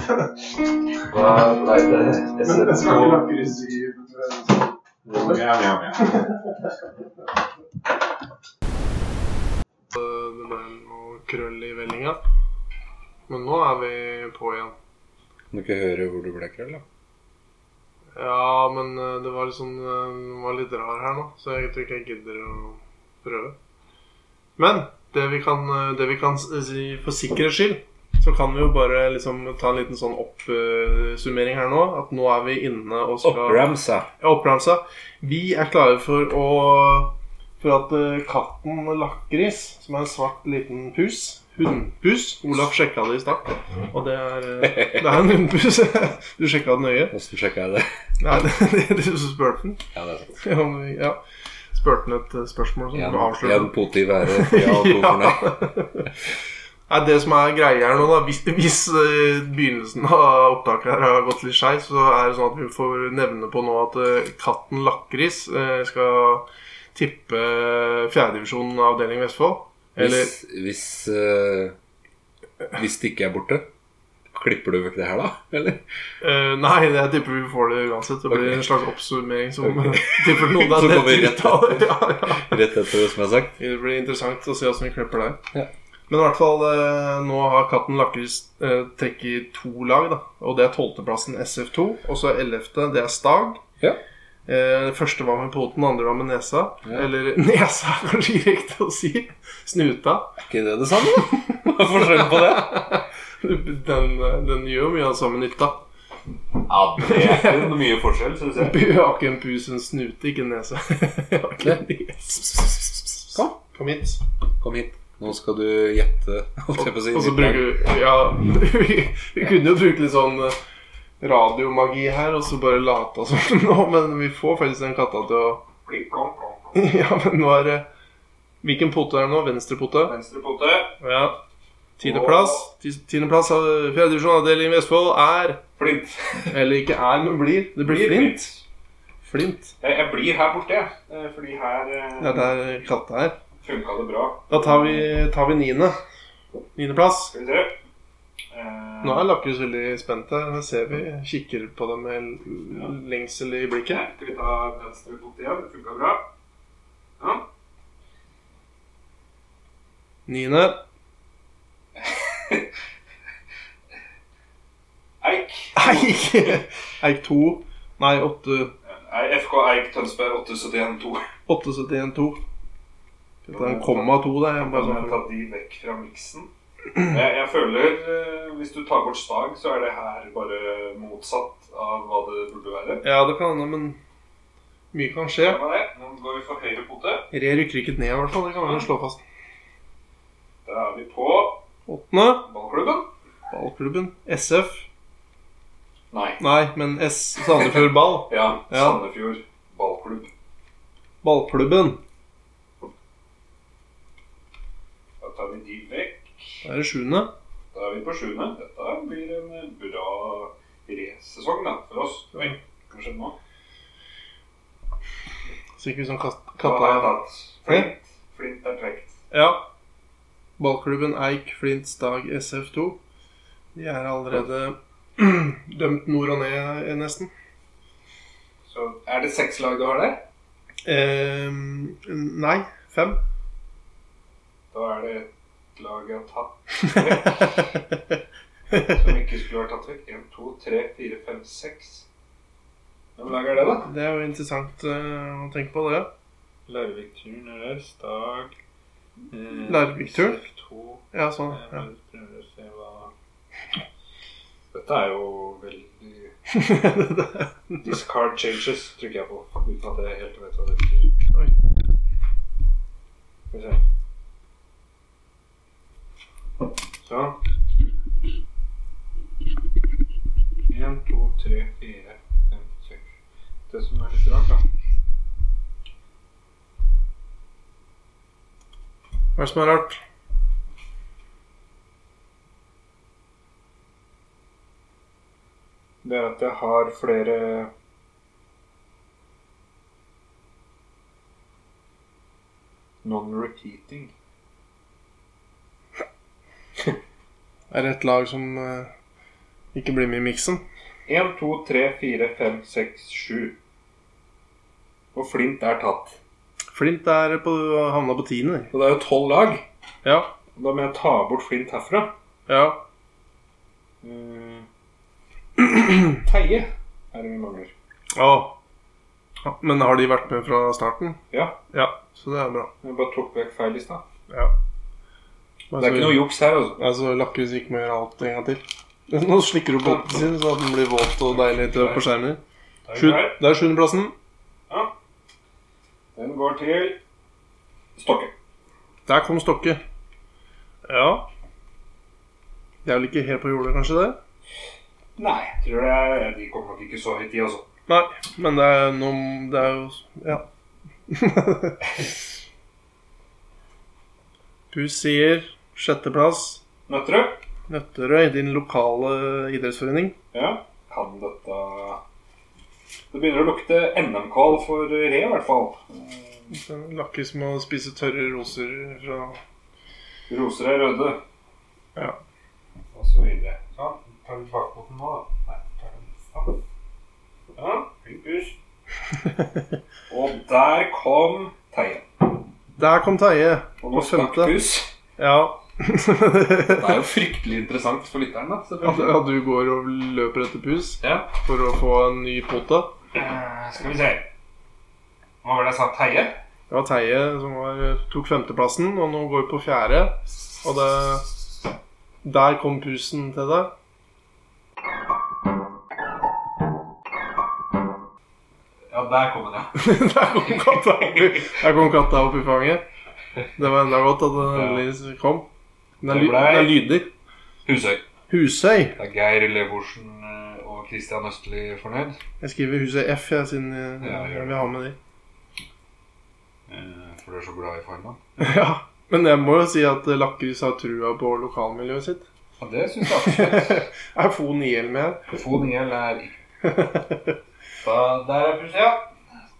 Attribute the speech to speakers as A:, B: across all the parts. A: Hva ble det?
B: Men jeg skal ikke
A: SFO?
B: lakris i
A: Mjau, mjau, mjau.
B: Nummeren og krøll i vellinga. Men nå er vi på igjen.
C: Kan du ikke høre hvor du ble krøll, da?
B: Ja, men eh, det var litt sånn eh, Den var litt rar her nå, så jeg tror ikke jeg gidder å prøve. Men det vi kan, eh, det vi kan s- si for sikkerhets skyld, så kan vi jo bare liksom ta en liten sånn oppsummering her nå. At nå er vi inne og skal
C: Oppramsa.
B: Ja, oppramsa. Vi er klare for å For at eh, katten Lakris, som er en svart liten pus Hundpus. Olaf sjekka det i stad, og det er, eh, det er en hundpus. Du sjekka den nøye?
C: Åssen sjekka jeg det?
B: Nei, det, det, du spurte den.
C: Ja, det er sant.
B: Ja, men- ja. Spurte den et eh, spørsmål som
C: En,
B: ble avslørt.
C: en pote i været, ja, og to for nei.
B: Nei, det som er greia her nå, da Hvis, hvis eh, begynnelsen av opptaket her har gått litt skeis, så er det sånn at vi får nevne på nå at eh, katten Lakris eh, skal tippe eh, fjerdedivisjon avdeling Vestfold. Eller
C: Hvis, hvis, eh, hvis det ikke er borte, klipper du vekk det her, da? Eller?
B: eh, Nei, jeg tipper vi får det uansett. Det blir
C: Ok.
B: en slags oppsummering som tipper noe.
C: Så
B: det
C: kommer vi rett
B: tiltaler. ja, ja.
C: Rett etter det som er sagt?
B: Det blir interessant å se åssen vi klipper der.
C: Ja.
B: Men i hvert fall, eh, nå har Katten Lakris eh, trekket to lag, da. Og det er tolvteplassen SF2. Og så ellevte, det er Stag.
C: Ja.
B: Eh, første var med poten, andre var med nesa.
C: Ja.
B: Eller nesa, er kanskje ikke riktig å si. Snuta.
C: Er ikke det det samme? Hva er forskjellen på det?
B: Den, eh, den gjør jo mye av den samme nytta.
A: Ja, det er ikke noe mye forskjell, syns jeg.
B: Bu har ikke en pus, en snute, ikke en nese. Jeg har ikke en nese.
C: Kom.
B: Kom hit.
C: Kom hit. Nå skal du gjette, holdt jeg på å si.
B: Og så
C: mitt lag.
B: bruker vi Ja, vi, vi kunne jo bruke litt sånn eh, radiomagi her, og så bare late oss som nå, men vi får faktisk den katta til å
A: Pling, plong, plong, plong.
B: Ja, men nå er det Hvilken pote er det nå? Venstre pote?
A: Venstre pote.
B: Ja. Tiendeplass. Ti- Tiendeplass av fjerde divisjon avdeling Vestfold er
A: Flint.
B: Eller ikke er, men blir. Det blir flint. Flint.
A: Jeg, jeg blir her borte, jeg. Eh, Fordi her eh,
B: Ja, det er katta her.
A: funka det bra.
B: Da tar vi, tar vi niende. Niendeplass.
A: Skal vi se. Eh,
B: Nå er Lakris veldig spent her. Nå ser vi. Kikker på dem med lengsel i blikket.
A: Nei, Skal vi ta venstre pote igjen? Det funka bra. Ja.
B: Niende.
A: Eik.
B: Eik. Eik 2. Nei, 8,
A: Nei, FK Eik Tønsberg 8712.
B: 871 2. Dette er en komma 2 der. Jeg
A: Bare sånn
B: bare
A: ta de vekk fra miksen. Jeg, jeg føler, eh, hvis du tar bort stag, så er det her bare motsatt av hva det burde være.
B: ja, det kan hende, men mye kan skje.
A: Hva er det? Nå går vi for høyre pote.
B: Re rykker ikke ned, i hvert fall. Det kan vi jo slå fast.
A: Da er vi på
B: Åttende.
A: ballklubben.
B: Ballklubben. SF.
A: Nei.
B: Nei, men S. Sandefjord Ball.
A: Ja,
B: Ja.
A: Sandefjord ballklubb.
B: Ballklubben.
A: Da tar vi de vekk.
B: Da er det sjuende.
A: Da er vi på sjuende. Dette blir en eh, bra resesong da, for oss. Oi, hva skjedde nå?
B: Så ikke vi som kast-
A: Da har jeg
B: katta
A: tatt flint. Flint er trekt.
B: Ja. Ballklubben Eik Flint Stag SF2. De er allerede dømt nord og ned, eh, nesten.
A: Så er det seks lag du har der?
B: Eh, nei, fem.
A: Da er det et lag jeg har tatt vekk. Som ikke skulle vært tatt vekk. 1, 2, 3, 4, 5, 6. Hvem lag er det, da?
B: det er jo interessant eh, å tenke på det.
A: Larvik-turen er der. Stag eh,
B: Larvik-turen?
A: SF2.
B: Ja, sånn.
A: Jeg
B: Ja.
A: bare prøver å se hva Dette er jo veldig Discard changes trykker jeg på, uten at jeg helt vet hva det betyr.
B: Oi.
A: Skal vi se. Sånn. Én, to, tre, fire, fem, seks Det som er litt rart, da
B: Hva er det som er rart?
A: Det er at jeg har flere Non-repeating.
B: Er det et lag som eh, Ikke bli med i miksen.
A: 1, 2, 3, 4, 5, 6, 7. Og Flint er tatt.
B: Flint er på, havna på tiende.
A: Og det er jo tolv lag.
B: Ja.
A: Og Da må jeg ta bort Flint herfra.
B: Ja.
A: Eh, Teie er det vi mangler.
B: Å. Ja, Men har de vært med fra starten?
A: Ja,
B: Ja. Så det er bra.
A: jeg bare tok vekk feil i stad.
B: Ja.
A: Det er ikke noe juks her, altså.
B: Altså, lakkhus ikke må gjøre alt en gang til. Nå slikker du båten sin, så den blir våt og deilig til på skjermen. Sju, det er sjuendeplassen.
A: Den går til Stokke.
B: Der kom Stokke. Ja. Det er vel ikke helt på jordet, kanskje det?
A: Nei, jeg tror det er, de kommer nok ikke så høyt, altså. de også.
B: Nei, men det er noe Det er jo Ja. du sier sjetteplass.
A: Nøtterøy.
B: Nøtterøy, din lokale idrettsforening.
A: Ja. Kan dette Det begynner å lukte NM-kål for re, i hvert fall. Eh,
B: Lakkes med å spise tørre roser fra
A: Roser er røde.
B: Ja.
A: Og så videre. Sånn. Tar du bakpoten nå, da? Nei. tar den. Sånn. Ja. Flink pus. Og der kom Teie.
B: Der kom Teie.
A: Og
B: På
A: nå stakk
B: femte.
A: pus.
B: Ja.
A: Det er jo fryktelig interessant for lytteren, da.
B: Ja,
A: selvfølgelig.
B: du går og løper etter pus
A: Ja.
B: for å få en ny pote.
A: Eh, skal vi se Hva var det jeg sa? Teie?
B: Det var Teie som var, tok femteplassen, og nå går vi på fjerde. Og det Der kom pusen til deg.
A: Ja, der kom den, ja.
B: Der kom katta opp i, der kom katta opp i fanget. Det var enda godt at den endelig kom. Den er, ly,
A: Det blei-
B: den er lydig.
A: Husøy.
B: Husøy.
A: Det er Geir Levorsen eh, og Christian Østli fornøyd.
B: Jeg skriver Husøy F, jeg, siden jeg,
A: Ja, gjør det.
B: vi har med de.
A: Eh, For du er så glad i Farman.
B: Ja. Men jeg må jo si at Lakkhus har trua på lokalmiljøet sitt.
A: Ja, det syns jeg absolutt.
B: er Fon IL med her?
A: Fon IL er ikke Da, Der er pus, ja.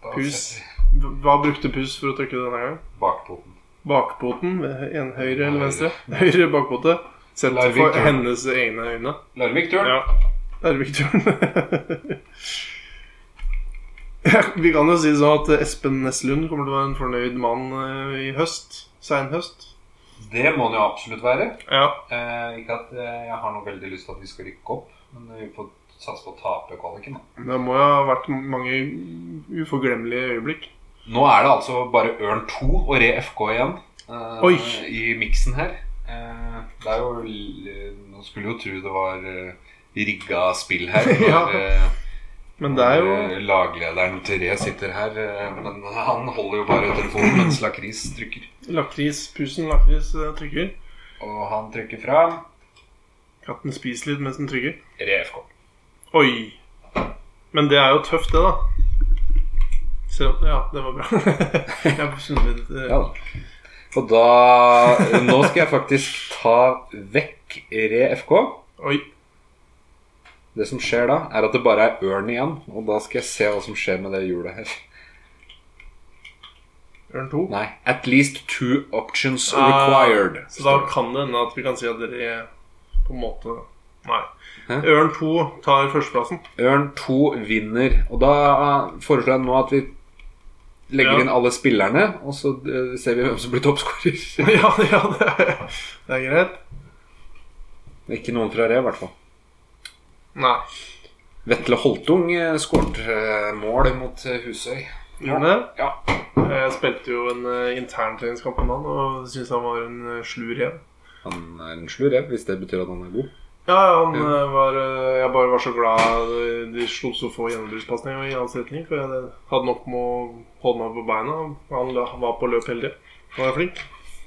A: Da
B: Pus.
A: setter vi
B: Hva brukte pus for å trykke denne gangen?
A: Bakpoten.
B: Bakpoten? En høyre eller venstre? Høyre bakpote. Sett
A: Larvik,
B: for
A: tror jeg.
B: hennes egne øyne.
A: Larvik turn.
B: Ja. Larvik-turen. Vi kan jo si sånn at Espen Neslund kommer til å være en fornøyd mann eh, i høst. Seinhøst.
A: Det må den jo absolutt være.
B: Ja.
A: Eh, ikke at eh, jeg har noe veldig lyst til at vi skal rykke opp, men vi får satse på å tape kvaliken. da.
B: Det må jo ha vært mange uforglemmelige øyeblikk.
A: Nå er det altså bare Ørn 2 og Re FK igjen eh,
B: Oi.
A: i miksen her. Eh, det er jo l- Nå skulle jo tro det var eh, rigga spill her.
B: Ja.
A: når, eh,
B: Men det er jo
A: Eh, Laglederen til Re sitter her, eh, men han holder jo bare telefonen mens Lakris trykker.
B: lakris. Pusen lakris eh, trykker.
A: Og han trykker fra
B: Katten spiser litt mens den trykker.
A: Re FK.
B: Oi. Men det er jo tøft, det, da. Se, ja, det var bra. jeg skjønner litt eh,
C: Ja da. Og da Nå skal jeg faktisk ta vekk Re FK.
B: Oi.
C: Det som skjer da, er at det bare er ørn igjen. Og da skal jeg se hva som skjer med det hjulet her.
B: Ørn 2.
C: Nei. At least two options
B: Ah,
C: required.
B: Så da
C: står det.
B: kan det hende at vi kan si at dere er på en måte Nei.
C: Hæ?
B: Ørn 2 tar førsteplassen.
C: Ørn 2 vinner. Og da foreslår jeg nå at vi legger
B: Ja.
C: inn alle spillerne, og så eh, ser vi hvem som blir toppskårer.
B: ja, ja, det er, det er greit.
C: Ikke noen fra Re, i hvert fall.
B: Nei.
C: Vetle Holtung eh, skåret eh, mål mot eh, Husøy.
B: Gjorde det?
C: Ja.
B: Jeg spilte jo en eh, interntreningskamp med han og syntes han var en eh, slu rev.
C: Han er en slu rev, hvis det betyr at han er god.
B: Ja, ja, han eh, var eh, Jeg bare var så glad de- de slo så få gjennombruddspasninger i hans retning. For jeg hadde- hadde nok med å holde meg på beina. Han la- var på løp hele tida. Han var flink.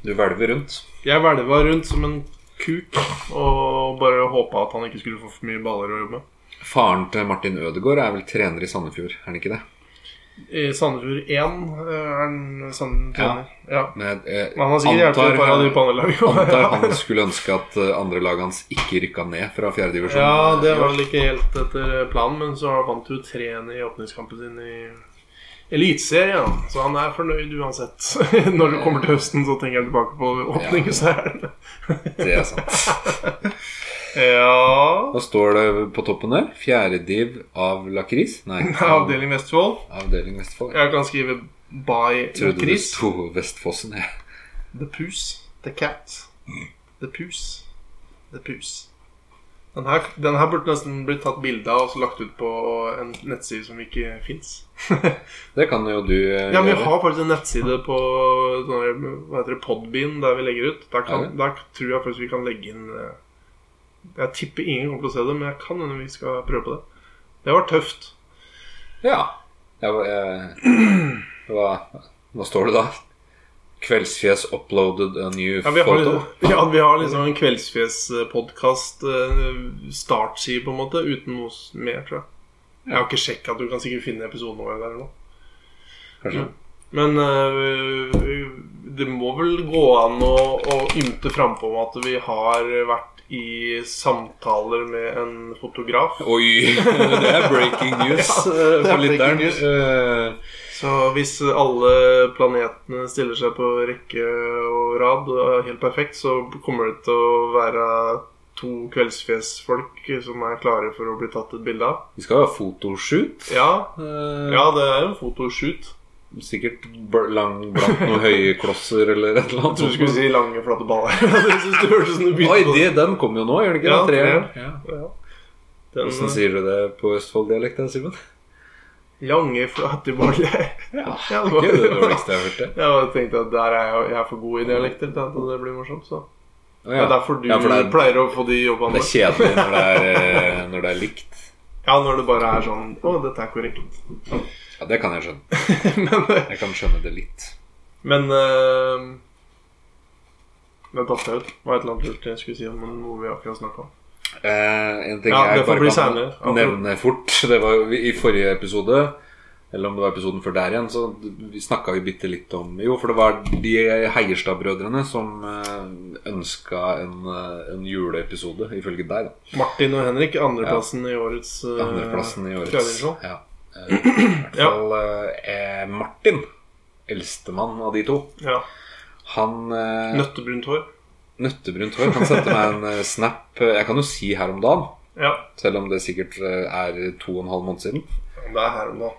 C: Du hvelver rundt.
B: Jeg hvelva rundt som en kuk og bare håpa at han ikke skulle få for mye baller å jobbe med.
C: Faren til Martin Ødegaard er vel trener i Sandefjord, er han ikke det?
B: I Sandefjord 1 eh, er han Sandefjord trener. Ja.
C: Men jeg, jeg
B: Men han har sikkert hjulpet et par av de på andre lag.
C: antar han skulle ønske at eh, andre laget hans ikke rykka ned fra fjerdedivisjon.
B: Ja, det var vel ikke helt etter planen, men så vant jo 3-1 i åpningskampen sin i Eliteserien. Så han er fornøyd uansett. Når det kommer til høsten, så tenker jeg tilbake på åpningen. så er det-
C: Det er sant.
B: Ja
C: Hva står det på toppen der? Fjerdediv av lakris? Nei. av-
B: Avdeling Vestfold.
C: Avdeling Vestfold.
B: Jeg kan skrive by
C: Trodde det
B: Chris.
C: sto Vestfossen, jeg.
B: The Pus. The Cat. The Pus. The Pus. Den her, den her burde nesten blitt tatt bilde av og så lagt ut på en nettside som ikke fins. ja,
C: Det kan jo du eh,
B: men vi
C: gjøre.
B: har faktisk en nettside på sånn, hva heter det, Podbean der vi legger ut. Der, kan,
C: Er det?
B: der tror jeg faktisk vi kan legge inn eh, Jeg tipper ingen kommer til å se det, men jeg kan hende vi skal prøve på det. Det var tøft.
C: Ja. Jeg, var- jeg, hva, hva står det da? Kveldsfjes uploaded a new
B: Ja, vi
C: photo.
B: har, ja, vi har liksom en kveldsfjes-podkast, startside, på en måte, uten noe s- mer, tror jeg. Jeg har ikke sjekka, du kan sikkert finne episoden vår der nå. Mm.
C: Kanskje.
B: Men eh, det må vel gå an å, å ymte frampå om at vi har vært i samtaler med en fotograf.
C: Oi! Det er breaking news
B: Ja,
C: eh,
B: det er
C: for
B: breaking
C: lytteren.
B: news.
C: Eh,
B: Så hvis alle planetene stiller seg på rekke og rad og er helt perfekt, så kommer det til å være to kveldsfjesfolk som er klare for å bli tatt et bilde av.
C: Vi skal jo ha fotoshoot.
B: Ja,
C: Eh,
B: ja det er jo en fotoshoot.
C: Sikkert bl lang blant noen høye klosser eller
B: Jeg
C: et eller
B: trodde du
C: annet.
B: skulle si lange, flate baller. Jeg synes det hørtes ut som du begynte
C: Oi,
B: på
C: det, den kom jo nå, gjør den ikke?
B: Ja,
C: det? Treeren.
B: treeren.
C: Ja.
B: Ja. Den
C: Hvordan sier du det på Østfold-dialekt, da, Simen?
B: lange, flate baller.
C: Ja,
B: Ja, det
C: det
B: var-
C: er ikke det dårligste jeg har hørt. det.
B: Jeg bare tenkte at der er jeg, jeg er for god i dialekter til at det blir morsomt, så.
C: Å,
B: Det
C: ja.
B: er derfor du
C: Ja, for det er-
B: pleier å få de jobbene.
C: Det er kjedelig når det er, eh, når det er likt.
B: Ja, når det bare er sånn Å, dette er korrekt.
C: Ja, det kan jeg skjønne.
B: Men eh,
C: Jeg kan skjønne det litt.
B: Men uh, Det datt jeg ut. Det var et eller annet lurt jeg skulle si om noe vi akkurat snakka om.
C: Eh, en ting
B: Ja, det
C: jeg
B: får
C: bare
B: bli
C: kan
B: senere. Ja, for-
C: nevne fort Det var jo i forrige episode Eller om det var episoden før der igjen Så vi snakket vi bitte litt om Jo, for det var de Heierstad-brødrene Som eh, ønsket en, eh, en juleepisode Ifølge deg da
B: Martin og Henrik, andreplassen i årets eh,
C: Andreplassen i årets
B: fjerdedivisjon.
C: ja. Eh, I hvert
B: Ja.
C: fall eh, Martin Eldstemann av de to
B: Ja.
C: Han eh,
B: Nøttebrunt hår.
C: Nøttebrunt hår Han sendte meg en eh, snap eh, Jeg kan jo si her om dagen
B: Ja.
C: Selv om det sikkert eh, er to og en halv måned siden
B: Det er her om da.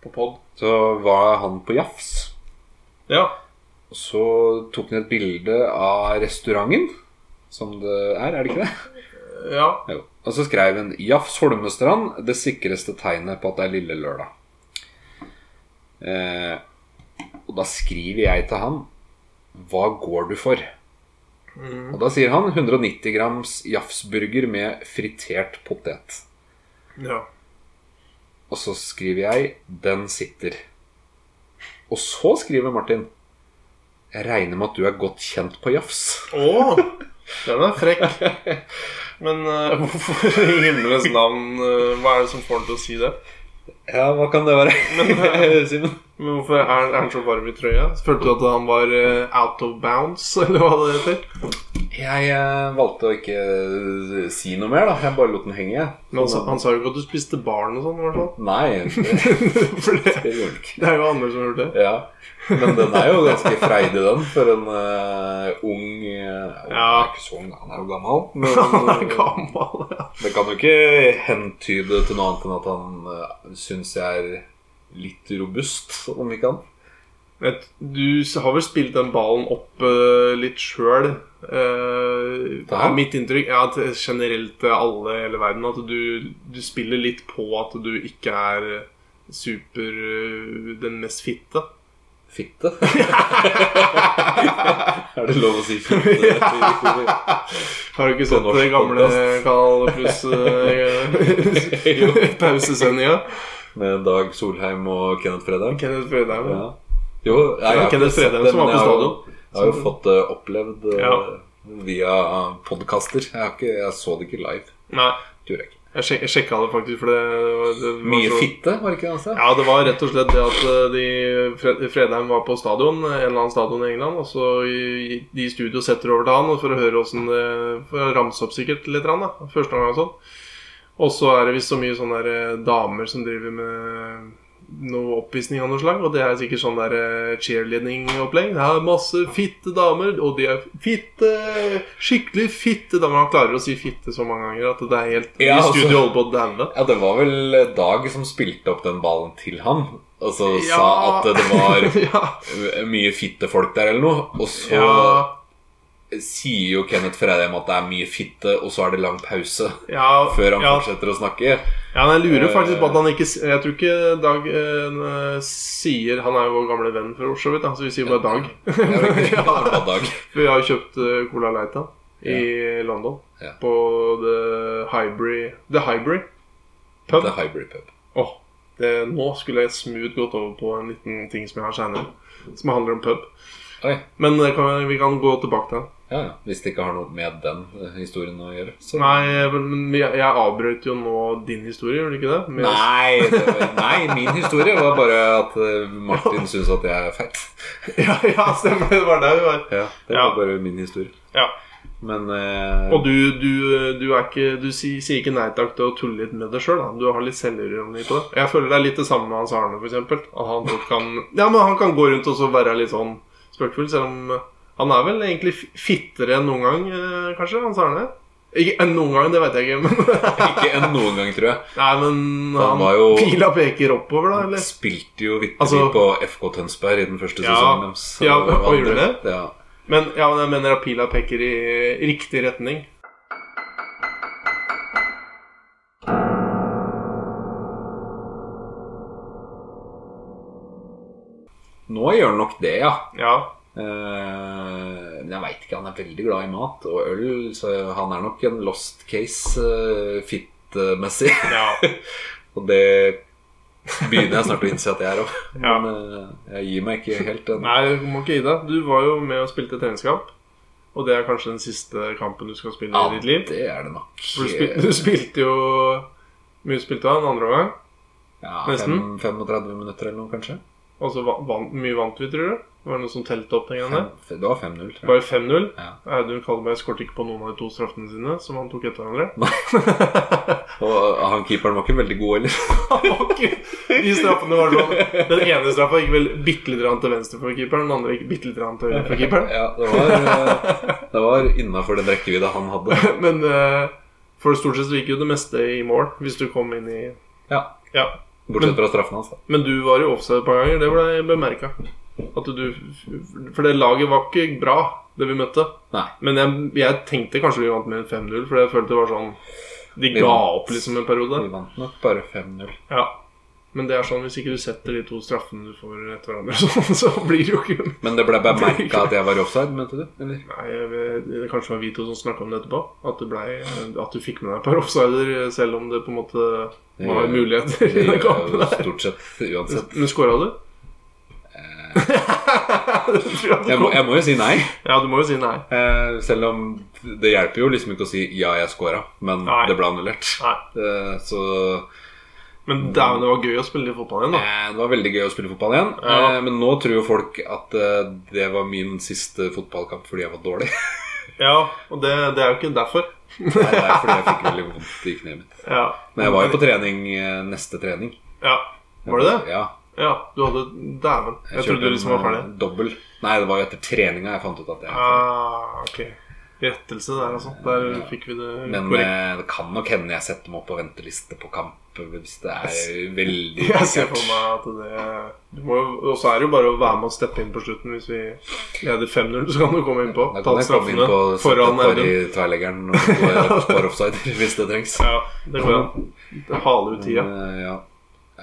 B: På pod.
C: Så var han på Jafs.
B: Ja.
C: Og så tok han et bilde av restauranten, som det er, er det ikke det?
B: ja.
C: Jo. Og så skrev han 'Jafs Holmestrand det sikreste tegnet på at det er lille lørdag'. Eh, og da skriver jeg til han 'Hva går du for?'
B: Mhm.
C: Og da sier han 190 grams Jafsburger med fritert potet.
B: ja.
C: Og så skriver jeg 'Den sitter'. Og så skriver Martin 'Jeg regner med at du er godt kjent på jafs'.
B: Å! Den er frekk. Men eh, hvorfor i himmelens navn eh, Hva er det som får han til å si det?
C: Ja, hva kan det være? Simen?
B: eh, Men hvorfor er er han så varm i trøya? Følte du at han var eh, out of bounds, eller hva det heter?
C: Jeg eh, valgte å ikke eh, si noe mer, da. Jeg bare lot den henge.
B: Men han, sa- han sa jo ikke at du spiste barn og sånn, i hvert fall.
C: Nei, det,
B: For det,
C: det gjorde den ikke.
B: det er jo andre som har gjort det.
C: Ja. Men den er jo ganske freidig, den, for en eh, ung eh, Han
B: Ja.
C: er ikke så ung, han er jo gammel.
B: Han
C: Men eh,
B: er gammel. Ja.
C: det kan jo ikke hentyde til noe annet enn at han uh, syns jeg er litt robust, om ikke annet.
B: Vet, du s- har vel spilt den ballen opp eh, litt sjøl? eh,
C: Da?
B: er mitt inntrykk er at generelt til alle i hele verden at du, du spiller litt på at du ikke er eh, super eh, den mest fitte.
C: Fitte? er det lov å si fitte?
B: Har du ikke
C: På
B: sett
C: norsk
B: det gamle eh,
C: podcast.
B: Kanal Pluss-pausesendinga?
C: Jo. Med Dag Solheim og Kenneth Fredheim?
B: Kenneth Frøydheim.
C: Ja. Jo, jeg,
B: Ja,
C: har ikke
B: Kenneth
C: sett
B: Fredheim
C: det,
B: som var
C: men
B: på
C: jeg har jo-
B: stadion.
C: Jeg har jo fått det opplevd eh,
B: Ja.
C: via podkaster. Jeg, har ikke- jeg så det ikke live.
B: Nei,
C: Det gjorde jeg ikke.
B: jeg, sjek jeg sjekka det faktisk, for det, var- det var
C: Mye
B: så-
C: fitte, var det ikke det han sa?
B: Ja, det var rett og slett det at eh, de, Fred- Fredheim var på stadion, eh, en eller annen stadion i England, og så i- de i studio setter over til han og for å høre åssen det For å ramse opp sikkert litt, grann, da, første gang og sånn. Og så er det visst så mye sånne der, eh, damer som driver med noe oppvisning av noe slag. Og det er sikkert sånn der eh, cheerleading-opplegg. Det er masse fitte damer, og de er fitte Skikkelig fitte damer. Han klarer å si fitte så mange ganger at det er helt
C: Ja,
B: I
C: altså.
B: studio holder på å daue.
C: Ja, det var vel eh, Dag som spilte opp den ballen til han. Og så sa
B: Ja.
C: at eh, det var eh,
B: ja.
C: mye fittefolk der eller noe. Og så
B: ja.
C: sier jo Kenneth Fredheim at det er mye fitte, og så er det lang pause
B: Ja,
C: før han
B: ja,
C: fortsetter å snakke.
B: ja, men jeg lurer
C: Eh,
B: faktisk på at han ikke s- Jeg tror ikke Dag eh, sier Han er jo vår gamle venn fra Oslo, vet du, så vi sier bare Dag.
C: Jeg vet ikke, det var bare Dag.
B: For jeg har jo kjøpt eh, Cola Light da, i London.
C: Ja.
B: På The Hybrid The Hybrid Pub.
C: The Hybrid Pub.
B: Åh, det, nå skulle jeg smooth gått over på en liten ting som jeg har senere. Som handler om pub.
C: Oi.
B: Men det kan, vi kan gå tilbake til den.
C: Ja, ja. Hvis det ikke har noe med den eh, historien å gjøre. Så.
B: Nei, men jeg, jeg avbrøt jo nå din historie, gjorde du ikke det? Med-
C: Nei, det var, nei, min historie var bare at eh, Martin syns at jeg er feit.
B: Ja, ja, stemmer. Det var der vi var.
C: Ja, det var
B: Ja.
C: bare min historie.
B: Ja.
C: Men eh,
B: Og du, du, du, er ikke, du sier, sier ikke nei takk til å tulle litt med det sjøl. Du har litt selvironi på det. Jeg føler det er litt det samme med Hans Arne, f.eks. Han, også kan- ja, men han kan gå rundt og så være litt sånn spøkfull, selv om eh, han er vel egentlig fi- fittere enn noen gang, eh, kanskje? Hans Arne? Ikke enn noen gang, det veit jeg ikke. Men,
C: ikke enn noen gang, tror jeg.
B: nei, men
C: Han
B: han,
C: var jo-
B: pila peker oppover, da? Eller?
C: Spilte jo vitterlig
B: Altså-
C: på FK Tønsberg i den første
B: Ja.
C: sesongen deres. så
B: Ja,
C: det var
B: og gjorde
C: andre- Ja.
B: Men ja, men jeg mener at pila peker i riktig retning.
C: Nå gjør han nok det, ja.
B: Ja.
C: Eh, Men jeg veit ikke. Han er veldig glad i mat og øl, så han er nok en lost case uh, fit-messig.
B: ja.
C: Og det begynner jeg snart å innse at jeg er òg.
B: Ja.
C: Men eh, jeg gir meg ikke helt ennå.
B: Nei, du må ikke gi deg. Du var jo med og spilte treningskamp. Og det er kanskje den siste kampen du skal spille
C: Ja,
B: i ditt liv.
C: det er det nok.
B: For du, spil du spilte jo Hvor mye spilte du av en andre omgang?
C: Ja,
B: Nesten.
C: fem- 35 minutter eller noe, kanskje.
B: Og så va- vant- mye vant vi, tror du? Var det noe som telte opp den gangen der?
C: Fem, det var 5-0, tror jeg.
B: Bare 5-0?
C: Ja.
B: Audun Kalberg skåret ikke på noen av de to straffene sine, som han tok etter hverandre.
C: Og han keeperen var ikke veldig god heller.
B: Ok. De straffene var sånn Den ene straffa gikk vel bitte litt grann til venstre for keeperen, den andre gikk bitte litt grann til høyre for keeperen.
C: Ja, det var, eh, det var innafor den rekkevidda han hadde.
B: Men eh, for stort sett så gikk jo det meste i mål, hvis du kom inn i
C: Ja,
B: Ja.
C: Bortsett fra straffen hans, da.
B: Men du var jo offside et par ganger, det ble bemerka. For det laget var ikke bra, det vi møtte.
C: Nei.
B: Men jeg, jeg tenkte kanskje vi vant med en 5-0, for jeg følte det var sånn De
C: Vi
B: ga
C: vant.
B: opp liksom en periode.
C: Vi vant nok bare 5-0.
B: Ja. Men det er sånn hvis ikke du setter de to straffene du får etter hverandre, så, så blir det jo ikke
C: Men det ble bemerka at jeg var i offside, mente du? Eller?
B: Nei, jeg- det kanskje var vi to som snakka om det etterpå. At, det ble, at du fikk med deg et par offsider, selv om det på en måte var
C: Det-
B: muligheter i
C: Det
B: den
C: gjør jeg
B: kampen.
C: jo
B: der.
C: stort sett uansett.
B: Men skåra du? Det tror jeg du
C: Jeg må, jeg må jo si nei.
B: Eh. Ja, du må jo si nei.
C: Eh, selv om det hjelper jo liksom ikke å si 'ja, jeg scora', men
B: Nei.
C: det ble annullert.
B: nei.
C: Eh, så
B: Men dæven, det var gøy å spille fotball igjen, da.
C: eh, det var veldig gøy å spille fotball igjen.
B: Ja.
C: Eh, men nå tror jo folk at eh, det var min siste fotballkamp fordi jeg var dårlig.
B: Ja, Og det, det er jo ikke derfor.
C: Nei, det er fordi jeg fikk veldig vondt i kneet mitt.
B: Ja.
C: Men jeg var jo på trening eh, neste trening.
B: Ja. Var det det?
C: Ja.
B: Ja. Du hadde Dæven. Jeg, trodde du liksom var ferdig.
C: Dobbel. Nei, det var jo etter treninga jeg fant ut at jeg
B: Ah, ok. Rettelse der, altså. Der fikk vi det
C: Men
B: korrekt.
C: eh, det kan nok hende jeg setter meg opp på venteliste på kamp hvis det er veldig
B: Jeg ser for
C: sikkert.
B: meg at det du må jo, Og så er det jo bare å være med og steppe inn på slutten. Hvis vi leder 5-0, så kan du komme innpå.
C: Da
B: Ta
C: kan jeg komme inn
B: straffene
C: på å sette
B: foran
C: et par i
B: Audun.
C: tverrleggeren og gå et par offsider hvis det trengs.
B: Ja, det går an. Det Hale ut tida.
C: Men, eh, ja.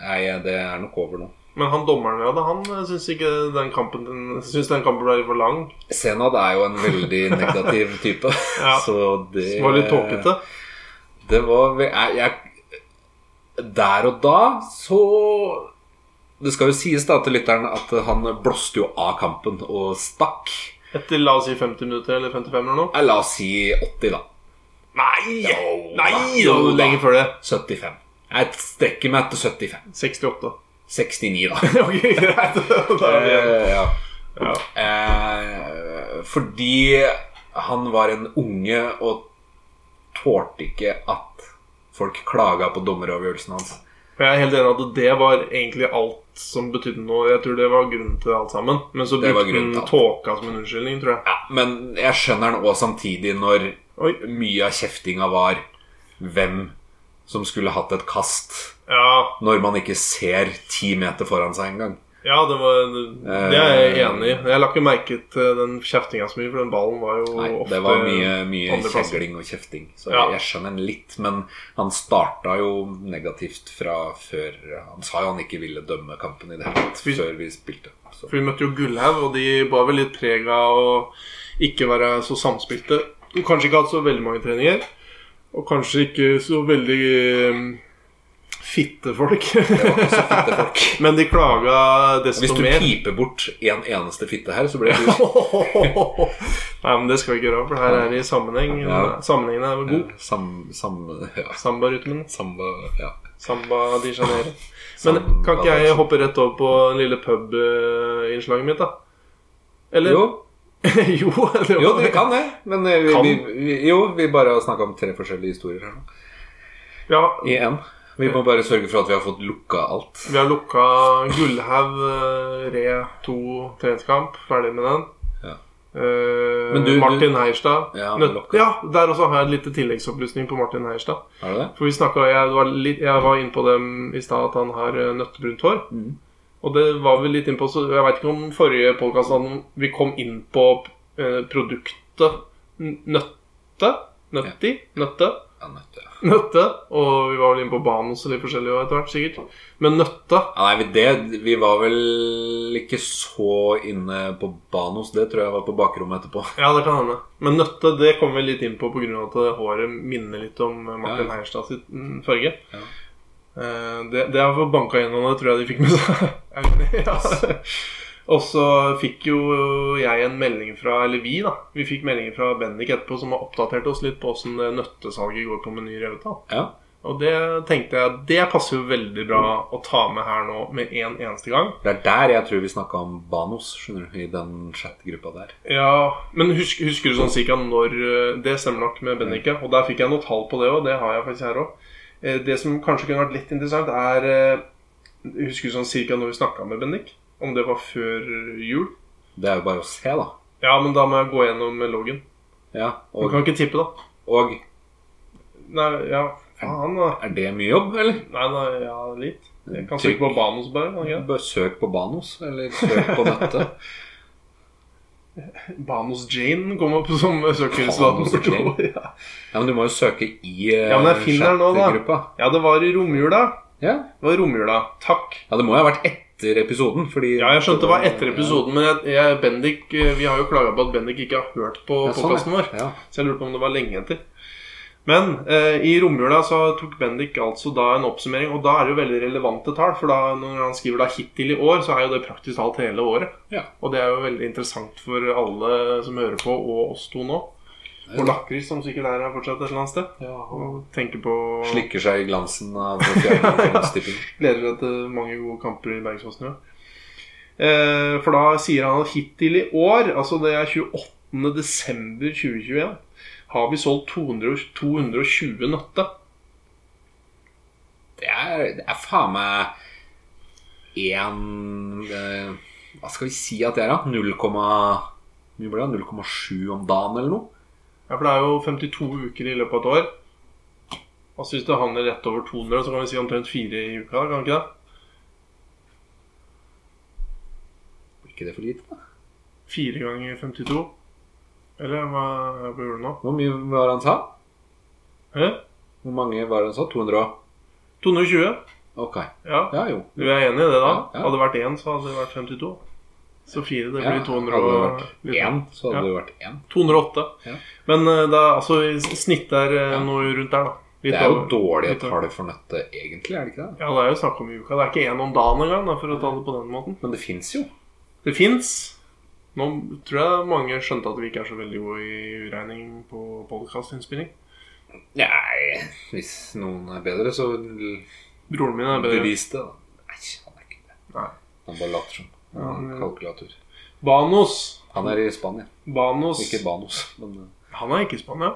C: Nei, det er nok over nå.
B: Men han dommeren vi hadde, han syns ikke den kampen den, synes den kampen ble for lang.
C: Senad er jo en veldig negativ type,
B: Ja.
C: så det
B: Det var litt tåkete.
C: Det var ve- jeg, jeg, Der og da så Det skal jo sies da til lytteren at han blåste jo av kampen og stakk.
B: Etter la oss si 50 minutter eller 55 eller noe.
C: Nei, La oss si 80, da.
B: Nei!
C: Jo,
B: Nei,
C: jo,
B: jo,
C: da.
B: lenge før det.
C: 75. Jeg strekker meg til 75.
B: 68.
C: 69, da.
B: ok, greit. Da er vi igjen.
C: Eh, ja.
B: Ja.
C: Eh, fordi han var en unge og tålte ikke at folk klaga på dommeravgjørelsen hans.
B: For jeg er helt enig i at det var egentlig alt som betydde noe. Jeg tror det var grunnen til alt sammen. Men så
C: Det var
B: brukte
C: grunnen til
B: han
C: alt.
B: tåka som en unnskyldning, tror jeg.
C: Ja, men jeg skjønner den òg samtidig når
B: Oi.
C: mye av kjeftinga var hvem som skulle hatt et kast
B: Ja,
C: når man ikke ser ti meter foran seg engang.
B: ja det, var, det det er jeg
C: Eh.
B: enig i. Jeg la ikke merke til den kjeftinga så mye, for den ballen var jo
C: Nei,
B: ofte
C: det var mye, mye
B: andreplass.
C: kjegling og kjefting, så
B: Ja.
C: jeg skjønner den litt. Men han starta jo negativt fra før Han sa jo han ikke ville dømme kampen i det hele tatt
B: Vi-
C: før vi spilte. Så.
B: For vi møtte jo Gullhaug, og de bar vel litt preg av å ikke være så samspilte. Kanskje ikke hatt så veldig mange treninger, og kanskje ikke så veldig um, fitte folk.
C: Fitte folk.
B: Men de klaga
C: Hvis
B: desto
C: du
B: mer.
C: piper bort en eneste fitte her, så blir det
B: Nei, men det skal vi ikke gjøre, for her er det i sammenheng.
C: Ja.
B: Sammenhengen er god.
C: sam, sam, ja,
B: Samba-rytmen.
C: samba, ja.
B: Samba de Janeiro. Men
C: Samba
B: kan ikke
C: de-
B: jeg hoppe rett over på lille pub-innslaget mitt, da? Eller?
C: Jo,
B: jo, det var-
C: jo, vi kan det. Men eh, vi,
B: Kan?
C: vi, vi, jo, vi bare har snakka om tre forskjellige historier her nå.
B: Ja,
C: I én. Vi må bare sørge for at vi har fått lukka alt.
B: Vi har lukka Gullhaug, eh, Re 2 treningskamp. Ferdig med den.
C: Ja.
B: Eh,
C: Men du-
B: Martin Heierstad.
C: Ja,
B: Nøtt-
C: lukka.
B: ja, der også har jeg en liten tilleggsopplysning på Martin Heierstad.
C: Er det det?
B: For vi snakket, jeg, var litt, jeg var inne på dem i stad at han har eh, nøttebrunt hår.
C: Mhm.
B: Og det var vi litt inne på, så jeg veit ikke om forrige podkast vi kom inn på eh, produktet n- nøtte. Nøtti. Nøtte.
C: Ja, nødt til.
B: Nøtte. Og vi var vel inne på Banos og litt forskjellig også etter hvert, sikkert. Men nøtte
C: Ja, Nei, vi- det, vi var vel ikke så inne på Banos. Det tror jeg var på bakrommet etterpå.
B: Ja, det kan hende. Men nøtte det kommer vi litt inn på pga. at håret minner litt om eh, Martin
C: Ja.
B: Heierstad sitt mm, farge.
C: Ja.
B: Eh, Det, det har vi banka gjennom, det tror jeg de fikk med seg. Er du enig? ja. Og så fikk jo jeg en melding fra Eller vi, da. Vi fikk meldinger fra Bendik etterpå, som har oppdatert oss litt på åssen nøttesalget går på Meny Revetal.
C: Ja.
B: Og det tenkte jeg Det passer jo veldig bra å ta med her nå med en eneste gang.
C: Det er der jeg tror vi snakka om Banos, skjønner du. I den chatgruppa der.
B: Ja, men husk, husker du sånn cirka når eh, Det stemmer nok med Bendik, ja. Og der fikk jeg noe tall på det òg. Det har jeg faktisk her òg. Det som kanskje kunne vært litt interessant, er eh, Husker du sånn cirka når vi snakka med Bendik? Om det var før jul?
C: Det er jo bare å se, da.
B: Ja, men da må jeg gå gjennom eh, loggen.
C: Ja,
B: Du
C: og,
B: kan ikke tippe, da.
C: og
B: Nei, ja, faen, da.
C: er det mye jobb, eller?
B: Nei, nei, ja, litt. Jeg kan søke på Banos, bare. Kan jeg?
C: Bare søk på Banos, eller søk på nettet.
B: ikke? Banos Jane kom opp som
C: Banos
B: søkeresultat.
C: Jane.
B: Ja.
C: Ja, Men du må jo søke i eh,
B: Ja, men jeg finner den nå, da.
C: chatgruppa.
B: ja, det var i romjula.
C: Ja.
B: Det var i romjula. Takk.
C: ja, det må jo ha vært etter episoden, fordi
B: Ja, jeg skjønte det var etter episoden, men jeg, jeg, Bendik, eh, vi har jo klaga på at Bendik ikke har hørt på
C: Ja, sånn,
B: podkasten vår.
C: Ja.
B: Så jeg lurte på om det var lenge etter. Men eh, i romjula så tok Bendik altså da en oppsummering, og da er det jo veldig relevante tall. For da, når han skriver da hittil i år, så er jo det praktisk talt hele året.
C: Ja.
B: Og det er jo veldig interessant for alle som hører på, og oss to nå. Og Lakris, som sikkert er her fortsatt et eller annet sted.
C: Ja,
B: Og tenker på
C: Slikker seg i glansen av fjernstipping.
B: Gleder deg til mange gode kamper i Bergsåsen. Ja. Eh, for da sier han at hittil i år, altså det er 28. desember 2021, har vi solgt 200, og- 220 nøtte.
C: Det er, det er faen meg én eh, Hva skal vi si at det er, da? 0, mye ble det? 0,7 om dagen, eller noe?
B: Ja, for det er jo 52 uker i løpet av et år. Altså Hvis det handler rett over 200, så kan vi si omtrent fire i uka. kan vi ikke det?
C: Blir ikke det for lite? da?
B: Fire ganger 52. Eller hva er det på jorda nå?
C: Hvor mye var det han sa?
B: Hæ?
C: Hvor mange var det han sa? 200 og
B: 220?
C: Ok.
B: Ja.
C: Ja, jo.
B: Vi er enige i det, da?
C: Ja, ja.
B: Hadde det vært én, så hadde det vært 52. Så fire, det
C: Ja,
B: blir 200
C: hadde det
B: og
C: vært én, så hadde
B: Ja.
C: det vært én.
B: 208.
C: Ja.
B: Men eh, det er altså i snitt er eh,
C: Ja.
B: noe rundt der, da. Litt
C: Det er jo
B: over-
C: dårlige
B: litt over.
C: tall for nøttet, egentlig, er det ikke det?
B: Ja, det er jo snakk om i uka. Det er ikke én om dagen engang, da, for å ta det på den måten.
C: Men det fins jo.
B: Det fins. Nå tror jeg mange skjønte at vi ikke er så veldig gode i uregning på podkastinnspilling.
C: Nei, hvis noen er bedre, så l-
B: Broren min er bedre.
C: bevis det, da. Nei, han er ikke det.
B: Nei.
C: Han bare later som. Han har
B: Ja, men-
C: kalkulator.
B: Banos.
C: Han er i Spania,
B: Banos.
C: ikke Banos. Men eh,
B: Han er ikke i Spania.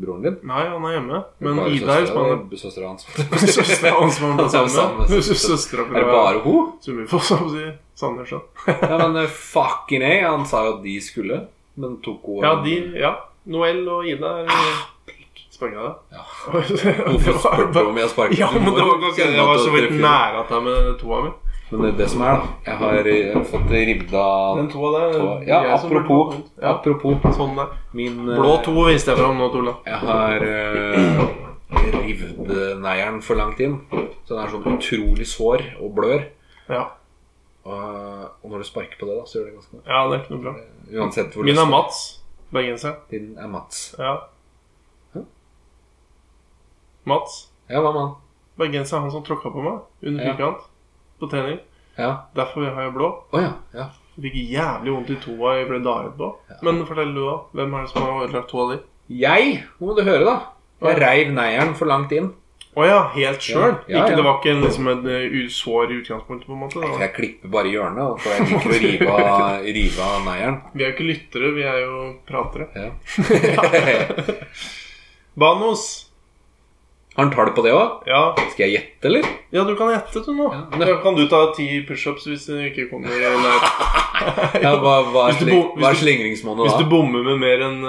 C: broren din?
B: Nei, han er hjemme. Men
C: Bare
B: Ida er
C: søstera,
B: spannet
C: eller Søstera hans.
B: Søstera hans man ble
C: Han er
B: sammen
C: sammen
B: med.
C: med
B: Søstera
C: Er det
B: fra
C: bare hun?
B: Sunnmørefoss, som sier Sandnessjøen.
C: Ja, men eh, fucking A, han sa jo at de skulle. Men tok hun
B: Ja, de Ja. Noel og Ida er Sparka deg?
C: Ah, Ja. Hvorfor
B: Hvorfor
C: spurte du om jeg sparket?
B: Ja,
C: Du
B: men
C: må
B: det
C: jo
B: var ganske
C: kjenne
B: Jeg var
C: at
B: så
C: det
B: vidt
C: treffer.
B: nære at jeg med toa mi.
C: Men det, er det som er, da. Jeg har eh, fått ribda
B: Den toa der
C: tå- Ja,
B: jeg som burde
C: apropos,
B: ha den. ja.
C: apropos
B: Sånn der.
C: min eh,
B: Blå to viste jeg fram nå, Tola.
C: Jeg har uh, rivd neieren for langt inn. Så den er sånn utrolig sår og blør.
B: Ja.
C: Og, og når du sparker på det, da, så gjør det ganske Eh,
B: ja, det er ikke noe bra.
C: Uansett hvor
B: Min
C: lyst-
B: er Mats. Bergenseren.
C: Din er Mats.
B: Ja.
C: Hæ?
B: Mats.
C: Ja, hva med han?
B: Bergenseren er han som tråkka på meg under
C: Ja.
B: firkant på trening.
C: Ja.
B: Derfor har jeg blå.
C: Å ja. ja.
B: Fikk jævlig vondt i toa jeg ble daret på. Men fortell du, da. Hvem er det som har ødelagt toa di?
C: Jeg! Nå må du høre, da. Jeg
B: Ja.
C: reiv neieren for langt inn.
B: Å ja, helt sjøl?
C: Ja, ja, ja.
B: Ikke- Det var ikke en, liksom en eh, usår i utgangspunktet, på en måte?
C: For
B: Da.
C: jeg klipper bare hjørnet, og for jeg liker å rive av- rive av neieren.
B: Vi er jo ikke lyttere, vi er jo pratere.
C: Ja.
B: Banos!
C: Har han tall på det òg?
B: Ja,
C: Skal jeg gjette, eller?
B: ja du kan gjette, du, nå.
C: Ja.
B: Da kan du ta ti pushups hvis du ikke kommer eh, nær.
C: Ja, hva, hva, er
B: Hvis du
C: sli-
B: bo- hvis
C: hva er
B: du-
C: slingringsmåned
B: Hvis du
C: da?
B: bommer med mer enn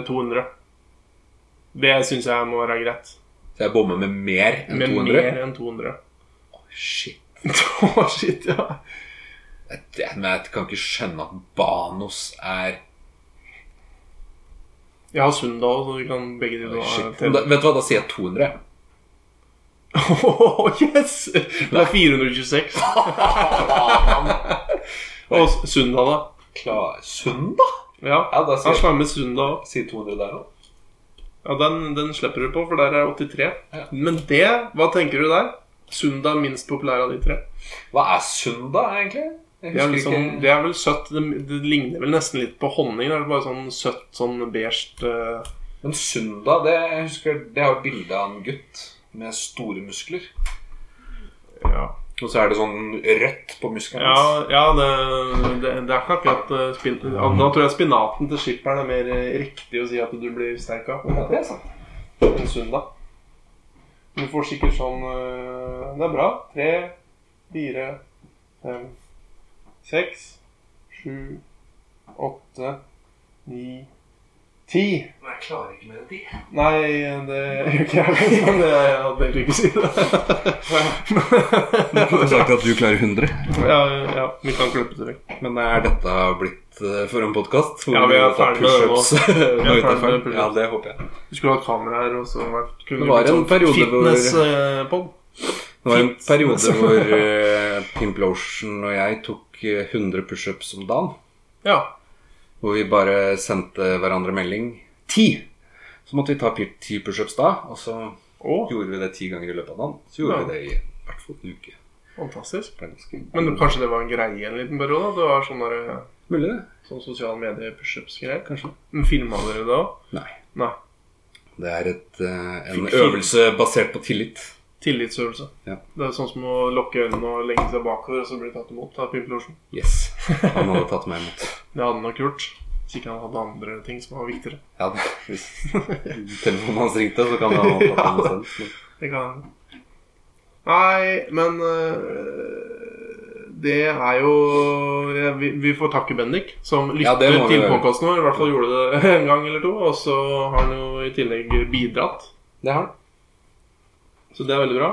B: eh, 200. Det syns jeg må være greit.
C: Så jeg bommer med mer enn
B: Med
C: 200?
B: mer enn 200.
C: Shit.
B: Å, shit, ja.
C: Jeg, jeg- men jeg kan ikke skjønne at Banos er
B: Jeg har Sunndal, så vi kan begge de to ha
C: Shit.
B: tele-
C: Da, vet du hva, da sier jeg 200.
B: Åh, yes! Det er 426. Og S- Sunda, da.
C: Klar. Sund, da?
B: Ja.
C: Ja, da
B: Han
C: sier jeg
B: slammer Sunda òg.
C: sier 200 der òg.
B: Ja, den, den slipper du på, for der er 83.
C: Ja.
B: Men det Hva tenker du der? Sunda er minst populær av de tre.
C: Hva er sund, da, egentlig?
B: Det
C: Jeg
B: er,
C: husker
B: liksom,
C: ikke.
B: det er vel søtt. Det, det ligner vel nesten litt på honning. Det er bare sånn søtt, sånn beige eh,
C: Men sund, da, det, jeg husker, det er jo et bilde av en gutt med store muskler.
B: Ja,
C: Og så er det sånn rødt på muskelen
B: ja,
C: hans.
B: ja det, det, det er ikke akkurat eh, spin, ja, Da tror jeg spinaten til skipperen er mer eh, riktig å si at du blir sterk av.
C: Ja, det er sant.
B: en søndag. Du får sikkert sånn øh, Det er bra. Tre, fire, fem, seks, sju, åtte, ni, ti.
A: Men jeg klarer ikke mer enn de.
B: Nei, det gjør ikke jeg heller, men det jeg hadde egentlig ikke si det.
C: Du har sagt at du klarer 100.
B: ja, ja, vi kan klippe det vekk.
C: Men er dette blitt eh, for en podkast?
B: Ja, vi er ferdig med det nå. Vi er ferdig med
C: det
B: push-ups.
C: Ja, det håper jeg.
B: Vi skulle hatt kamera her, og så vært kunne sånn
C: Det var en periode hvor-
B: Fitnesspod.
C: Det var en
B: Fint.
C: periode hvor uh, Pimplotion og jeg tok eh, 100 pushups om dagen.
B: Ja.
C: Hvor vi bare sendte eh, hverandre melding. Ti! Så måtte vi ta pi- ti pushups da, og så
B: Å,
C: gjorde vi det ti ganger i løpet av dagen. Så gjorde
B: Ja.
C: vi det i hvert fall en uke.
B: fantastisk.
C: Det er ganske
B: Men det- kanskje det var en greie en liten periode? at Det var sånn der, øh,
C: mulig, det.
B: Sånn sosiale medier, pushups-greier.
C: Kanskje.
B: Men Filma dere det òg?
C: Nei.
B: Nei.
C: Det er et, eh, en
B: Fikk fint.
C: øvelse basert på tillit.
B: Tillitsøvelse.
C: Ja.
B: Det er sånn som å lukke øynene og legge seg bakover og så bli tatt imot av Pimpelorsen.
C: Yes. Han hadde tatt meg imot.
B: Det hadde han nok gjort. Hvis ikke han hadde andre ting som var viktigere.
C: Ja, hvis telefonen hans ringte, så kan han ha tatt den selv. Men-
B: Det kan han. Nei, men øh, Det er jo ja, vi, vi får takke Bendik, som
C: Ja, det
B: lytter
C: må vi
B: til
C: gjøre.
B: podkasten vår. I hvert fall gjorde det en gang eller to. Og så har han jo i tillegg bidratt.
C: Det har han.
B: Så det er veldig bra.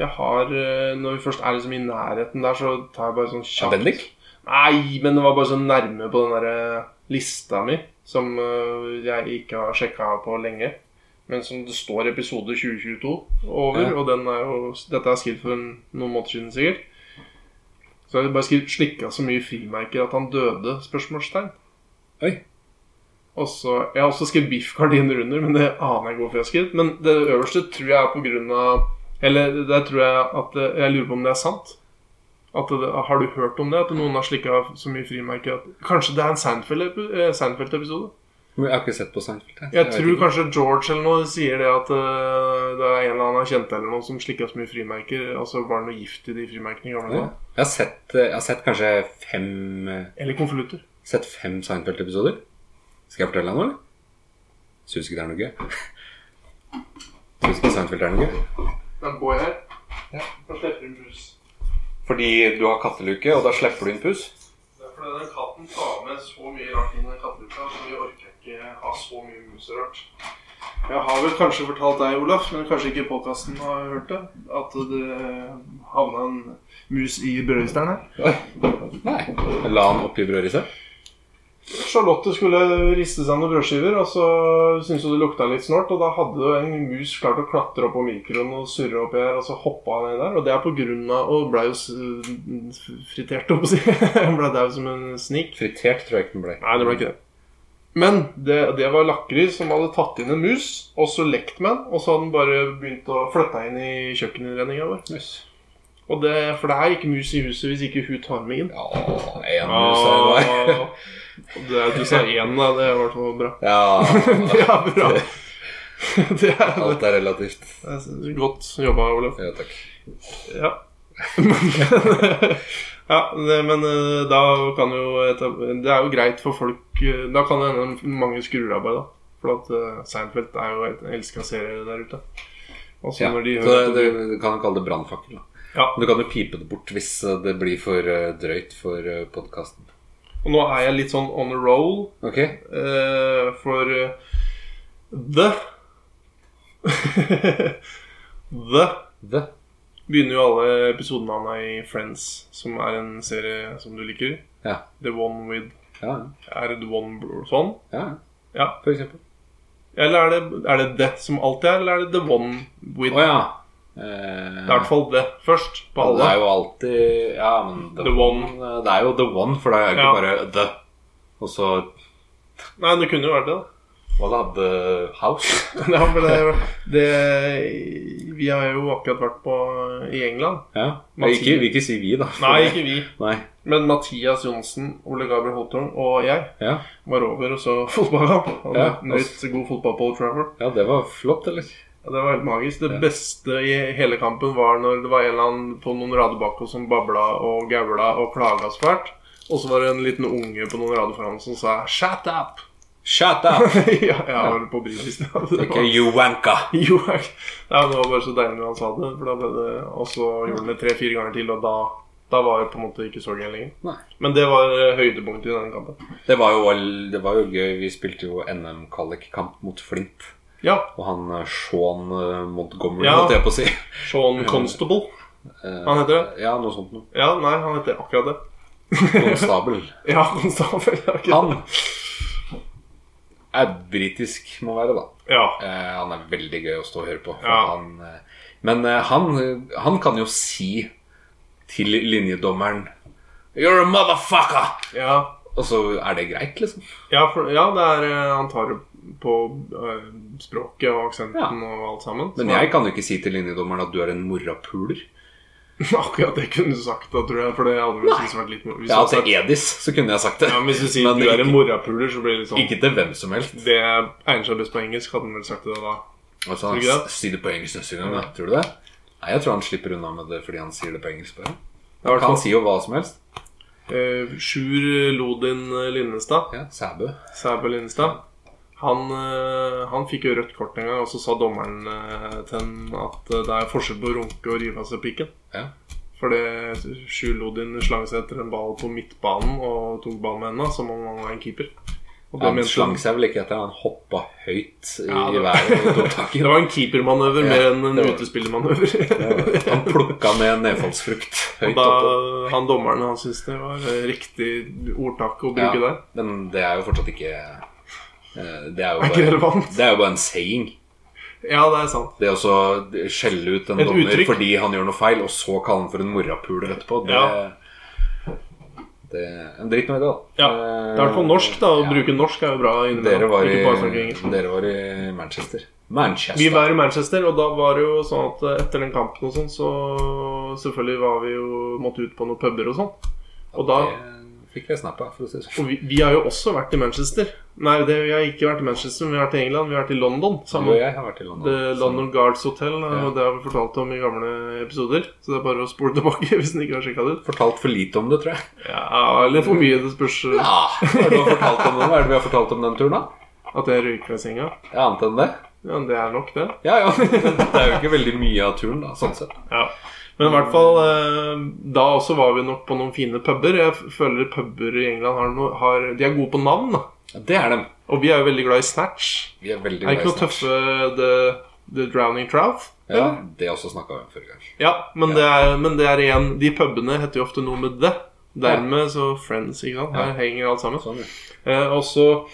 B: Jeg har, eh, Når vi først er liksom i nærheten der, så tar jeg bare sånn
C: Ja,
B: kjapt
C: Bendik?
B: Nei, men det var bare så nærme på den der eh, lista mi, som eh, jeg ikke har sjekka på lenge. Men som det står episode 2022 over,
C: Ja.
B: og den er jo, dette er skrevet for en- noen måneder siden sikkert. Så har jeg bare slikka så mye frimerker at han døde? spørsmålstegn.
C: Oi.
B: Og så, jeg har også skrevet biffgardiner under, men det aner jeg ikke hvorfor jeg har skrevet. Men det øverste tror jeg er på grunn av Eller det tror jeg at det- Jeg lurer på om det er sant. At det, har du hørt om det? At noen har slikka så mye frimerker at Kanskje det er en Seinfeld-epi- eh, Seinfeld-episode?
C: Men Jeg har ikke sett på Seinfeld. så
B: Jeg
C: vet
B: tror
C: ikke.
B: kanskje George eller noe sier det at eh, det er en eller annen kjente eller noe som slikka så mye frimerker. Altså var det noe gift i de frimerkene i gamle
C: Ja.
B: dager?
C: Jeg har sett, eh, jeg har sett kanskje fem eh,
B: Eller konvolutter.
C: Sett fem Seinfeld-episoder. Skal jeg fortelle deg noe, eller? Syns ikke det er noe gøy. Syns ikke Seinfeld er noe gøy.
B: Da går jeg her. Da slipper hun pus.
C: Fordi du har katteluke, og da slipper du inn puss?
B: Det er fordi den katten tar med så mye rart inn i katteluka, så vi orker ikke ha så mye muserart. Jeg har vel kanskje fortalt deg, Olaf, men kanskje ikke podkasten har hørt det, at det havna en mus i brødristeren her.
C: Nei. La han oppi brødrisa?
B: Charlotte skulle riste sammen noen brødskiver, og så syntes hun det lukta litt snålt. Og da hadde jo en mus klart å klatre opp på mikroen og surre oppi her, og så hoppa han ned der. Og det er på grunn av Og blei jo s- fritert, holdt jeg på å si. Blei dau som en snik.
C: Fritert tror jeg ikke den ble.
B: Nei, det ble ikke det. Men det, det var lakris som hadde tatt inn en mus, og så lekt med den. Og så hadde den bare begynt å flytte inn i kjøkkeninnredninga vår.
C: Mus.
B: Og det, for det er ikke mus i huset hvis ikke hun tar med inn.
C: Ja, en mus er det bare.
B: Og det er, du sa én, da. Det er i hvert fall bra.
C: Ja,
B: Det er bra. Det er,
C: alt er relativt.
B: det er godt jobba, Olav.
C: Ja, takk.
B: Ja. Men- ja, det, men eh, da kan jo etab- Det er jo greit for folk eh, Da kan det hende mange skrur av bare, da. For at eh, Seinfeld er jo en elska serie der ute. Og så
C: Ja.
B: når de
C: Så
B: hører at
C: det,
B: Sånn det,
C: du kan jo kalle det brannfakkel. da.
B: Ja.
C: Men Du kan jo pipe det bort hvis eh, det blir for eh, drøyt for podkasten.
B: Og nå er jeg litt sånn on the roll,
C: Ok?
B: eh, for eh, The The
C: Det.
B: begynner jo alle episodenavna i Friends, som er en serie som du liker.
C: Ja.
B: The One With
C: Ja,
B: Er det One Bro- Sånn?
C: ja.
B: Ja.
C: For eksempel.
B: Eller er det, er det det som alltid er, eller er det the one with?
C: Å ja. Eh,
B: Det er i hvert fall det først, på
C: Det er
B: alle.
C: jo alltid Ja, men
B: The one.
C: eh, Det er jo the one, for det er jo ikke
B: Ja.
C: bare the. Og så
B: Nei, det kunne jo vært det, da.
C: Hva da? The house?
B: Ja, men det, det Vi har jo akkurat vært på i England.
C: ja.
B: Mats-
C: Ikke, vi ikke si vi, da.
B: Nei, ikke vi,
C: Nei.
B: men Mathias Johnsen, Ole Gabriel Hottorn og jeg
C: Ja.
B: var over og så fotballkamp. Og
C: Ja,
B: Nøt god fotball på Old Trafford.
C: ja, det var flott, eller?
B: Ja, det var helt magisk. Det
C: Ja.
B: beste i hele kampen var når det var en eller annen på noen rader bak oss som babla og gaula og klaga så fælt. Og så var det en liten unge på noen rader foran som sa 'shut up'.
C: Shut up!
B: ja, jeg var på britisk. Ja. Det
C: Ikke
B: var-
C: you wanka!
B: Jo, jeg- Nei, men det var bare så deilig når han sa det. For da ble det og så gjorde han det tre-fire ganger til, og da, da var det på en måte ikke så gøy lenger.
C: Nei.
B: Men det var eh, høydepunktet i denne kampen.
C: Det var jo, all- det var jo gøy. Vi spilte jo NM-kvalikkamp mot Flint.
B: Ja.
C: Og han eh, Sean eh, Montgomery,
B: Ja.
C: holdt jeg på å si.
B: Sean Constable.
C: Eh,
B: Han heter
C: Ja, noe sånt noe.
B: Ja, nei, han heter akkurat det.
C: Konstabel.
B: Ja, Konstabel. ja, ikke
C: Han
B: det.
C: er britisk, må være, da.
B: Ja.
C: Eh, han er veldig gøy å stå og høre på. for
B: Ja.
C: Han, eh, men eh, han, eh, han kan jo si til linjedommeren You're a motherfucker!
B: Ja.
C: Og så er det greit, liksom.
B: Ja, for, ja, det er eh, Han tar det på eh, språket og aksenten
C: Ja.
B: og alt sammen.
C: Men jeg kan jo ikke si til linjedommeren at du er en morapuler.
B: Akkurat det kunne du sagt, da, tror jeg. For det hadde vel syntes vært litt moro. Hvis
C: Ja,
B: du hadde
C: til
B: sagt-
C: Edis så kunne jeg sagt det.
B: Ja, men Hvis du sier
C: Men
B: du er en
C: ikke-
B: morapuler, så blir det litt sånn
C: Ikke til hvem som helst.
B: Det egner seg best på engelsk, hadde han vel sagt det da.
C: Altså,
B: Tror du ikke det?
C: s- si det på engelsk neste gang, da. Tror du det? Nei, jeg tror han slipper unna med det fordi han sier det på engelsk. bare
B: Det var
C: Han si jo hva som helst.
B: eh, Sjur Lodin Linnestad,
C: Ja, Sæbø.
B: Sæbø Linnestad, han, eh, han fikk jo rødt kort en gang, og så sa dommeren eh, til han at eh, det er forskjell på å runke og rive av seg pikken.
C: Ja.
B: Fordi Sjur Lodin slang seg etter en ball på midtbanen og tok ballen med henda som om han var en keeper. Og det
C: Han
B: mente-
C: slang seg vel ikke etter, han hoppa høyt i,
B: Ja,
C: i
B: det-
C: været og tok tak i
B: Det var en keepermanøver mer enn en
C: det var det.
B: utespillermanøver.
C: den. Han plukka ned nedfallsfrukt høyt
B: Da
C: oppe.
B: han dommeren han syntes det var eh, riktig ordtak å bruke der.
C: Men det er jo fortsatt ikke eh, Det er jo
B: Er ikke
C: bare,
B: relevant.
C: det er jo bare en saying.
B: Ja, det er sant.
C: Det å så skjelle ut en
B: Et
C: dommer
B: uttrykk.
C: fordi han gjør noe feil, og så kalle han for en morapuler etterpå, det,
B: Ja.
C: det En dritt med det, da.
B: Ja, Det er i hvert fall norsk, da. Å bruke norsk er jo bra
C: Eh, Dere
B: innimellom.
C: var,
B: Ikke bare snakke
C: i,
B: engelsk.
C: dere var i Manchester.
B: Vi
C: Manchester.
B: var i Manchester, og da var det jo sånn at eh, etter den kampen og sånn, så selvfølgelig var vi jo måtte ut på noen puber og sånn. Og da
C: Det fikk jeg snap av, for å si det sånn.
B: Og vi, vi har jo også vært i Manchester. Nei, det, vi har ikke vært i Manchester, men vi har vært i England. Vi har vært i London
C: Du og
B: sammen.
C: jeg har vært i
B: The
C: London.
B: London Guards Hotel, eh,
C: Ja.
B: og det har vi fortalt om i gamle episoder. Så det er bare å spole tilbake hvis den ikke har sjekka det ut.
C: Så Fortalt for lite om det, tror jeg.
B: Ja, eller for mye, det spørs. eh,
C: Ja, Hva er det du har fortalt om den? Hva er det vi har fortalt om den turen, da?
B: At jeg røyker i senga.
C: Ja, annet enn det?
B: Ja, det er nok, det.
C: Ja, ja. Det er jo ikke veldig mye av turen, da, sånn sett.
B: Ja. Men i hvert fall eh, Da også var vi nok på noen fine puber. Jeg f- føler puber i England har noe, har, De er gode på navn. da
C: Ja, det er dem.
B: Og vi er jo veldig glad i snatch.
C: Vi er veldig
B: Er ikke
C: glad i
B: noe
C: snacks.
B: tøffe The, the Drowning Trout?
C: Ja,
B: eller?
C: det også snakka vi om forrige gang.
B: ja men, Det er, men det er igjen De pubene heter jo ofte noe med det. Dermed så Friends, ikke sant. Her
C: Ja.
B: henger alt sammen.
C: Sånn, ja.
B: Eh, og så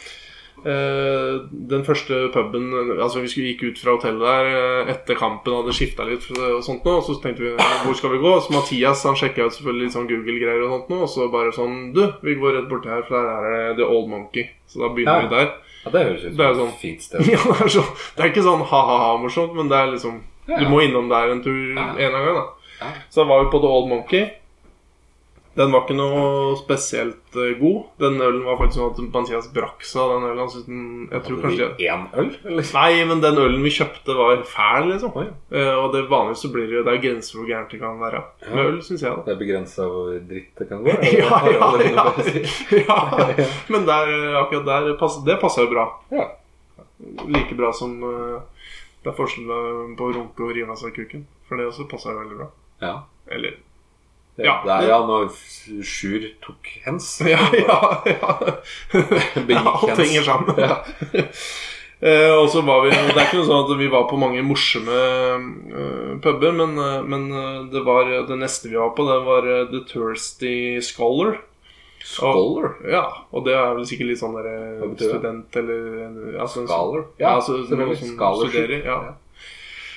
B: eh, den første puben Altså Vi skulle gikk ut fra hotellet der eh, etter kampen, hadde skifta litt og sånt nå, og så tenkte vi eh, hvor skal vi gå? Så Mathias han sjekka ut selvfølgelig litt sånn Google-greier og sånt nå, og så bare sånn Du, vi går rett borti her, for der er det The Old Monkey. Så da begynner
C: Ja.
B: vi der.
C: ja, det høres ut
B: Det er
C: som
B: sånn.
C: et fint sted.
B: Ja, det, er så, det er ikke sånn ha-ha-ha-morsomt, men det er liksom
C: Ja,
B: Du
C: ja.
B: må innom der en tur en
C: Ja.
B: eller annen gang, da.
C: Ja.
B: Så da var vi på The Old Monkey. Den var ikke noe spesielt eh, god. Den ølen var faktisk sånn at Mathias brakk seg av den ølen. Han syntes den Jeg tror kanskje
C: Hadde vi én øl, eller?
B: Nei, men den ølen vi kjøpte, var fæl, liksom.
C: Oi.
B: Eh, og det vanligvis så blir det jo Det er grenser for hvor gærent det kan være med
C: Ja.
B: øl, syns jeg, da.
C: Det er begrensa hvor dritt det kan gå? eller?
B: Ja,
C: Har jeg
B: ja,
C: allerede
B: ja.
C: noe å si?
B: ja. Men der, eh, akkurat der pass- Det passa jo bra.
C: Ja.
B: Like bra som eh, det er forskjell eh, på å runke og rive av seg kuken. For det også passa jo veldig bra.
C: Ja.
B: Eller
C: Det,
B: Ja.
C: det er, ja, når Sjur tok hens.
B: Ja, ja, ja.
C: Begikk
B: Alt
C: hens.
B: henger sammen. Eh, og så var vi Det er ikke noe sånn at vi var på mange morsomme eh, puber, men, eh, men eh, det var det neste vi var på, det var eh, The Thirsty Scholar.
C: Scholar?
B: Ja, og det er vel sikkert litt sånn der eh,
C: Hva betyr det?
B: student eller ja, sånn-
C: Scholar?
B: Ja, altså, noen som studerer, ja.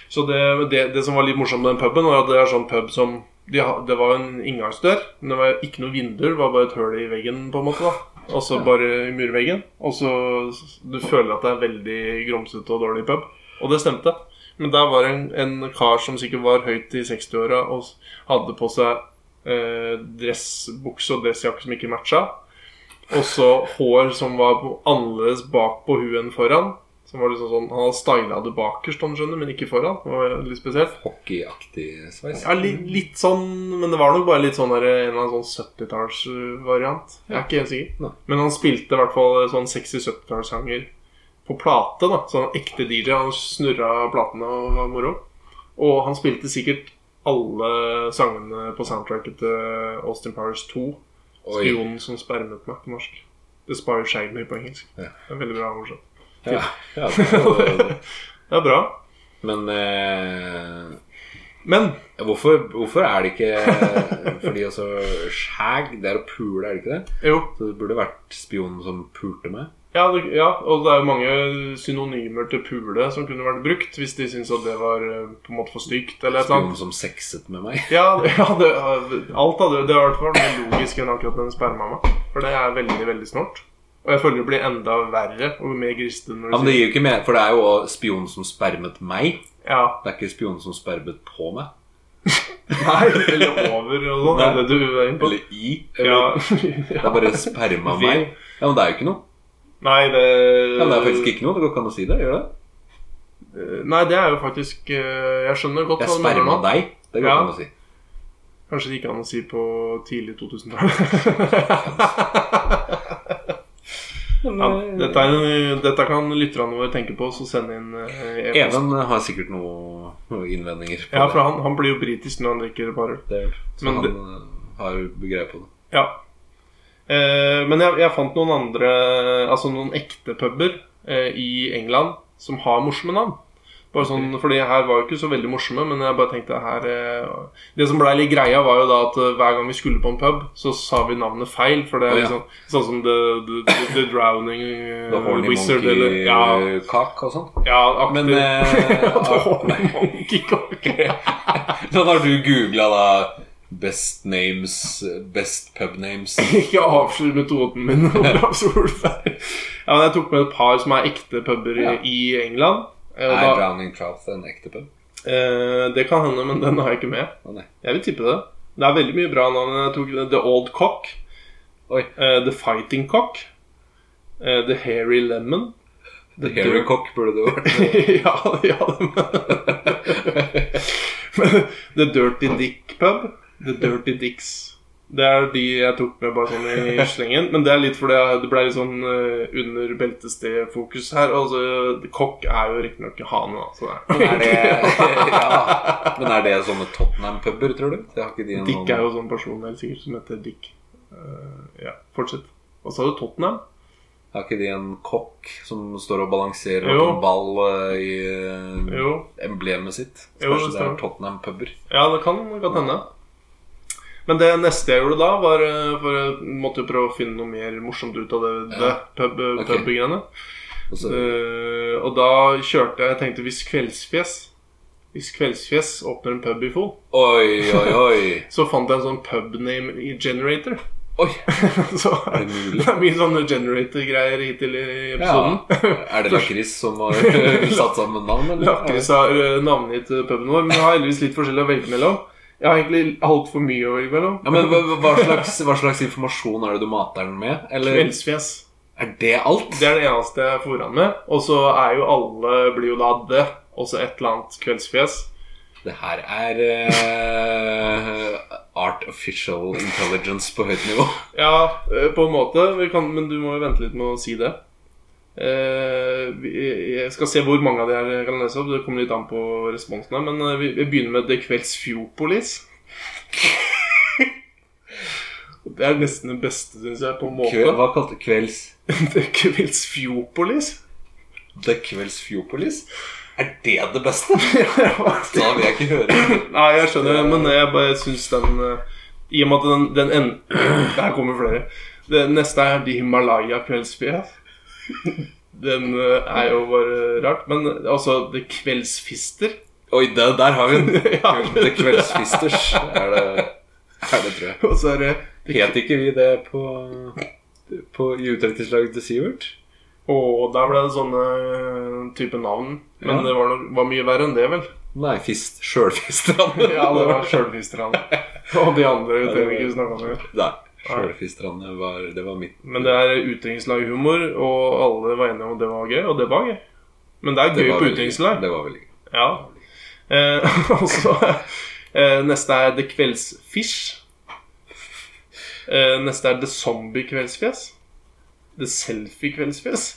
B: Så det, det, det som var litt morsomt med den puben, var at det er sånn pub som de, ha- Det var en inngangsdør, men det var ikke noe vinduer, det var bare et hull i veggen, på en måte. da Og så bare i murveggen. Og så Du føler at det er veldig grumsete og dårlig pub. Og det stemte. Men der var det en, en kar som sikkert var høyt i 60-åra og s- hadde på seg eh, dressbukse og dressjakke som ikke matcha. Og så hår som var på- annerledes bak på huet enn foran. Som var liksom sånn, Han hadde styla det bakerst, om du skjønner, men ikke foran. Det var litt spesielt.
C: Hockeyaktig sveis.
B: Ja, litt, litt sånn, men det var nok bare litt sånn der, en eller annen sånn 70-tallsvariant. Jeg er ikke helt sikker.
C: Nei.
B: Men han spilte i hvert fall sånn 60-70-tallssanger på plate. da Sånn ekte DJ. Han snurra platene og var moro. Og han spilte sikkert alle sangene på soundtracket til Austin Powers 2.
C: Oi.
B: 'Spionen som spermet meg' på norsk. The Spy Who Shagged Me på engelsk.
C: Ja.
B: Det er veldig bra morsomt.
C: Ja, ja, det var-
B: Det er bra.
C: men eh,
B: Men
C: hvorfor, hvorfor er det ikke Fordi altså skjæg, det er å pule, er det ikke det?
B: jo,
C: Så det burde vært spionen som pulte meg.
B: Ja, det, ja, og det er jo mange synonymer til pule som kunne vært brukt hvis de syntes at det var eh, på en måte for stygt. eller et eller
C: Spionen
B: annet.
C: som sexet med meg.
B: Ja, ja det, alt hadde, det har vært mer logisk enn akkurat den spermamma. For det er veldig, veldig snålt. Og jeg føler det blir enda verre og mer grisete når du
C: Ja, men det
B: sier
C: gir jo ikke mer, for det er jo også spionen som spermet meg.
B: ja.
C: Det er ikke spionen som spermet på meg.
B: Nei, eller over og sånn. Er det du er inne på?
C: Eller i.
B: Ja.
C: Eller, Det er bare sperma
B: Vi-
C: meg. Ja, Men det er jo ikke noe.
B: Nei, det
C: Ja, men det er faktisk ikke noe. Det går ikke an å si det. Gjør det?
B: Nei, det er jo faktisk eh, Jeg skjønner godt
C: Jeg
B: du mener nå.
C: sperma deg. Det går
B: Ja.
C: ikke an å si.
B: Kanskje det gikk an å si på tidlig 2000-tallet. ja, dette, er en- dette kan lytterne våre tenke på, så send inn eh, e-post.
C: Even har sikkert noe, noen innvendinger. på
B: Ja, for
C: det.
B: han, han blir jo britisk når han drikker et par øl.
C: Det er, så
B: Men
C: han
B: det-
C: eh, har greie på det.
B: Ja. Eh, men jeg, jeg fant noen andre, altså noen ekte puber eh, i England som har morsomme navn. Bare sånn, fordi her var jo ikke så veldig morsomme, men jeg bare tenkte her eh, Det som blei litt greia, var jo da at eh, hver gang vi skulle på en pub, så sa vi navnet feil. For det
C: Å,
B: er
C: ja.
B: liksom sånn som The, the, the, the Drowning eh,
C: The Horny
B: Wizard eller
C: Monkey
B: Ja,
C: eh, Cock og sånn.
B: ja aktig.
C: Men, eh,
B: Ja, The
C: ah,
B: Horny
C: nei.
B: Monkey Cocker.
C: Sånn har du googla da Best names, best pub names.
B: Ikke avslør metoden min. Olav Solberg. ja, men jeg tok med et par som er ekte puber i,
C: Ja.
B: i England. Eh,
C: Er
B: Og da,
C: Drowning Trout en ekte pub?
B: eh, det kan hende, men den har jeg ikke med.
C: Å nei.
B: Jeg vil tippe det. Det er veldig mye bra navn. Jeg tok The Old Cock.
C: Oi.
B: eh, The Fighting Cock. eh, the Hairy Lemon.
C: The Hairy Cock burde det vært.
B: ja, ja men The Dirty Dick Pub. The Dirty Dicks Det er de jeg tok med bare sånn i slengen. Men det er litt fordi jeg- det ble litt sånn eh, under beltested-fokus her. Altså, kokk er jo riktignok ikke hane, da. Så det
C: Men er det, ja. Men er det sånne Tottenham-puber, tror du? Det har ikke de
B: er.
C: noen-
B: Dick er jo sånn person helt sikkert som heter Dick. Eh, ja, fortsett. Hva sa du? Tottenham?
C: sånn- Har ikke de en kokk som står og balanserer
B: Jo.
C: opp en ball eh, i eh,
B: Jo.
C: emblemet sitt?
B: Jo,
C: Kanskje
B: det
C: det er
B: stemmer.
C: Tottenham-puber?
B: Ja, det kan godt hende. Men det neste jeg gjorde da, var eh, For jeg måtte jo prøve å finne noe mer morsomt ut av det, det
C: Ja.
B: pub, eh,
C: Ok.
B: pub-greiene.
C: Og så-
B: Eh, og da kjørte jeg Jeg tenkte hvis Kveldsfjes Hvis Kveldsfjes åpner en pub i Fol,
C: Oi, oi, oi.
B: så fant jeg en sånn pubname i generator.
C: Oi,
B: så
C: er det mulig?
B: det er mye sånne generator-greier hittil i episoden.
C: Er det lakris som har satt sammen navn, eller?
B: Lakris har eh, navngitt puben vår, men jeg har heldigvis litt forskjellig å velge mellom. Jeg har egentlig altfor mye å velge mellom.
C: Ja, men hva, hva, slags, hva slags informasjon er det du mater den med? Eller
B: Kveldsfjes.
C: er det alt?
B: Det er det eneste jeg får an med. Og så er jo alle blir jo da det. Og så et eller annet kveldsfjes.
C: Det her er eh, art official intelligence på høyt nivå.
B: Ja, eh, på en måte. Vi kan, men du må jo vente litt med å si det. Eh, vi- jeg skal se hvor mange av de her jeg kan lese opp. Det kommer litt an på responsen her. Men eh, vi, vi begynner med The Kveldsfjopolis. Det er nesten det beste, syns jeg, på en
C: Kve,
B: måte.
C: hva kalte kvelds...
B: The Kveldsfjopolis.
C: The Kveldsfjopolis? Er det det beste? Da vil jeg ikke høre.
B: Nei, jeg skjønner det, men jeg bare syns den eh, I og med at den, den en... Der kommer flere. Det neste er De Himalaya kveldsfjes. Den eh, er jo bare rart. Men altså The Kveldsfister.
C: Oi, der, der har vi den.
B: Ja.
C: The Kveldsfisters er det, er det, tror jeg.
B: Og så er det Å,
C: Het ikke vi det på, på i utdrikningslaget til Sivert?
B: der ble det sånne eh, type navn. Men
C: Ja.
B: det var, nok, var mye verre enn det, vel?
C: Nei, fist, sjølfistrande.
B: Ja, det var Sjølfisterne. Og de andre trenger vi ikke snakke om.
C: Nei, sjølfistrande var Det var mitt.
B: Men det er utdrikningslaghumor, og alle var enige om at det var gøy, og det var gøy. Men det er gøy
C: var
B: på
C: vel-
B: utdrikningslag.
C: Det var vel ikke
B: Ja. Eh, og så eh, Neste er The Kveldsfish. Eh, neste er The Zombie Kveldsfjes. The Selfie Kveldsfjes.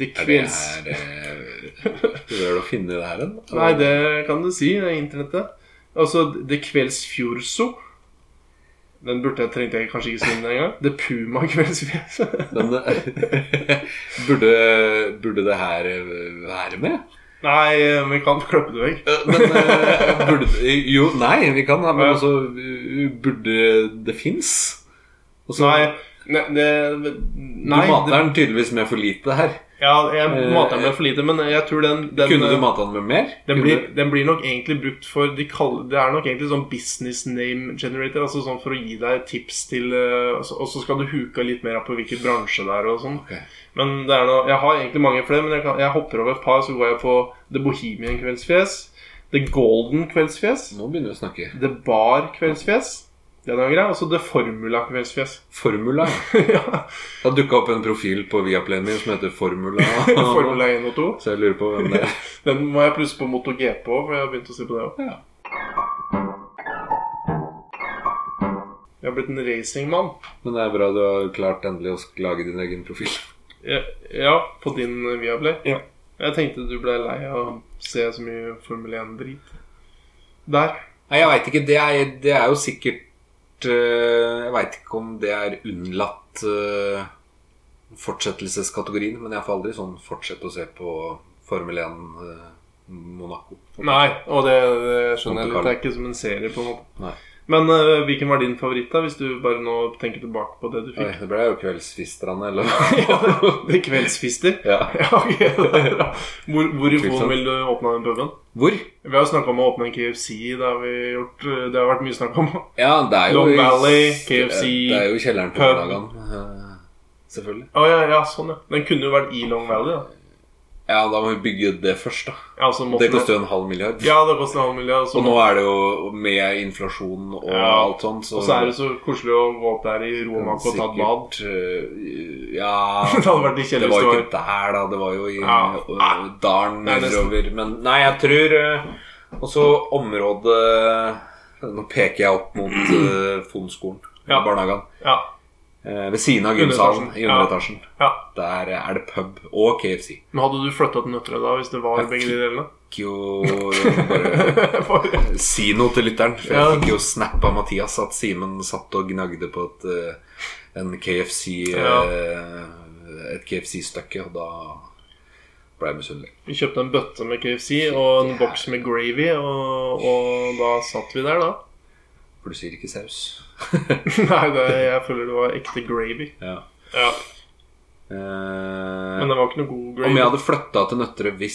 B: The
C: er det
B: Kvelds...
C: her eh, Prøver du å finne det her en?
B: Nei, det kan du si. Det er internettet. Altså The Kveldsfjordso. Den burde jeg, trengte jeg kanskje ikke si den engang. The Puma Kveldsfjes.
C: Men, eh, burde, burde det her eh, være med?
B: Nei, eh, vi kan klippe det vekk.
C: Eh, Men eh, burde Jo, nei, vi kan ha,
B: Ja.
C: men altså eh, Burde det fins?
B: Nei, ne, det,
C: Altså- Du
B: nei
C: mater
B: det,
C: den tydeligvis med for lite her.
B: ja, jeg mater den med for lite, men jeg tror den, den eh,
C: Kunne du mata den med mer?
B: Den
C: Kunne-
B: blir, den blir nok egentlig brukt for de kaller, Det er nok egentlig sånn business name generator. Altså sånn for å gi deg tips til eh, altså- Og så skal du huka litt mer av på hvilken bransje det er og sånn.
C: Ok.
B: Men det er noe, Jeg har egentlig mange flere, men jeg, kan, jeg hopper over et par. Så går jeg på The Bohemian Kveldsfjes. The Golden Kveldsfjes.
C: Nå begynner vi å snakke.
B: The Bar Kveldsfjes. Den er grei. Og så The Formula Kveldsfjes.
C: Formula.
B: ja.
C: Det har dukka opp en profil på Viaplayen min som heter Formula.
B: Formula 1 og 2.
C: Så jeg lurer på hvem det er.
B: Den må jeg plusse på MotoGP òg, for jeg har begynt å se på det òg.
C: Ja.
B: Jeg har blitt en racingmann.
C: Men det er bra du har klart endelig å lage din egen profil.
B: Ja, ja, på din Viaplay.
C: Ja.
B: Jeg tenkte du ble lei av å se så mye Formel 1-drit. Der.
C: Nei, jeg veit ikke. Det er, det er jo sikkert eh, Jeg veit ikke om det er unnlatt eh, fortsettelseskategorien, men jeg får aldri sånn fortsette å se på Formel 1 eh, Monaco.
B: Nei, og det, det skjønner jeg
C: Monte Carlo.
B: litt. Det er ikke som en serie, på en måte.
C: Nei.
B: Men eh, hvilken var din favoritt, da? Hvis du bare nå tenker tilbake på det du
C: Oi,
B: fikk?
C: det ble jo Kveldsfisterne, eller
B: Det er Kveldsfister?
C: Ja.
B: Ja, ok, det er bra. Hvor, hvor i
C: Utvilsomt.
B: Fon vil du åpne den puben?
C: Hvor?
B: Vi har snakka om å åpne en KFC. Det har, vi gjort, eh, det har vært mye snakk om.
C: Ja, det er jo
B: Long
C: i-
B: Valley, KFC,
C: Det er jo i kjelleren på
B: pub.
C: lagene. Selvfølgelig.
B: Å ja, ja, sånn, ja. Den kunne jo vært i Long Valley. da.
C: Ja, da må vi bygge det først, da.
B: Ja, så måtte
C: Det
B: den-
C: koster jo en halv milliard.
B: Ja, det koster en halv milliard.
C: Og
B: Så
C: nå er det jo med inflasjon og
B: Ja.
C: alt sånt, så
B: Og så er det så koselig å gå opp der i Romak og ta et bad.
C: Sikkert, øh, Ja
B: Det hadde vært de
C: Det var jo
B: kjedeligste
C: ikke der, da. Det var jo i
B: Ja.
C: øh, dalen
B: Nei, nesten.
C: nedover. Men nei, jeg tror øh, også eh, området Nå peker jeg opp mot eh, Fonskolen,
B: Ja.
C: barnehagen.
B: Ja.
C: Eh, ved siden av
B: Underetasjen.
C: gymsalen i underetasjen.
B: ja.
C: Der er det pub og KFC.
B: Men hadde du flytta til Nøtterøy da, hvis det var begge de delene?
C: Ikke jo bare
B: For-
C: si noe til lytteren. For jeg
B: Ja.
C: fikk jo snap av Mathias at Simen satt og gnagde på et, eh, en KFC
B: Ja.
C: eh, Et KFC-stykke, og da ble jeg misunnelig.
B: vi kjøpte en bøtte med KFC og en boks med gravy, og, og da satt vi der, da.
C: For du sier ikke saus. Eh,
B: Nei, det, jeg føler det var ekte gravy.
C: ja.
B: Ja.
C: Eh,
B: Men det var ikke noe god
C: om jeg
B: gravy.
C: hadde flytta til Nøtterøy hvis